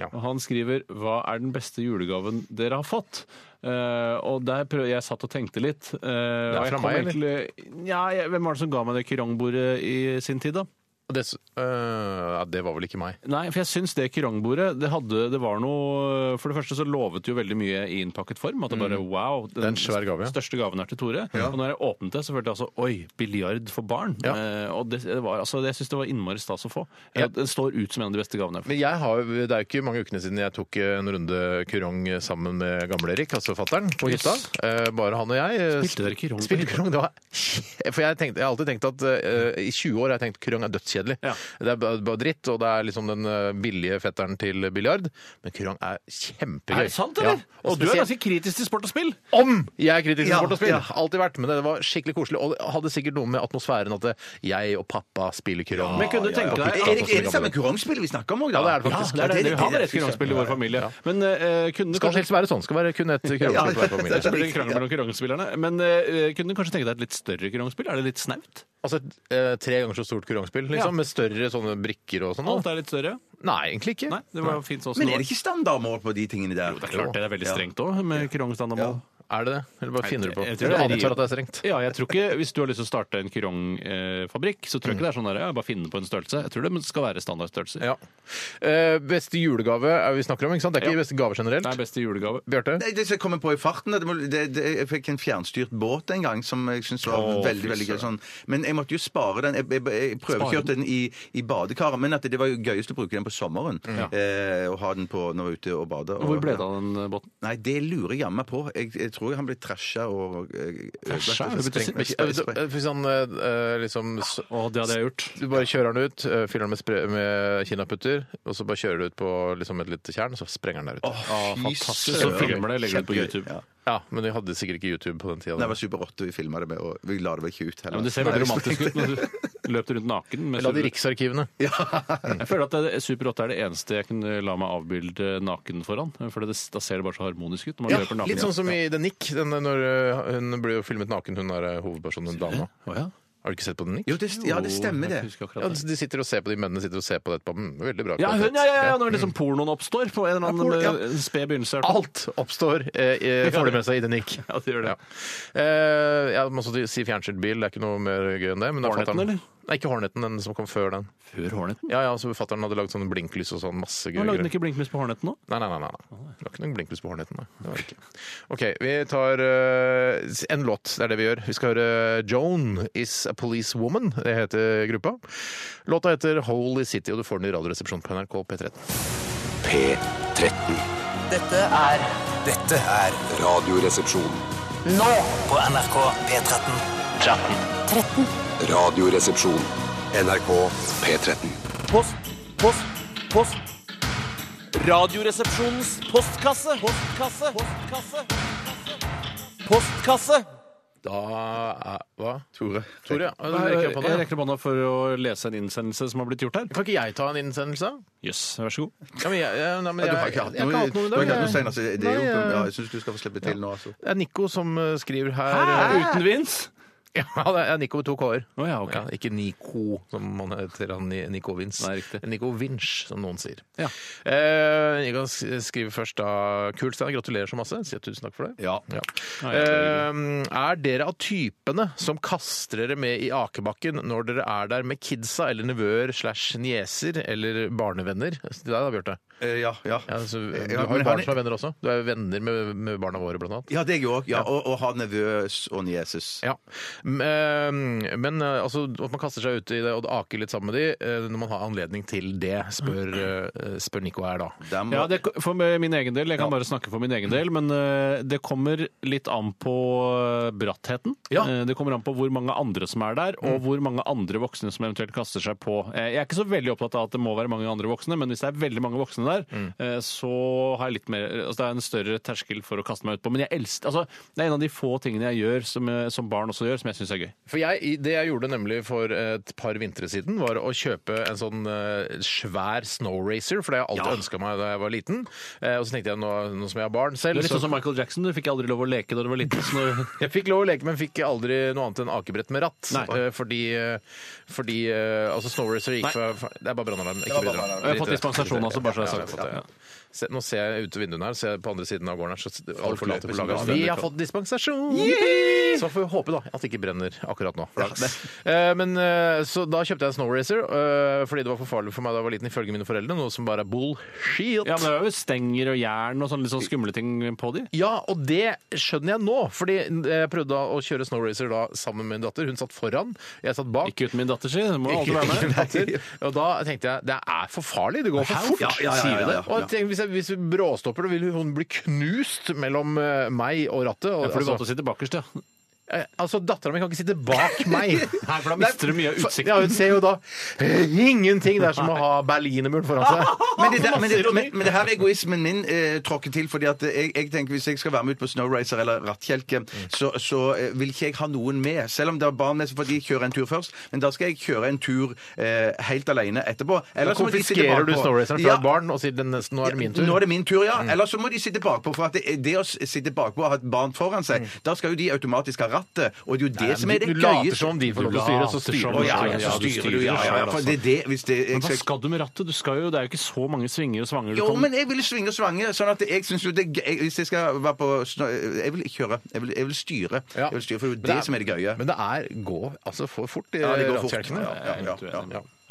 A: Ja.
B: Og han skriver 'Hva er den beste julegaven dere har fått?' Eh, og der prøv, jeg satt og tenkte litt. eh,
A: er
B: og jeg
A: fra
B: kom
A: meg,
B: egentlig- ja, jeg, hvem var det som ga meg det kirongbordet i sin tid, da?
A: Det, s- øh, ja, det var vel ikke meg.
B: Nei, for jeg syns det kirongbordet det, hadde, det var noe For det første så lovet jo veldig mye i innpakket form. At det bare wow. Den,
A: Mm. er en svær gave, ja.
B: største gaven er til Tore. Og når jeg åpnet det, så følte jeg altså Oi, biljard for barn.
A: Ja.
B: Eh, og det, det var, altså, jeg syns det var innmari stas å få.
A: Ja.
B: Det står ut som en av de beste gavene jeg har fått.
A: Men jeg har, jo- det er jo ikke mange ukene siden jeg tok eh, en runde kurong sammen med gamle-Erik, altså fattern, på
B: Yes.
A: hytta. Eh, Bare han og jeg.
B: Spilte dere kurong på
A: (laughs) Spilte
B: hytta?
A: kurong, det var... For jeg, tenkte, jeg har alltid tenkt at eh, i 20 år har jeg tenkt kurong er dødskjedelig.
B: Ja.
A: Det er bare bare dritt, og det er liksom den eh, billige fetteren til biljard. Men kurong er kjempegøy.
B: Er det sant, eller?
A: Ja. Og
B: Og du er
A: spesielt-
B: ganske kritisk til sport og spill.
A: om jeg er kritisk til
C: Ja,
A: sport og spill.
C: ja.
A: Alltid vært, men det var skikkelig koselig. Og det hadde sikkert noe med atmosfæren at det- jeg og pappa spiller kurong.
B: Men kunne du tenke deg-
A: Ja,
C: Er det, er det samme kurongspillet vi snakker om òg, da?
A: Ja, det er det faktisk.
B: Ja, det er det. Vi har et
C: Fy søren.
B: kurangspill i vår familie. Men eh, kunne du
A: Skal
B: kanskje
A: helst være sånn. Skal være kun et kurongspill per familie.
B: Det blir en krangel mellom kurangspillerne. Men eh, kunne du kanskje tenke deg et litt større kurangspill? Er det litt snaut?
A: (laughs) Altså et, eh, tre ganger så stort kurongspill, liksom,
B: Ja.
A: med større sånne brikker og sånn?
B: Alt er litt større?
A: Nei, egentlig ikke.
B: Nei, det var fint sånn som
C: Men er
B: var.
C: det ikke standardmål på de tingene der?
B: Det er klart det er veldig strengt òg, med kurongstandardmål.
A: Er det det? Eller bare finner du på?
B: jeg
A: Jeg,
B: tror det er-
A: antar at det er strengt.
B: Ja, jeg tror ikke, Hvis du har lyst til å starte en kurongfabrikk, så tror jeg ikke det er sånn der, ja, bare finne på en størrelse. Jeg tror det skal være standardstørrelser.
A: Ja. Eh, beste julegave er vi snakker om, ikke sant? Det er ikke
B: Ja.
A: beste gave generelt.
B: Det er beste julegave.
A: Bjarte?
C: Nei, det som jeg kommer på i farten det, må- det, det, Jeg fikk en fjernstyrt båt en gang som jeg syntes var
A: Å,
C: veldig
A: fy
C: veldig gøy.
A: søren.
C: Sånn. Men jeg måtte jo spare den. Jeg, jeg, jeg prøvekjørte den i, i badekaret, men at det var jo gøyest å bruke den på sommeren. Eh, og ha den på når jeg var ute og bader. Og-
B: Hvor ble det av den eh, båten?
C: Nei, det lurer jeg jammen meg på. Jeg, jeg tror han ble trasha og eh,
B: Trasha?
C: ødelagt og
B: Det betyr-
C: sprengt.
A: Men, eh, du- eh, Hvis han eh, eh, liksom s-
B: Å, det hadde jeg gjort.
A: Du bare kjører den ut, eh, fyller den med, spre- med kinaputter, og så bare kjører du ut på liksom et lite tjern, og så sprenger den der ute.
C: Å, fy
B: Ah, Fantastisk. Så
C: søren.
B: filmer det, legger det ut på
C: Kjempegøy.
B: YouTube.
C: Ja.
A: Ja, men de hadde sikkert ikke YouTube på den tida.
C: Det var Super 8 vi filma det med, og vi la det vel ikke ut heller.
B: Ja, men det ser
C: Nei,
B: veldig
C: vi-
B: romantisk ut
A: (laughs)
B: når du løper rundt naken. Med
A: La de
B: Super-
A: Riksarkivene.
B: Jeg føler at det- Super 8 er det eneste jeg kunne la meg avbilde naken foran. For det, da ser det bare så harmonisk ut. når man
A: Ja,
B: løper naken.
A: litt sånn som i The Nick, den, når øh, hun ble jo filmet naken, hun er øh, hovedpersonen, hun dama.
B: Å ja.
A: Har du ikke sett på The Nick?
C: Jo, det, ja, det stemmer,
B: Jeg
C: det.
B: husker akkurat
A: Ja,
B: det.
A: de sitter og ser på de mennene sitter og ser på det etterpå. Mm, Veldig bra.
B: Ja,
A: kvalitet.
B: hun, ja, ja, ja, når liksom pornoen oppstår på en eller annen
A: Ja, porno, ja.
B: eh, sped begynnelse.
A: Alt oppstår, eh, eh, får de med seg i The (laughs) Nick.
B: Ja, det gjør det.
A: Ja. Eh, jeg må også si fjernsynt bil, det er ikke noe mer gøy enn det. Men da
B: Horneten,
A: fatteren-
B: eller?
A: Nei, ikke Horneten, den som kom før den.
B: Før Horneten?
A: Ja, ja, så Fattern hadde lagd sånn blinklys og sånn masse gøy.
B: Nå lagde
A: greier.
B: den ikke blinklys på Horneten nå?
A: Nei, nei, nei. nei. nei. Det var ikke noe blinklys på Horneten. Nei. Det var det ikke. OK, vi tar eh, en låt. Det er det vi gjør. Vi skal høre Joan Is A Police Woman. Det heter gruppa. Låta heter Holy City, og du får den i Radioresepsjonen på NRK P13.
H: P13.
I: Dette er
D: Dette er Radioresepsjon.
I: nå på NRK P13.
D: Radioresepsjon. NRK P13.
G: Post, post, post. Radioresepsjonens postkasse. Postkasse. Postkasse. Postkasse.
A: Da er, Hva?
C: Tore.
A: Tore, ja. Du
B: Jeg
A: rekker opp hånda.
B: rekker opp hånda for å lese en innsendelse som har blitt gjort her.
A: Kan ikke jeg ta en innsendelse?
B: Jøss, vær så god.
A: Ja, men jeg, ja, nei, men
C: Ja,
A: jeg,
C: du har ikke hatt
A: jeg har
C: noe,
A: ikke hatt noe i
C: du har
A: dag.
C: ikke hatt noe senere, så
A: jeg.
C: det er jo,
A: Nei,
C: ja,
A: jeg-
C: jeg syns du skal få slippe til nå, altså.
A: Det er Nico som eh, skriver her.
B: Uten Vince?
A: (laughs) Ja, det er Nico med to k-er.
B: Å ja, ok.
A: Ja, ikke Nico, som man heter. Han, Ni- Nico Vince.
B: Nei, riktig.
A: Nico Vinch, som noen sier.
B: Ja.
A: Eh, jeg kan s- skrive først da Kult, Stein. Gratulerer så masse. Sier tusen takk for det.
C: Ja.
A: Ja.
B: Nei, jeg
A: Eh, er dere av typene som kaster dere med i akebakken når dere er der med kidsa eller nevøer slash nieser eller barnevenner? Til deg da, Bjarte.
C: Eh, Ja, ja. Eh,
A: Ja, altså, du
C: Ja,
A: har
C: men
A: jo
C: han-
A: barn som er venner også. Du er jo venner med, med barna våre, blant annet.
C: Ja, det er jeg òg. Ja, og, og har nevøs og nieses.
A: Ja. M- eh, Men eh, altså, at man kaster seg ut i det og aker litt sammen med de eh, når man har anledning til det, spør, eh, spør Nico her da.
C: Der må-
B: Ja, det, for min egen del, Jeg kan bare snakke for min egen del, men eh, det kommer litt an på eh, brattheten.
A: Ja.
B: Eh, Det kommer an på hvor mange andre som er der, og hvor mange andre voksne som eventuelt kaster seg på. Eh, Jeg er ikke så veldig opptatt av at det må være mange andre voksne, men hvis det er veldig mange voksne der, eh, så har jeg litt mer altså Det er en større terskel for å kaste meg ut på. Men jeg elsker, altså, det er en av de få tingene jeg gjør, som, eh, som barn også gjør, som jeg syns er gøy.
A: For jeg, i- Det jeg gjorde nemlig for et par vintre siden, var å kjøpe en sånn eh, svær snow racer, for det har jeg alltid ønsket ønska meg da jeg var liten. Eh, og så tenkte jeg nå, nå som jeg har barn
B: Det
A: selv
B: er litt
A: så-
B: sånn som Michael Jackson, du fikk aldri lov å leke da du var liten. (laughs) Så når
A: Jeg fikk lov å leke, men fikk aldri noe annet enn akebrett med ratt.
B: Nei.
A: Eh, Fordi, eh, fordi eh, altså Snow Racer gikk
B: Nei.
A: fra fra- Det er bare brannalarm. Ikke bry dere om.
B: Og jeg har fått
A: Drit i det.
B: dispensasjon, altså, bare så jeg
A: Ja,
B: har
A: ja, jeg har
B: sagt det.
A: fått det, ja. Se, nå ser jeg ut vinduet her, ser jeg på andre siden av gården her, så s- alle
B: løper
A: forlater
B: som
A: lageret.
B: gale.
A: Vi har fått dispensasjon! Så får vi håpe da at det ikke brenner akkurat nå. Flaks. Eh, Men eh, så da kjøpte jeg en Snow Racer eh, fordi det var for farlig for meg da jeg var liten, ifølge mine foreldre, noe som bare er bullshit.
B: Ja, men det er jo stenger og jern og sånne litt sånn skumle ting på de.
A: Ja, og det skjønner jeg nå, fordi eh, jeg prøvde å kjøre Snow Racer da sammen med min datter. Hun satt foran, jeg satt bak.
B: Ikke uten min datter, si. Det må
A: Ikke-
B: alltid være
A: ikke
B: med.
A: min datter. Og da tenkte jeg det er for farlig, det går for fort.
C: Ja, ja, ja,
A: sier vi
C: ja, ja,
A: det. Og jeg tenker, hvis, jeg, hvis vi bråstopper, da vil hun bli knust mellom eh, meg og rattet. Og,
B: Ja, for du valgte
A: altså,
B: å sitte bakerst, ja.
A: eh, altså dattera mi kan ikke sitte bak meg.
B: (laughs) Nei, for da mister du mye av utsikten.
A: Ja, hun ser jo da eh, ingenting. Det er som å ha Berlinermuren foran seg.
B: (laughs)
C: Men det, der, men, det, men, men det her er egoismen min eh, tråkker til. fordi at jeg, jeg tenker Hvis jeg skal være med ut på snowracer eller rattkjelke,
A: Mm.
C: så, så eh, vil ikke jeg ha noen med. Selv om det er barn med, så får de kjøre en tur først. Men da skal jeg kjøre en tur eh, helt alene etterpå.
A: Da
C: Eller så må de sitte
A: konfiskerer du
C: bakpå.
A: Snow Raceren fra
C: Ja,
A: et barn og sier den nesten, nå er det min tur. Mm.
C: Nå er det min tur, ja. Eller så må de sitte bakpå. For at det, det å s- sitte bakpå og ha et barn foran seg, da skal jo de automatisk ha rattet. Og det er jo det
A: Mm. Nei,
C: som
A: men
C: er det
A: du later som
C: gøyeste.
A: om de får lov til å styre,
B: Du later
A: så styrer
B: som
A: du.
C: Å ja, ja,
B: Ja,
C: så
B: du
C: styrer du, ja.
B: styrer
C: ja, ja
B: selv,
C: for
A: altså.
C: det, er det, hvis det, jeg,
B: Men hva
C: skal-
B: skal du med rattet? Du skal jo, det er jo ikke så mange svinger og svanger du
C: Jo,
B: kan
C: men jeg vil svinge og svange. Sånn at jeg synes jo det er gøy Hvis jeg skal være på snø... Jeg vil kjøre. Jeg vil, jeg vil styre.
A: Ja.
C: Jeg vil styre, For
A: Men
C: det er jo det som er det gøye.
A: Men det er gå altså for fort i
C: Ja, det går fort.
A: rattkjelkene.
C: Ja, ja, ja, ja.
A: Ja.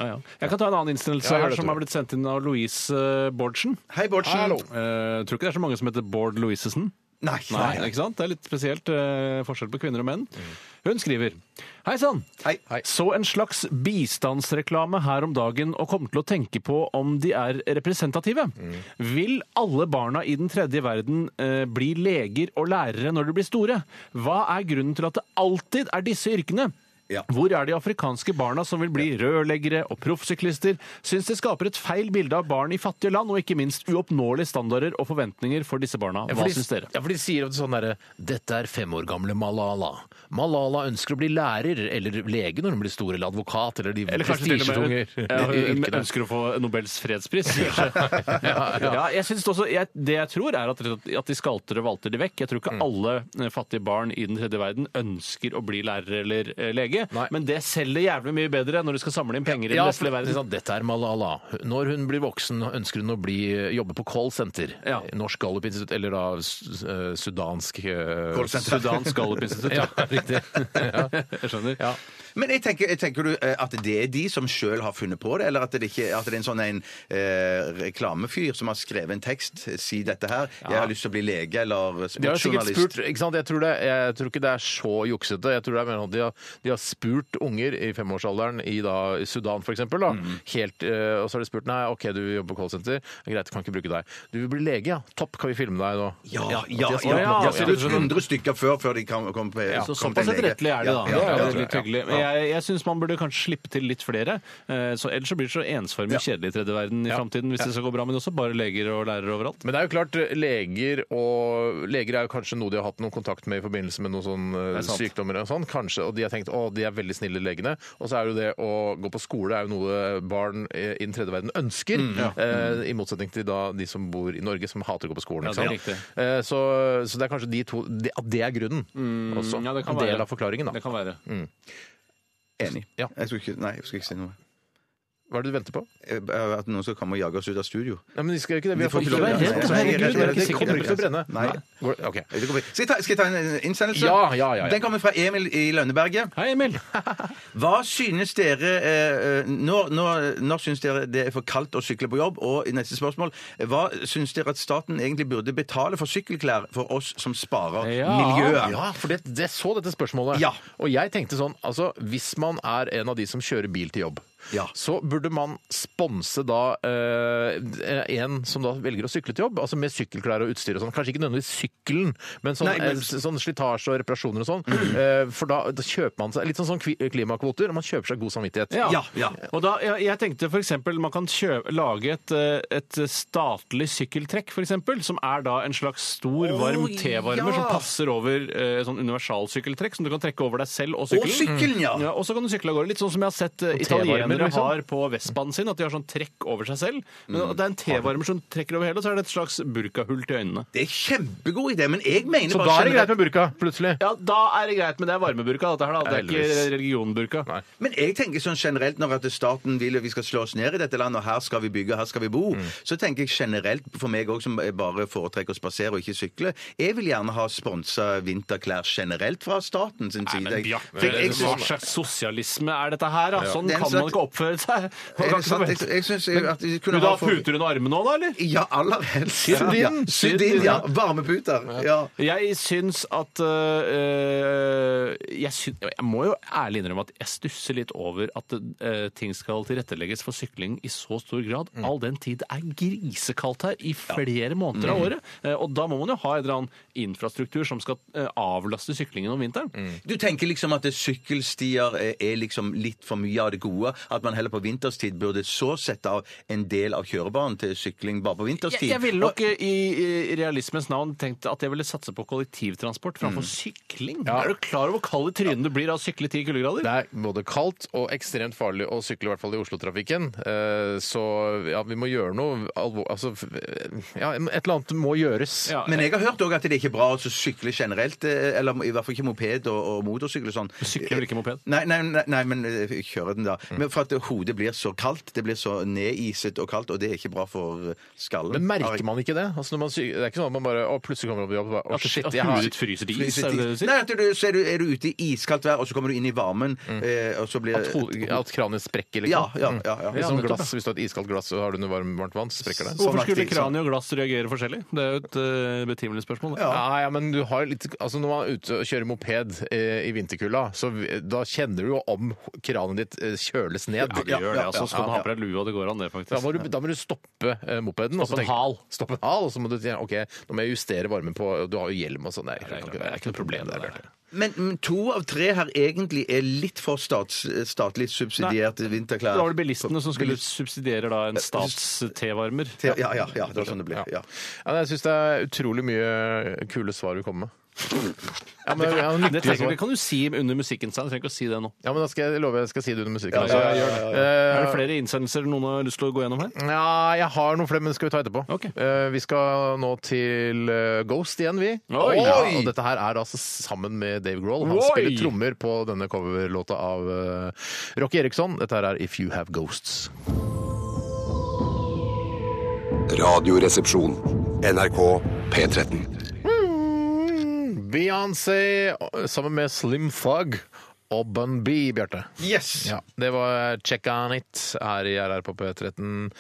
B: ja, ja. Jeg kan ta en annen innstillelse
A: Ja, gjør
B: her
A: det,
B: som
A: Tore.
B: har blitt sendt inn av Louise eh, Bårdsen.
C: Hei, Bårdsen.
A: Hallo.
B: Eh, tror ikke det er så mange som heter Bård Louisesen.
C: Nei.
B: Nei, ikke sant? Det er litt spesielt eh, forskjell på kvinner og menn. Hun skriver Hei sann!
C: Hei.
A: Hei.
B: Så en slags bistandsreklame her om dagen og kom til å tenke på om de er representative. Vil alle barna i den tredje verden eh, bli leger og lærere når de blir store? Hva er grunnen til at det alltid er disse yrkene? Hvor er de afrikanske barna som vil bli rørleggere og proffsyklister? Syns det skaper et feil bilde av barn i fattige land, og ikke minst uoppnåelige standarder og forventninger for disse barna. Hva syns dere?
A: Ja, for de sier ofte sånn derre Dette er fem år gamle Malala. Malala ønsker å bli lærer eller lege når hun blir stor, eller advokat, eller de
B: Eller kanskje til og med
A: prestisjetunge
B: (laughs) Ja, hun
A: yrkene.
B: ønsker å få Nobels (laughs) fredspris. kanskje. Ja, jeg synes også, jeg, det jeg tror, er at, rett og slett at de skalter og valter de vekk. Jeg tror ikke alle eh, fattige barn i den tredje verden ønsker å bli lærer eller eh, lege,
A: Nei.
B: men det selger jævlig mye bedre når du skal samle inn penger i
A: Ja,
B: den
A: for,
B: vestlige verden.
A: liksom, dette er Malala. Når hun blir voksen, ønsker hun å bli, jobbe på call center.
B: Ja.
A: Norsk Gallup-institutt, eller da s- eh, sudansk eh,
B: Sudans (laughs) Gallup-institutt.
A: Ja, riktig. Ja.
B: Jeg skjønner.
A: Ja.
C: Men jeg tenker, jeg tenker du eh, at det er de som sjøl har funnet på det, eller at det, ikke, at det er en sånn en eh, reklamefyr som har skrevet en tekst? eh, Si dette her. Jeg har lyst til å bli lege eller
A: De har jo sikkert spurt,
C: sportsjournalist.
A: ikke sant? Jeg tror, det, jeg tror ikke det er så juksete. Jeg tror det er mer sånn at de har, de har spurt unger i femårsalderen i, da, i Sudan f.eks. Helt, eh, og så har de spurt nei, ok, du jobber på callsenter, greit, kan ikke bruke deg. Du vil bli lege, ja. Topp, kan vi filme deg nå?
C: Ja, ja, ja,
A: de har
C: ja,
A: spurt
C: ja,
A: nok, ja.
C: Så det er 100 stykker før, før de kom, kom, på-
B: Så
C: kom
B: såpass
C: til en lege.
B: etterrettelig er det, da.
C: Ja, ja,
B: det
C: ja,
B: er litt hyggelig. Men jeg, jeg syns man burde kanskje slippe til litt flere. eh, Så ellers så blir det så ensformig kjedelig i tredje verden i framtiden, hvis det skal gå bra. Men også bare leger og lærere overalt.
A: Men det er jo klart, eh, leger og leger er jo kanskje noe de har hatt noen kontakt med i forbindelse med noen sånn eh,
B: Det er sant.
A: sykdommer og sånn, kanskje, og de har tenkt å, de er veldig snille legene. Og så er jo det å gå på skole er jo noe barn eh, i den tredje verden ønsker, eh, i motsetning til da de som bor i Norge som hater å gå på skolen.
B: Ja,
A: ikke
B: det er
A: sant? Eh, så, så det er kanskje de to, det, at det er grunnen også.
B: Mm, ja, det kan
A: en del
B: være.
A: av forklaringen da.
B: Det kan være.
C: Enig.
A: Ja.
C: Jeg skulle ikke, nei, jeg skulle ikke si noe.
A: Hva er det du venter på?
C: Eh, At noen skal komme og jage oss ut av studio.
A: Nei, men de skal jo ikke det.
C: De
A: Vi har
C: får
A: fått
C: ikke lov.
A: Herregud,
C: Nei, nei,
A: herregud,
C: nei,
A: det er ikke
C: det
A: sikkert
C: kommer
A: kommer ikke til å brenne.
C: ikke. Nei.
A: Går det- ok.
C: Eh, Det går fint. Skal jeg ta, skal jeg ta en innsendelse?
A: Ja, ja, ja, ja.
C: Den kommer fra Emil i Lønneberget.
B: Hei, Emil!
C: Hva synes dere eh, eh, Når, når, når synes dere det er for kaldt å sykle på jobb? Og i neste spørsmål eh, Hva synes dere at staten egentlig burde betale for sykkelklær for oss som sparer
B: Ja.
C: miljøet?
A: Ja, for det, det så dette spørsmålet.
C: Ja.
A: Og jeg tenkte sånn, altså hvis man er en av de som kjører bil til jobb,
C: Ja.
A: så burde man sponse da eh, en som da velger å sykle til jobb, altså med sykkelklær og utstyr og sånn. Kanskje ikke nødvendigvis sykkelen, men sånn,
C: Nei, men- Mm.
A: eh, sånn slitasje og reparasjoner og sånn. Eh, for da, da kjøper man seg litt sånn, sånn kvi- klimakvoter, og man kjøper seg god samvittighet.
B: Ja.
C: Ja, ja.
B: Og da, jeg, jeg tenkte for eksempel man kan kjø- lage et, eh, et statlig sykkeltrekk, for eksempel, som er da en slags stor, varm tevarmer som passer over eh, sånn universalsykkeltrekk, som du kan trekke over deg selv og
C: Og
B: sykkelen.
C: sykkelen, ja!
B: Ja, og så kan du sykle av gårde. Litt sånn som jeg har sett eh,
A: tevarmer,
B: italienere
A: liksom.
B: har på Vespaen sin, at de har sånn trekk over seg selv. Men at det er en tevarmer som trekker over hele, og så er det et slags burkahull til øynene.
C: Det er kjempegod idé, men jeg mener
A: Så
C: bare
A: da er det
C: generelt-
A: greit med burka, plutselig.
B: Ja, da er det greit, men det er varmeburka, dette her, da. Det er ikke
A: Heldigvis.
B: religionburka.
A: Nei.
C: Men jeg tenker sånn generelt når at staten vil at vi skal slå oss ned i dette landet, og her skal vi bygge, og her skal vi bo,
B: Mm.
C: så tenker jeg generelt, for meg òg som bare foretrekker å spasere og ikke sykle, jeg vil gjerne ha sponsa vinterklær generelt fra staten sin side.
B: Men
C: Jeg-
B: Bjarte,
C: for jeg- jeg
B: hva
C: synes-
B: slags sosialisme er dette her? Da? Sånn
C: Det er en
B: kan man
C: slags-
B: ikke oppføre seg. Man
C: Er
B: kan
C: det sant? Jeg,
B: ikke
C: jeg syns jo at vi
B: du
C: kunne
B: da
C: ha
B: ha puter under armene nå, da, eller?
C: Ja, aller helst.
A: Sydin.
C: Ja, Sydin, ja. Varmeputer. Ja.
B: Jeg syns at øh, jeg, syn- jeg må jo ærlig innrømme at jeg stusser litt over at øh, ting skal tilrettelegges for sykling i så stor grad,
A: Mm.
B: all den tid det er grisekaldt her i flere måneder
A: Mm.
B: av året. Eh, Og da må man jo ha en eller annen infrastruktur som skal øh, avlaste syklingen om vinteren.
A: Mm.
C: Du tenker liksom at det sykkelstier er- er liksom litt for mye av det gode? At man heller på vinterstid burde så sette av en del av kjørebanen til sykling bare på vinterstid?
B: Jeg, jeg ville nok eh, i, i realismens navn tenkt at jeg ville satse på kollektivtransport
A: Mm.
B: framfor sykling. Er du klar over hvor kald i trynet du blir av å sykle ti kuldegrader?
A: Det er både kaldt og ekstremt farlig å sykle, i hvert fall i Oslo-trafikken. Eh, Så ja, vi må gjøre noe alvor... Altså, f- ja, et eller annet må gjøres.
B: Ja.
C: Men jeg har hørt også at det er ikke er bra å sykle generelt, eh, eller i hvert fall ikke moped og, og motorsykkel og sånn.
B: Sykler vel ikke moped?
C: Nei, nei, nei, nei men eh, kjøre den da. Men For at hodet blir så kaldt, det blir så nediset og kaldt, og det er ikke bra for eh, skallen.
A: Men merker man ikke det? Altså, når man syk... Det er ikke sånn at man bare å, plutselig kommer opp i jobb og bare, å,
B: At,
A: shit,
B: at
A: jeg
B: hodet
A: har...
B: ditt fryser til is, er det
C: Fryser
B: det du
C: is.
B: sier?
C: Nei, at du, så er du, er du ute i iskaldt vær, og så kommer du inn i varmen,
B: Mm.
C: eh, og så blir
A: At, ho... at kraniet sprekker,
C: Ja,
A: liksom.
C: ja, ja. ja.
A: Litt
B: Ja,
A: sånn
B: nettopp,
A: glass, Hvis du har et iskaldt glass og har det under varm, varmt vann, så sprekker det.
B: Hvorfor
C: Sånn
B: skulle
C: aktig, sånn.
B: kraniet og glass reagere forskjellig? Det er jo et eh, betimelig spørsmål. det.
A: Ja. ja, men du har litt, altså Når man er ute og kjører moped eh, i vinterkulda, så vi- da kjenner du jo om kraniet ditt eh, kjøles ned.
B: Ja, det gjør det. altså. Så kan du ha på deg lua, det går an, det,
A: Da må,
B: faktisk.
A: du, da må du stoppe eh, mopeden. og så
B: Stoppe en
A: tenke-
B: hal.
A: Stoppe en hal, og så må du tenke, ok, nå må jeg justere varmen på Du har jo hjelm og sånn. Nei,
B: Det er
A: jeg kan
B: klart, det er ikke noe problem, det der.
C: Men mm, to av tre her egentlig er litt for stats, statlig subsidierte vinterklær.
B: Da var det bilistene som skulle subsidiere da en stats-tevarmer.
C: Ja, ja, ja, ja, det var sånn det ble. Ja.
A: Ja, jeg syns det er utrolig mye kule svar vi
B: (laughs)
A: kommer med. Ja, men, ja,
B: Det,
A: nyttige
B: trenger,
A: svar.
B: det kan du si under musikken. Stein. Du trenger ikke å si det nå. Eh,
A: ja, men da skal jeg love jeg skal si det under musikken.
C: Ja, ja, ja, ja,
B: Er det flere innsendelser noen har lyst til å gå gjennom
A: Mm.
B: her?
A: Ja, jeg har noen flere, men det skal vi ta etterpå.
B: Ok.
A: Eh, vi skal nå til eh, Ghost igjen, vi.
B: Oi!
A: Ja, og dette her er altså sammen med Dave Grohl. Han
B: Oi!
A: spiller trommer på denne coverlåta av uh, Rocky Eriksson. Dette her er If You Have Ghosts.
D: Radioresepsjon. NRK P13.
A: Beyoncé sammen med Slim Thug og Bun B, Bjarte.
C: Yes!
A: Ja, det var Check On It her i RR på P13.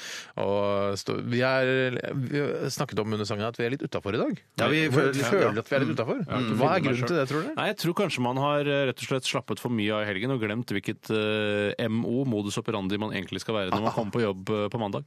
A: Og stå, vi, er, vi har snakket om under sangen at vi er litt utafor i dag.
C: Ja, vi føler- Mm.
A: føler at vi er litt utafor. Hva er grunnen til det, tror du?
B: Nei, Jeg tror kanskje man har eh, rett og slett slappet for mye av i helgen og glemt hvilket eh, MO, modus operandi, man egentlig skal være når man kommer på jobb eh, på mandag.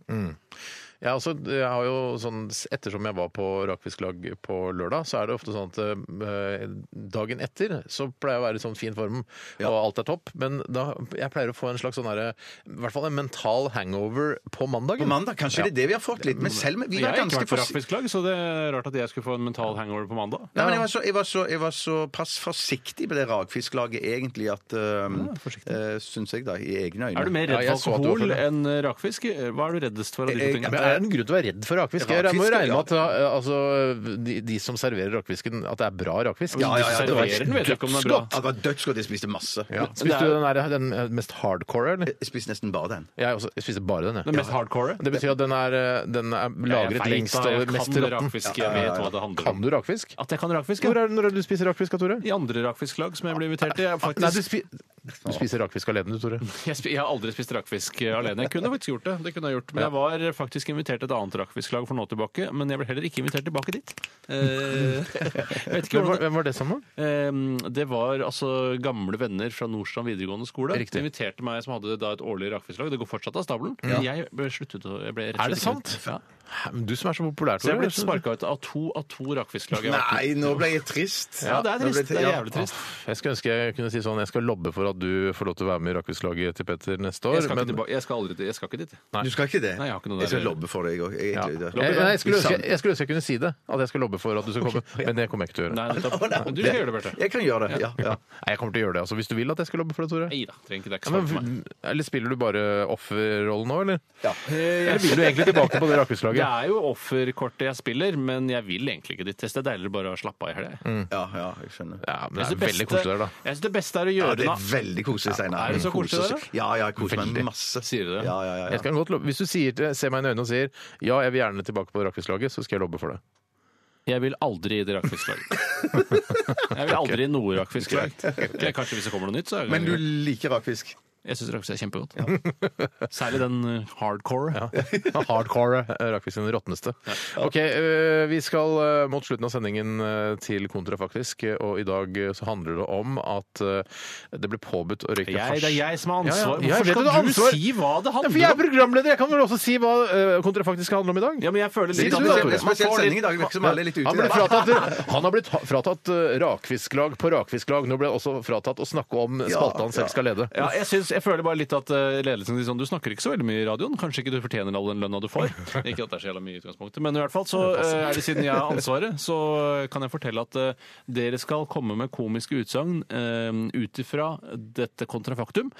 A: Jeg, har også, altså, jeg har jo sånn, Ettersom jeg var på rakfisklag på lørdag, så er det ofte sånn at eh, dagen etter så pleier jeg å være i sånn fin form, og alt er topp. Men da, jeg pleier å få en slags sånn derre I hvert fall en mental hangover på mandagen.
C: På mandag, kanskje det er det vi har fått litt, men selv om vi
B: Jeg
C: var
B: har ikke
C: ganske
B: vært på
C: forsiktige.
B: raffisk lag, så det er rart at jeg skulle få en mental hangover på mandag.
C: Nei, men jeg var, så, jeg, var så, jeg var så pass forsiktig på det rakfisklaget egentlig at um, eh, Syns jeg, da, i egne øyne.
B: Er du mer
A: Ja,
B: redd
A: jeg så
B: for
A: at du var
B: alkohol
A: full, ja. Eh,
B: enn eh, rakfisk? Hva er du reddest for av de to
C: Jeg-
A: Ja,
B: tingene?
A: Men er det en grunn til å være redd for rakfisk? Jeg må jo
C: Rakfisk,
A: regne med at
C: ja.
A: eh, altså, de, de som serverer rakfisken, at det er bra rakfisk.
C: Ja, ja, ja, det var
B: Serverer den, vet du ikke om den er bra.
C: Ja, det var dødsgodt. Jeg spiste masse.
A: Ja.
B: Men det
A: Spiste
B: er-
A: du den, der, den eh, mest hardcore, eller?
C: Jeg spiste nesten bare den.
A: Jeg, også, jeg spiste bare den, jeg.
B: Den mest hardcore?
A: Det betyr at den er, eh, den er lagret lengst og
B: Jeg
A: mest
B: kan
A: råtten.
B: rakfisk, jeg vet hva det handler
A: Kan
B: om.
A: du rakfisk?
B: At jeg kan rakfisk,
A: Hvor
B: ja.
A: er det når du spiser rakfisk, da, Tore?
B: I andre rakfisklag som jeg blir invitert til. Jeg, har
A: Ah, Nei, du,
B: faktisk,
A: spi du spiser rakfisk alene, du, Tore.
B: jeg, spi- jeg har aldri spist rakfisk alene. Jeg kunne faktisk gjort det. det kunne jeg gjort. Men jeg var faktisk invitert til et annet rakfisklag for nå tilbake. Men jeg ble heller ikke invitert tilbake dit.
A: (laughs)
B: Eh, jeg vet ikke
A: Hvem var,
B: hvordan det,
A: hvem var det sammen?
B: Ehm, det var altså gamle venner fra Nordstrand videregående skole.
A: Riktig.
B: De inviterte meg som hadde da et årlig rakfisklag. Det går fortsatt av stabelen. Men jeg ble sluttet å jeg ble rett og
A: Er det
B: slett ikke
A: sant?
B: med. Ja.
A: Hæ, men Du som er så populær,
B: Så jeg
A: Tore.
B: ble sparka ut av to av to rakfisklag. jeg har vært med
C: Nei, nå ble jeg trist.
B: Ja, det er
C: Nå ble
B: trist. Det er jævlig trist.
A: Ah, Jeg skulle ønske jeg kunne si sånn Jeg skal lobbe for at du får lov til å være med i rakfisklaget til Petter neste år.
B: Jeg skal,
A: men-
B: ikke tilbake, jeg skal aldri Jeg skal ikke dit.
C: Du skal ikke det?
B: Nei, jeg har ikke noe der.
C: jeg skal lobbe for deg òg,
A: Ja.
C: egentlig.
A: Jeg,
C: Ja.
A: Eh, nei, jeg, skulle ønske,
C: Vi savner-
A: jeg skulle ønske jeg kunne si det, at jeg skal lobbe for at du skal komme, men det kommer jeg ikke til å gjøre.
B: Nei, nettopp.
C: Å, nei,
B: Men du skal gjøre det, Bjarte.
C: Jeg kan gjøre det, ja. ja.
A: Nei, jeg kommer til å gjøre det, altså. Hvis du vil at jeg skal lobbe for det, Tore.
B: Nei da, trenger ikke det. er
A: Ja,
B: ikke så farlig for meg.
A: men, eller spiller du bare offerrollen nå, eller?
C: ja.
A: Eller vil du egentlig tilbake på det
B: Det
A: rakfislaget?
B: er jo offerkortet jeg spiller, men jeg vil egentlig ikke dit. Det er deiligere bare å slappe av i helga. jeg.
C: ja, ja, jeg skjønner.
A: Ja, men Mm. det
B: Jeg
A: er veldig koselig der, da.
B: syns det beste er å
C: Ja,
B: gjøre
C: det
B: det
C: er veldig koselig, Steinar.
B: er det så koselig,
C: Koser-
B: da?
C: Ja, ja, jeg koser
A: Veldig.
C: meg masse.
B: Sier du det?
C: Ja, ja, ja.
A: Jeg
C: ja.
A: kan godt lobbe. Hvis du sier til, ser meg i øynene og sier ja, jeg vil gjerne tilbake på rakfislaget, så skal jeg lobbe for
B: (laughs)
A: det.
B: Jeg vil aldri i det rakfisklaget.
A: (laughs)
B: Jeg vil aldri i noe rakfisklag. Ok, Kanskje hvis det kommer noe nytt, så er det
C: Men du liker rakfisk?
B: Jeg syns rakfisk er kjempegodt. Særlig den eh, hardcore.
A: Hardcore (laughs) eh, rakfisk den råtneste. Ok, eh, vi skal eh, mot slutten av sendingen eh, til kontra, faktisk. eh, Og i dag eh, så handler det om at eh, det ble påbudt å røyke
B: Jeg,
A: hasj.
B: det er jeg som har ansvar.
A: Ja, ja, jeg vet det,
B: Hvorfor
A: du har
B: skal du
A: ansvar.
B: si hva det
A: Ja, for jeg
B: handler
A: er
B: om?
A: programleder, jeg kan vel også si hva eh, kontra faktisk skal handle om i dag?
B: Ja, men jeg føler
C: Det
B: litt
C: er
B: at
C: spesielt- det er
B: man
C: spesiell
B: får
C: sending
B: litt
C: i dag. Det virker som alle er litt ute
A: Han,
C: i
A: ble
C: det.
A: fratatt,
B: (laughs)
A: han har blitt ha- fratatt eh, rakfisklag på rakfisklag. Nå ble han også fratatt å snakke om spalta han selv skal lede.
B: Ja, jeg, syns- jeg føler bare litt at eh, ledelsen sier sånn Du snakker ikke så veldig mye i radioen. Kanskje ikke du fortjener all den lønna du
C: (laughs)
B: får. Ikke at det er så jævla mye i utgangspunktet, men i hvert fall så eh, er det siden jeg har ansvaret, så kan jeg fortelle at eh, dere skal komme med komiske utsagn eh, ut ifra dette kontrafaktum.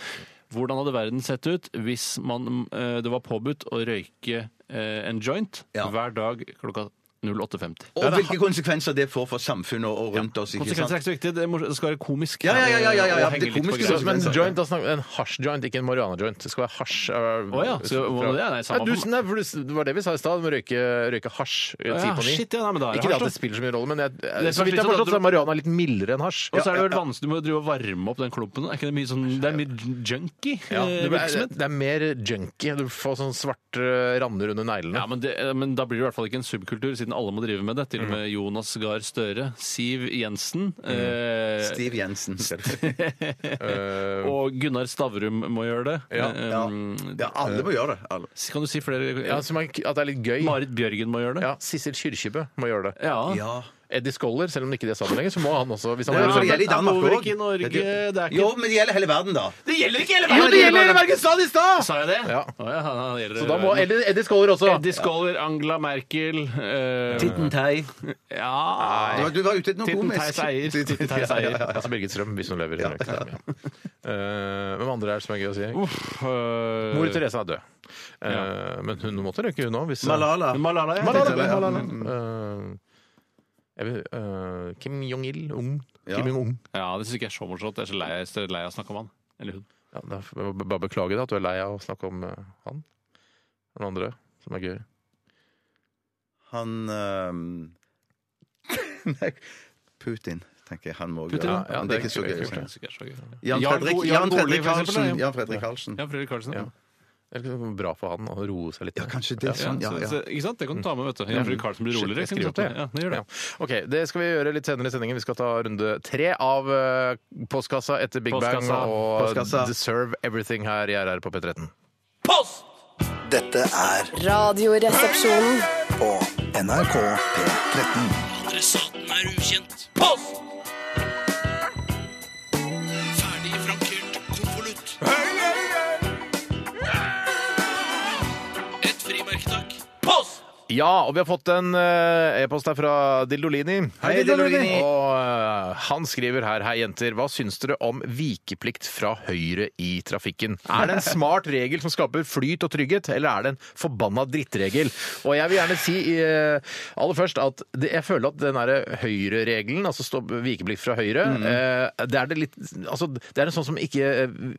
B: Hvordan hadde verden sett ut hvis man, eh, det var påbudt å røyke eh, en joint
C: Ja.
B: hver dag klokka 08.50?
C: Og hvilke konsekvenser det får for samfunnet og og rundt oss. ikke sant?
B: Konsekvenser er ikke så viktig, det må- det skal være komisk.
C: Ja, ja, ja, ja, ja, ja,
B: Og henge
C: det
B: litt på
C: komiske
B: greia.
A: Så, men joint, da snakker, en hasj-joint, ikke en marihuana-joint. Det skal være hasj. Å
B: ja, så hva var det? Nei, samme
A: du,
B: for
A: nei, for du- det var det vi sa i stad, om å røyke, røyke hasj eh,
B: Ja,
A: ti på ni.
B: shit, ja, nei, men da er det
A: ikke det
B: hasj,
A: at det
B: da.
A: spiller så mye rolle, men jeg,
B: er
A: så vidt jeg
B: kanskje
A: har
B: sånn at
A: forstått, så
B: du-
A: er marihuana litt mildere enn hasj.
B: Og så er det vel vanskelig med å drive og varme opp den klumpen. Er ikke det mye sånn, det er mye junkie
A: Ja, det,
B: eh,
A: er,
B: virksomhet?
A: det er mer sånn junkie. Du får sånne svarte rander under neglene.
B: eh, Ja, men, det, eh, men da blir det i hvert fall ikke en subkultur, siden alle må drive med det. Til og med Jonas Gahr Støre, Siv Jensen eh,
C: Stiv Jensen. skal du-
B: og Gunnar Stavrum må gjøre det.
A: Ja.
B: Eh,
C: Ja.
B: um,
C: ja, alle må gjøre det. Alle.
B: Kan du si flere? Eh,
A: Ja, som er, at det er litt gøy.
B: Marit Bjørgen må gjøre det.
A: Ja, Sissel Kyrkjebø må gjøre det.
B: Ja.
A: Eddie Skoller, selv om det ikke er sammen lenger, så må han også hvis han
C: Ja,
A: er
C: det
A: sammen.
C: gjelder i Danmark
B: over
C: òg.
B: ikke i Norge, det er ikke-
C: Jo, men det gjelder hele verden, da.
B: Det gjelder ikke hele
A: Jo, det gjelder Bergen Stad i stad!
B: Sa jeg det?
A: Ja.
B: Å, ja, det gjelder
A: Så da må
B: verden.
A: Eddie, Eddie Skoller også.
B: Eddie Scholler, Angela Merkel eh,
C: Du
B: Ja
C: var- Du var ute etter noe
B: Titten
C: komisk.
B: Theis eier. Titten Theis
C: Ja, ja,
B: eier.
C: ja.
A: Altså Birgit Strøm, hvis hun lever. i Norge. Eh, hvem andre er det som er gøy å si?
B: Uff, eh,
A: Mor Teresa er død. Eh,
B: Ja.
A: Men hun måtte røyke, hun òg.
C: Malala.
B: Malala, ja.
A: Malala,
C: Tenkte jeg, ja.
A: Malala. Eh,
B: Mm.
A: jeg vil, eh, Kim Jong-il Ung.
C: Ja.
A: Kim Jong-un.
B: Ja, det syns ikke jeg er så morsomt. Jeg er så lei, jeg er så lei av å snakke om han. Eller hun.
A: Ja, da får jeg bare beklage da, at du er lei av å snakke om eh, han. Den andre som er gøy.
C: Han ehm, Nei, (laughs) Putin, tenker jeg. Han må
B: Putin,
C: gjøre.
B: ja.
C: men det er ikke så gøy.
A: kult,
B: Jeg
C: sånn.
B: synes ikke det er så gøy.
C: Jan
B: Jarl
C: Fredrik,
B: Go- Jarl
C: Jan Fredrik
B: Goli, for eksempel,
C: Karlsen.
B: ja.
C: Jan Fredrik Karlsen.
B: Ja, Fredrik Karlsen. Ja.
A: Ja. Det er liksom bra for han å roe seg litt.
C: Ja, kanskje det er sånn. Ja,
B: så,
C: ja.
B: så, ikke sant? Det kan du ta med, vet du. Jan Fredrik Karlsen blir
A: Shit,
B: roligere.
A: jeg skriver opp det.
B: Ja, det gjør det.
A: Ja. Ok, det skal vi gjøre litt senere i sendingen. Vi skal ta runde tre av eh, postkassa etter Big
B: Postkassa.
A: Bang og
C: Postkassa.
A: Deserve Everything her i RR på P13.
G: Post!
F: Dette er
E: Radioresepsjonen.
F: på NRK P13.
G: Adressaten er ukjent. Post! Ferdig frankert konvolutt. Et frimerke, takk. Post!
A: Ja, og vi har fått en eh, e-post her fra Dildolini.
C: Hei, Dildolini.
A: Og eh, han skriver her Hei, jenter. Hva syns dere om vikeplikt fra høyre i trafikken? Er det en smart regel som skaper flyt og trygghet, eller er det en forbanna drittregel? Og jeg vil gjerne si eh, aller først at det, jeg føler at den derre høyreregelen, altså stopp, vikeplikt fra høyre, eh, det er det litt Altså, det er en sånn som ikke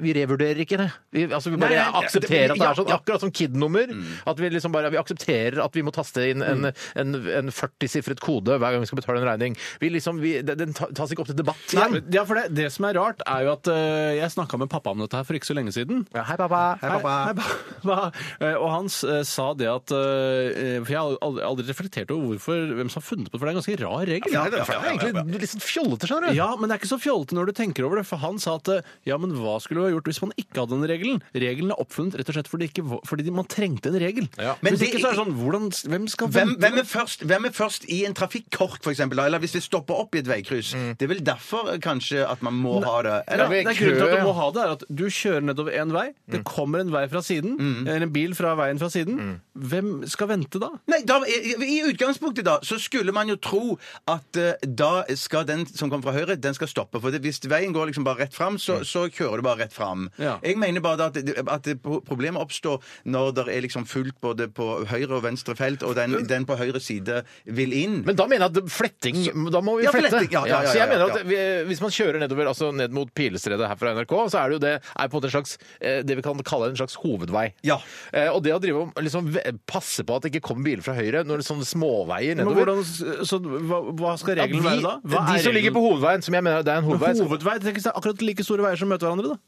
A: Vi revurderer ikke det. Vi, altså, vi bare
C: Nei, nei,
A: aksepterer at det
C: ja,
A: er sånn. (laughs) Akkurat som KID-nummer. At vi liksom bare vi aksepterer at vi må taste inn en, en, en 40-sifret kode hver gang vi skal betale en regning. Vi liksom, vi, den- Den ta- tas ikke opp til debatt igjen.
B: Ja, for det, det som er rart, er jo at eh, jeg snakka med pappa om dette her for ikke så lenge siden.
A: Ja, Hei, pappa.
B: Hei, hei, pappa. (laughs) Eh, Og han eh, sa det at eh, For jeg har aldri, aldri reflektert over hvorfor, hvem som har funnet på det, for det er en ganske rar regel.
C: Ja, det er-
A: Det er egentlig litt sånn fjollete, skjønner du.
B: Ja, men det er ikke så fjollete når du tenker over det. For han sa at eh, ja, men hva skulle vi ha gjort hvis man ikke hadde den regelen? Regelen er oppfunnet rett og slett fordi, ikke, var- fordi man trengte en regel.
C: Men
B: Hvis
C: det-
B: ikke så er det sånn hvordan, Hvem skal
C: Hvem,
B: vente?
C: hvem, er først, hvem er først i en trafikkork, for eksempel, da? eller hvis det stopper opp i et veikryss? Det er vel derfor eh, kanskje at man må ha det?
B: Ja,
C: Eller?
B: det
A: ved
B: er grunnen til at
A: kø.
B: du må ha det, er at du kjører nedover en vei, det kommer en vei fra siden, eller en bil fra veien fra siden. Hvem skal vente da?
C: Nei, da, i, I utgangspunktet da, så skulle man jo tro at eh, da skal den som kommer fra høyre, den skal stoppe. For det, hvis veien går liksom bare rett fram, så, så kjører du bare rett fram.
B: Ja.
C: Jeg mener bare da at, det- at det pro- problemet oppstår når det er liksom fullt både på høyre og venstre felt, og den, den på høyre side vil inn.
A: Men da mener jeg at fletting Da må vi
C: Ja,
A: flette.
C: fletting, ja, ja, ja,
A: så jeg
C: ja,
A: mener
C: ja.
A: at vi, hvis man kjører nedover, altså ned mot Pilestredet her fra NRK, så er det jo det er på en måte en slags eh, det vi kan kalle en slags hovedvei.
C: Ja.
A: Eh, Og det å drive og liksom ve- passe på at det ikke kommer biler fra høyre når det er sånne småveier
B: Men
A: nedover
B: hvordan, så hva, hva skal regelen
A: Ja,
B: være da? Hva
A: de
B: er
A: som ligger
B: regelen?
A: på hovedveien, som jeg mener det er en hovedvei som-
B: Hovedvei tenk hvis det er akkurat like store veier som møter hverandre, da.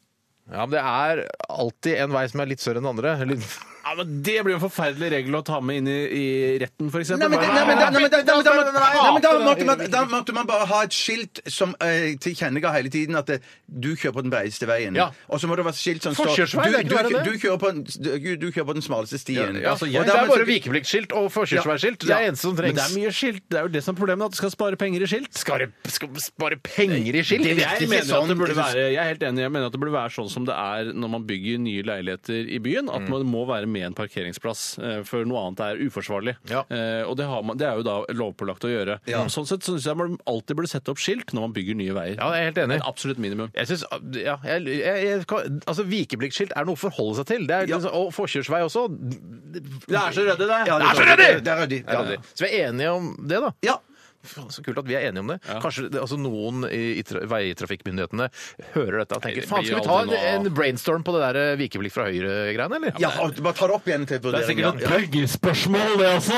A: Ja, men det er alltid en vei som er litt større enn den andre. Eller-
B: Ja, men Det blir jo en forferdelig regel å ta med inn i, i retten, f.eks.
C: Nei, men, da- nei, men, da- nei, men, da- nei, men, da- nei, men, da- nei, men da, måtte man, da måtte man bare ha et skilt som eh, tilkjennega hele tiden at det, du kjører på den breieste veien.
A: Ja.
C: Og så må det være et skilt som står
A: Forkjørsvei, det er ikke
C: du,
A: verre enn
C: du,
A: det.
C: du, kjører på, den- du, du kjører på den smaleste stien.
A: Ja, altså, jeg,
C: Og
A: det
C: da
A: er
C: må-
A: bare vikepliktskilt og forkjørsveiskilt. Det er
C: Ja.
A: eneste som
B: Men det er
A: trengs.
B: mye skilt. Det er jo det som er problemet, at du skal spare penger i skilt.
A: Skal det- skal man spare penger i skilt?
B: jeg,
C: ikke
B: mener at
C: sånn.
B: det burde være, jeg er helt enig, jeg mener at det burde være sånn som det er når man bygger nye leiligheter i byen, at man må være med en parkeringsplass, eh, for noe annet er uforsvarlig.
A: Ja.
B: Eh, Og det, har man, det er jo da lovpålagt å gjøre. Sånn sett syns jeg man alltid burde sette opp skilt når man bygger nye veier.
A: Ja, jeg er helt enig.
B: Et absolutt minimum.
A: Jeg synes, ja, jeg, jeg, jeg, kan- altså Vikepliktskilt er noe å forholde seg til. Det er, liksom- Og forkjørsvei også. Det
B: er så ryddig, det.
C: Ja,
A: Det er så
C: det-
A: ryddig!
C: det er ryddig, ja.
A: Så vi er enige om det, da.
C: Ja.
A: Faen, så kult at vi er enige om det. Kanskje det, altså, noen i, i tra veitrafikkmyndighetene hører dette og tenker
B: det
A: faen, skal
B: blir
A: vi ta
B: aldri noe
A: en,
B: av."
A: en brainstorm på det der eh, vikeplikt fra høyre-greiene, eller?
C: ja, og bare ta det opp igjen til vurdering. ja.
B: pøggespørsmål, det også!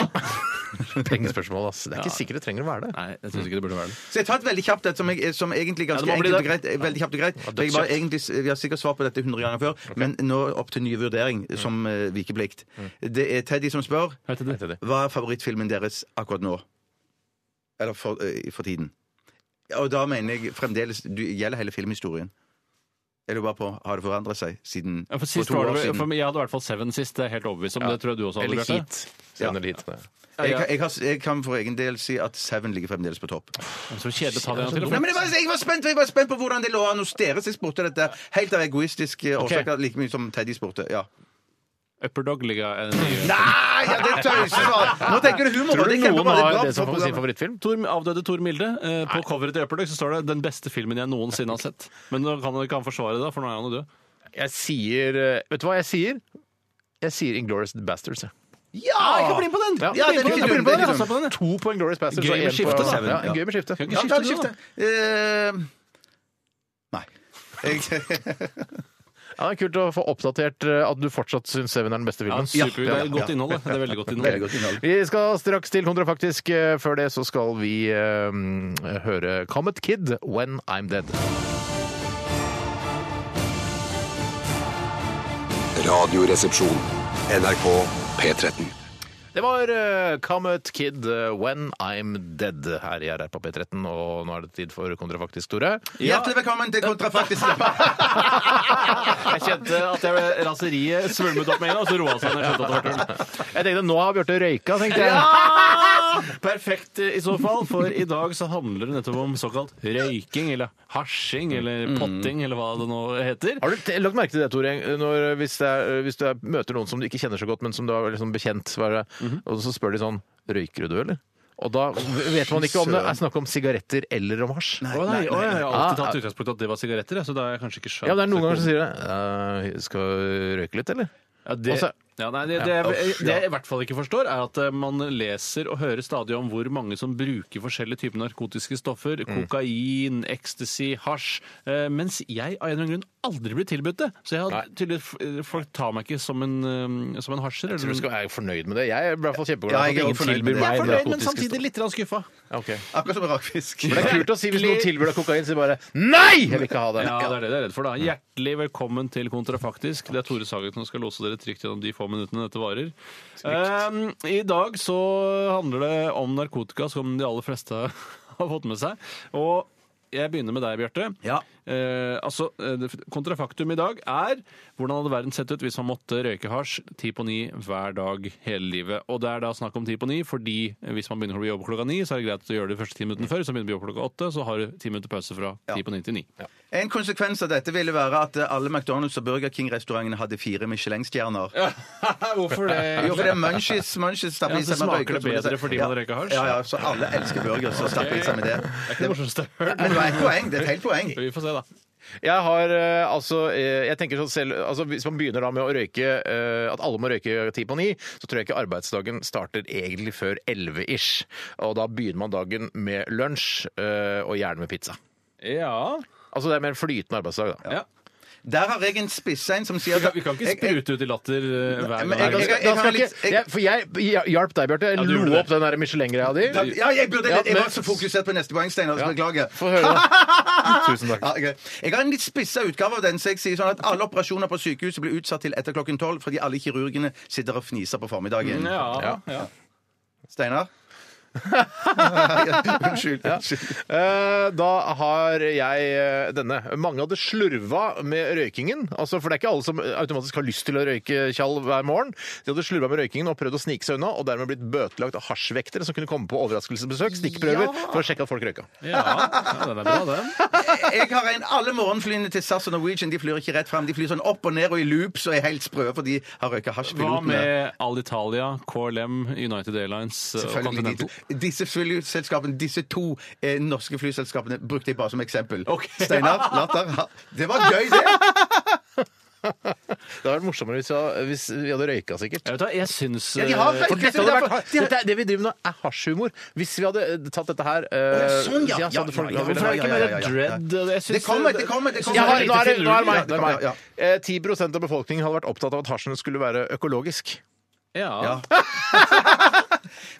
A: Pengespørsmål, ass. (laughs) Det er ikke
B: Ja.
A: sikkert det trenger å være det.
B: Nei, jeg syns ikke det burde være det.
C: Så jeg tar et veldig kjapt et som, jeg, som egentlig er
B: Ja,
C: ganske
B: det må bli
C: enkelt og
B: det.
C: greit. eh, Veldig kjapt og greit. For Jeg,
A: dødskjapt.
C: bare, egentlig, s- vi har sikkert svart på dette 100 ganger før, men nå opp til ny vurdering som eh, vikeplikt.
A: Mm.
C: Det er Teddy som spør
B: Hei, Teddy.
C: hva er favorittfilmen deres akkurat nå? Eller for, eh, for tiden. Og da mener jeg fremdeles du, gjelder hele filmhistorien. Jeg lurer bare på, Har det forandret seg siden
B: Ja, for sist
C: to
B: var det,
C: år
B: vel-
C: siden?
B: for jeg hadde i hvert fall Seven sist, det er jeg helt overbevist om.
A: Ja.
B: Det tror jeg du også hadde
A: Eller
B: Bjarte.
A: hit. Sender det hit. Ja.
C: Jeg, kan- jeg, har, jeg kan for egen del si at Seven ligger fremdeles på topp.
B: Så kjedelig å ta det en sånn gang til.
C: Nei, men jeg var, jeg, var spent, jeg var spent på hvordan det lå an hos dere sist borte dette. Helt av egoistiske årsaker, like mye som Teddy spurte. Ja.
B: Upperdog ligger eh, en ny
C: Nei, ja, det er tøysesvar! Nå tenker du humor.
A: Tror
C: og
A: du
C: det
A: noen
C: er kjempebra,
A: har
C: bra
A: det som
C: for
A: sin
C: programmet.
A: favorittfilm?
B: Tor, avdøde Tor Milde. Eh, på coveret til Upperdog så står det 'Den beste filmen jeg noensinne har sett'. Men nå kan dere ikke han forsvare det, da, for nå er han jo død.
A: Jeg sier eh, Vet du hva jeg sier? Jeg sier Inglorious Bastards. jeg.
C: Ja! Jeg kan bli med på den! Ja,
A: Jeg
C: den er
A: blir
C: ikke
A: med
C: dum.
A: på
C: den
A: den, jeg
C: er ikke
A: passer
C: dum.
A: på den, jeg. To på Inglorious Bastards.
B: Gøy
A: og
B: med
A: en på-
B: skifte, da.
A: Ja,
C: Ja.
A: gøy med skifte.
B: Kan
C: Ja,
B: ikke
C: da er
B: skifte
C: det
B: det, da.
C: skifte. Eh, Nei. Jeg,
A: Ja, det er kult å få oppdatert eh, at du fortsatt syns Seven er den beste filmen.
B: Ja, super, det er
C: Ja.
B: godt innhold. det. Det er veldig godt innhold.
C: veldig godt innhold.
A: Vi skal straks til kontrafaktisk. Eh, Før det så skal vi eh, høre Comet Kid, When I'm Dead.
D: Radioresepsjon. NRK P13.
A: Det var eh, Comet Kid, eh, When I'm Dead her i RR på P13. Og nå er det tid for kontrafaktisk, Tore.
C: Hjertelig velkommen til (laughs) Kontrafaktisk.
B: Jeg kjente at jeg, raseriet svulmet opp med en gang, og så roa det seg. når jeg skjønte at det var tull.
A: Jeg tenkte nå har Bjarte røyka, tenkte jeg.
B: Perfekt eh, i så fall, for i dag så handler det nettopp om såkalt røyking, eller hasjing, eller potting, eller hva det nå heter.
A: Har du te- lagt merke til det, Tore, når, hvis, det er, hvis du er, møter noen som du ikke kjenner så godt, men som du er liksom bekjent, så er det,
B: Mhm.
A: og så spør de sånn Røyker du, eller? Og
B: (laughs)
A: da vet man ikke om det er snakk om sigaretter eller om hasj.
B: Å nei, å, jeg har
A: Ah, ah.
B: alltid tatt utgangspunkt i at det var sigaretter, jeg, så da har jeg kanskje ikke skjønt
A: Ja, men det er noen ganger som sier det. eh, Skal du røyke litt, eller?
B: Ja, det,
A: Altså-
B: ja, nei, det, det, det, jeg i hvert fall ikke forstår, er at eh, man leser og hører stadig om hvor mange som bruker forskjellige typer narkotiske stoffer.
A: Mm.
B: Kokain, ecstasy, hasj. eh, Mens jeg av en eller annen grunn aldri blir tilbudt det. Så jeg har tydeligvis eh, folk tar meg ikke som en, eh, som en hasjer.
A: Jeg tror du skal være fornøyd med det. Jeg er i hvert fall kjempeglad
C: Ja,
A: for at
C: jeg er
A: ingen
C: også fornøyd med
A: tilbyr
C: det.
A: meg
B: jeg er fornøyd, men
A: narkotiske
B: samtidig
A: stoff.
B: litt grann skuffa.
A: Ok.
C: Akkurat som rakfisk.
A: Men det er kult å si hvis noen tilbyr deg kokain, så bare Nei! Jeg vil ikke ha det.
B: Ja, det er det du er redd for, da. Hjertelig velkommen til Kontrafaktisk. Det er Tore Sagen som skal lose dere trygt gjennom de få minuttene dette varer. Ehm, I dag så handler det om narkotika, som de aller fleste (laughs) har fått med seg. Og jeg begynner med deg, Bjarte.
C: Ja.
B: Eh, altså, eh, det- kontrafaktum i dag er hvordan hadde verden sett ut hvis man måtte røyke hasj ti på ni hver dag hele livet. Og det er da snakk om ti på ni, fordi hvis man begynner å jobbe klokka ni, så er det greit å gjøre det de første ti minuttene før. Så begynner du å jobbe klokka åtte, så har du ti minutter pause fra ti på ni til ni.
C: En konsekvens av dette ville være at alle McDonald's og Burger King-restaurantene hadde fire Michelin-stjerner.
B: (laughs) Hvorfor det?
C: Jo, for det er munchies, munchies
B: Ja,
C: stapper i
B: så
C: seg med
B: smaker det
C: røykelse,
B: bedre fordi man røyker hasj?
C: Ja, ja, så alle elsker burger, så stapper i seg med det.
B: (laughs) Det er ikke det morsomste jeg har hørt.
C: Men det er et poeng, det er et helt poeng.
B: Vi får se, da.
A: Jeg har eh, altså eh, Jeg tenker sånn selv altså Hvis man begynner da med å røyke eh, At alle må røyke ti på ni, så tror jeg ikke arbeidsdagen starter egentlig før elleve ish. Og da begynner man dagen med lunsj, eh, og gjerne med pizza.
B: Ja.
A: Altså det er mer en flytende arbeidsdag, da.
B: ja.
C: Der har jeg en spissein som sier
B: Vi, kan, vi kan ikke
C: Jeg- jeg-
B: sprute ut i latter eh, hver
C: men
B: gang.
A: Da
C: jeg-
A: skal, da
C: har
A: skal
C: litt-
A: ikke, jeg, for jeg hjalp deg, Bjarte.
B: Ja,
A: Jeg
B: du gjorde
A: lo
B: det.
A: opp den der Michelin-greia di.
C: Ja, jeg burde
A: Ja,
C: Jeg var
A: men-
C: så fokusert på neste poeng, Steinar, så beklager.
A: Få høre det. Tusen takk.
C: Ja, ok. Jeg har en litt spissa utgave av den, så jeg sier sånn at alle operasjoner på sykehuset blir utsatt til etter klokken tolv fordi alle kirurgene sitter og fniser på formiddagen.
B: Mm, Ja, ja.
C: (laughs) Steinar? Unnskyld. unnskyld.
A: Eh, Da har jeg eh, denne. Mange hadde slurva med røykingen. Altså, for det er ikke alle som automatisk har lyst til å røyke tjall hver morgen. De hadde slurva med røykingen og prøvd å snike seg unna, og dermed blitt bøtelagt av hasjvektere som kunne komme på overraskelsesbesøk, stikkprøver, for å sjekke at folk røyka.
B: ja. ja den er bra, den.
C: Jeg har en Alle morgenflyene til SAS og Norwegian de flyr ikke rett fram. De flyr sånn opp og ned og i loops og er helt sprø, for de har røyka hasj.
B: Hva
C: pilotene.
B: med Alitalia, KLM, United Airlines eh, og
C: Selvfølgelig de
B: Continental?
C: to. Disse flyselskapene, disse to eh, norske flyselskapene brukte jeg bare som eksempel.
B: Ok.
C: (laughs) Steinar, latter. ha- Det var gøy, det!
A: Det hadde vært morsommere hvis, jeg, hvis vi hadde røyka, sikkert.
B: Jeg vet hva, jeg syns
C: Ja, de har
B: eh,
C: røyket,
A: For dette
C: så
A: hadde
C: derfor-
A: vært, dette, er- det vi driver med nå, er hasjhumor. Hvis vi hadde eh, tatt dette her eh,
C: Å, ja, sånn, ja.
A: så hadde
C: Ja,
A: folk-
C: ja, ja,
A: Hvorfor
B: Hvorfor er det ikke
C: Ja, ja, ja,
B: mer
C: ja, ja.
B: dread? Jeg syns eh,
C: Det kommer, det kommer. det kommer.
A: Jeg har, nå er det, nå er det meg.
C: Ja,
A: Nå er det
C: ja.
A: meg. Eh, 10 av befolkningen hadde vært opptatt av at hasjen skulle være økologisk.
B: Ja.
C: Ja.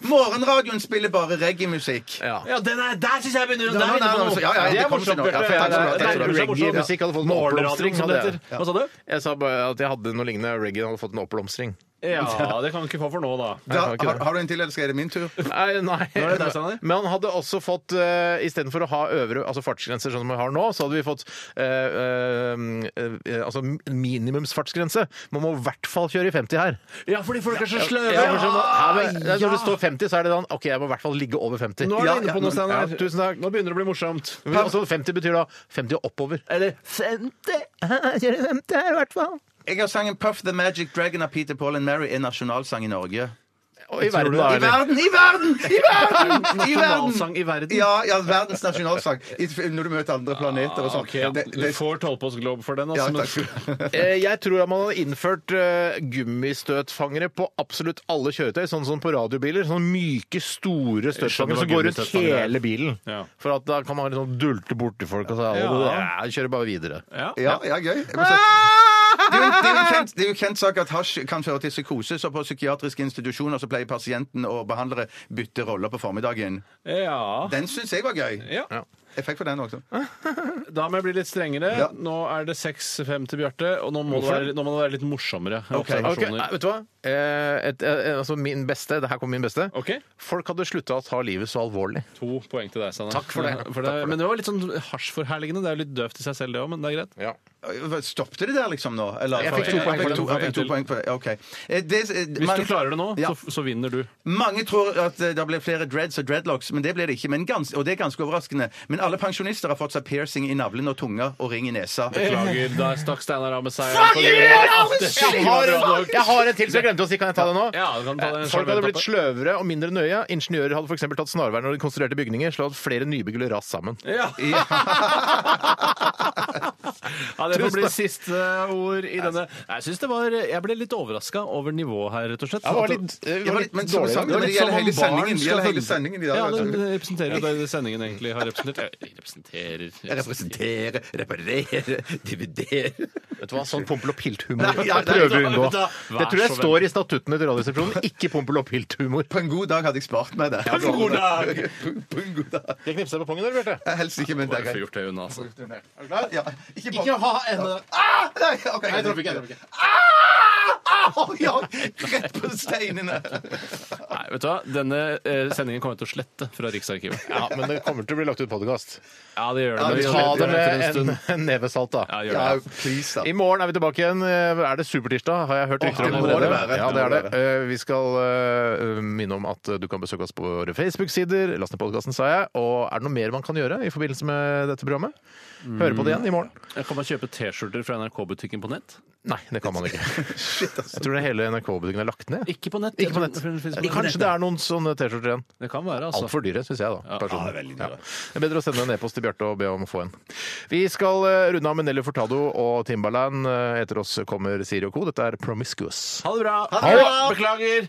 C: morgenradioen spiller bare reggae-musikk.
A: Ja.
I: Ja, den er, der syns jeg begynner å
C: Nei, nei, nei, altså, ja, ja,
A: Det er
C: kommer
A: morsomt,
C: seg nå. Ja,
A: Bjarte.
C: takk skal du ha, takk skal du ha.
A: Det er Reggae-musikk hadde fått en
B: Morgenradioen,
A: oppblomstring.
B: som det
A: hadde jeg.
B: heter. Hva sa du?
A: Jeg sa bare at jeg hadde noe lignende. Reggae hadde fått en oppblomstring.
B: Ja, det kan vi ikke få for nå, da.
A: Jeg
C: Da,
A: kan ikke
C: har,
A: det.
C: har du en til, eller skal det min tur?
A: Nei, nei.
B: Nå er det deg, Steinar.
A: (laughs) Men han hadde også fått uh, Istedenfor å ha øvre altså fartsgrenser sånn som vi har nå, så hadde vi fått eh, eh, eh, altså minimumsfartsgrense. Man må i hvert fall kjøre i 50 her.
B: Ja, fordi folk er så sløve!
A: Ja, for sånn, ja, men, Når det står 50, så er det sånn OK, jeg må i hvert fall ligge over 50.
B: Nå er
C: Ja,
B: du inne
C: ja,
B: på noe,
C: nå-
B: Steinar.
A: ja, tusen takk.
B: Nå begynner det å bli morsomt.
A: Men altså, 50 betyr da 50 og (laughs) oppover.
B: Eller (laughs) 50
A: Kjøre 50 her, i hvert fall.
C: Jeg har sangen 'Puff the Magic Dragon' av Peter Paul and Mary, en nasjonalsang i Norge.
A: Og i verden, da,
C: I
A: eller?
C: verden! I verden! I verden!
B: (laughs)
C: I
B: Nasjonalsang i verden?
C: Ja, ja, verdens nasjonalsang. I- Når du møter andre planeter og sånn.
B: Ah, Ok,
C: Det-
B: Du
C: det-
B: får tolvpås globe for den.
C: ja,
B: Altså, men-
C: takk skal du ha.
A: Eh, Jeg tror at man hadde innført eh, gummistøtfangere på absolutt alle kjøretøy, sånn som på radiobiler. Sånne myke, store
B: skjønner
A: støtfangere
B: hva
A: som går rundt
B: gummistøtfangere er.
A: hele bilen.
B: Ja.
A: For at da kan man liksom dulte borti folk og si
B: Ja.
A: ja, kjører bare videre.
B: ja.
C: (laughs) Ja, ja, gøy. Jeg må si- Det er jo en- det er jo en kjent- det er jo en kjent sak at hasj kan føre til psykose, så på psykiatriske institusjoner så pleier pasienten og behandlere bytte roller på formiddagen.
B: ja.
C: Den syns jeg var gøy.
B: Ja.
C: Jeg fikk for den også.
B: Da må jeg bli litt strengere.
C: Ja.
B: Nå er det 6-5 til Bjarte, og nå må, det være, nå må det være litt morsommere
A: Ok,
B: observasjoner.
A: nei, vet du hva? Eh, et, eh, altså min beste, det her kommer min beste.
B: Ok.
A: Folk hadde slutta å ta livet så alvorlig.
B: To poeng til deg, Steinar.
A: Takk for det.
B: Ja,
A: Takk for det.
B: Men det var litt sånn hasjforherligende. Det er jo litt døvt i seg selv, det òg, men det er greit.
C: Stoppte det der, liksom, nå? Eller,
A: Jeg fikk to poeng for
C: Jeg
A: det.
C: fikk to, jeg fikk to poeng for det. OK. Eh, Det, eh,
B: Hvis
C: mange-
B: du klarer det nå,
C: Ja.
B: så, så vinner du.
C: Mange tror at eh, det blir flere dreads og dreadlocks, men det blir det ikke. Men gans og det er ganske overraskende. Men alle pensjonister har fått seg piercing i navlen og tunga og ring i nesa. (laughs)
B: Beklager, der stakk Steinar av med seg.
A: Jeg har, en, jeg har en til, så jeg glemte å si. Kan jeg ta det nå?
B: Ja, du kan ta det.
A: Eh, Folk hadde blitt sløvere og mindre nøye. Ingeniører hadde f.eks. tatt snarveier når de konstruerte bygninger, slått flere nybygg eller ras sammen.
B: Ja. (laughs) ja, det får bli siste ord i denne Jeg synes det var Jeg ble litt overraska over nivået her, rett og slett.
A: Ja, det var litt, det
C: Ja,
A: var
C: men-
A: litt
C: men som
A: dårlig.
C: sagt,
A: da.
C: det gjelder
B: som om
C: hele
B: barn
C: sendingen. Det
B: skal
C: gjelder hele
B: følge-
C: sendingen i dag.
B: Ja,
C: altså.
B: den representerer jo det sendingen egentlig har representert. Jeg representerer
C: Jeg representerer, reparere, dividere
A: Vet du hva, Sånn pompel og pilthumor
C: Nei, ja,
A: Jeg prøver å
C: nei,
A: unngå.
B: da-
A: Det tror
B: Vær
A: jeg
B: så
A: står i statuttene til Radioresepsjonen. Ikke pompel og pilthumor.
C: (laughs) På en god dag hadde jeg spart meg det. På en god dag! (laughs) På en god dag.
A: Jeg knipser deg på pungen, eller, Bjarte?
C: Eh, Helst ikke, men det er
B: Bare få
C: greit.
B: gjort det unna, altså.
C: Er du klar? Ja. Ikke på
A: ha ende.
C: ah! Nei, ok.
A: Nei, jeg traff ikke, jeg traff ikke.
C: Ah! Ah! Ja, rett på steinene. (laughs)
B: Nei, vet du hva? Denne eh, sendingen kommer jeg til å slette fra Riksarkivet.
A: Ja, men det kommer til å bli lagt ut podkast.
B: Ja, det gjør det.
C: Ja,
B: men vi
A: Ta det
B: sletter etter
A: med
B: en
A: en,
B: stund.
A: en neve salt, da.
B: Ja, gjør
C: Ja,
B: det.
C: please, da.
A: I morgen er vi tilbake igjen. Eh, Er det supertirsdag, har jeg hørt rykter om
C: det må
A: allerede.
C: det være.
A: Ja, det er
C: Det må
A: det. Eh, Vi skal eh, minne om at du kan besøke oss på våre Facebook-sider. Last ned podkasten, sa jeg. Og er det noe mer man kan gjøre i forbindelse med dette programmet? Høre på det igjen i morgen?
B: Jeg kan man kjøpe T-skjorter fra NRK-butikken på nett?
A: Nei, det kan man ikke. Jeg tror det hele NRK-butikken er lagt ned.
B: Ikke på nett.
A: Ikke på
B: Jeg
A: nett.
B: tror den finnes på nett.
A: Kanskje det er noen sånne T-skjorter igjen.
B: Det kan være, altså.
A: Altfor dyre, syns jeg, da.
B: Ja,
A: personlig.
B: ja, veldig dyre.
A: Det er bedre å sende en e-post til Bjarte og be om å få en. Vi skal eh, runde av med Nelly Furtado og Timbaland. Eh, Etter oss kommer Siri og co. Dette er Promiscuous.
B: Ha det bra!
A: det bra!
B: Beklager!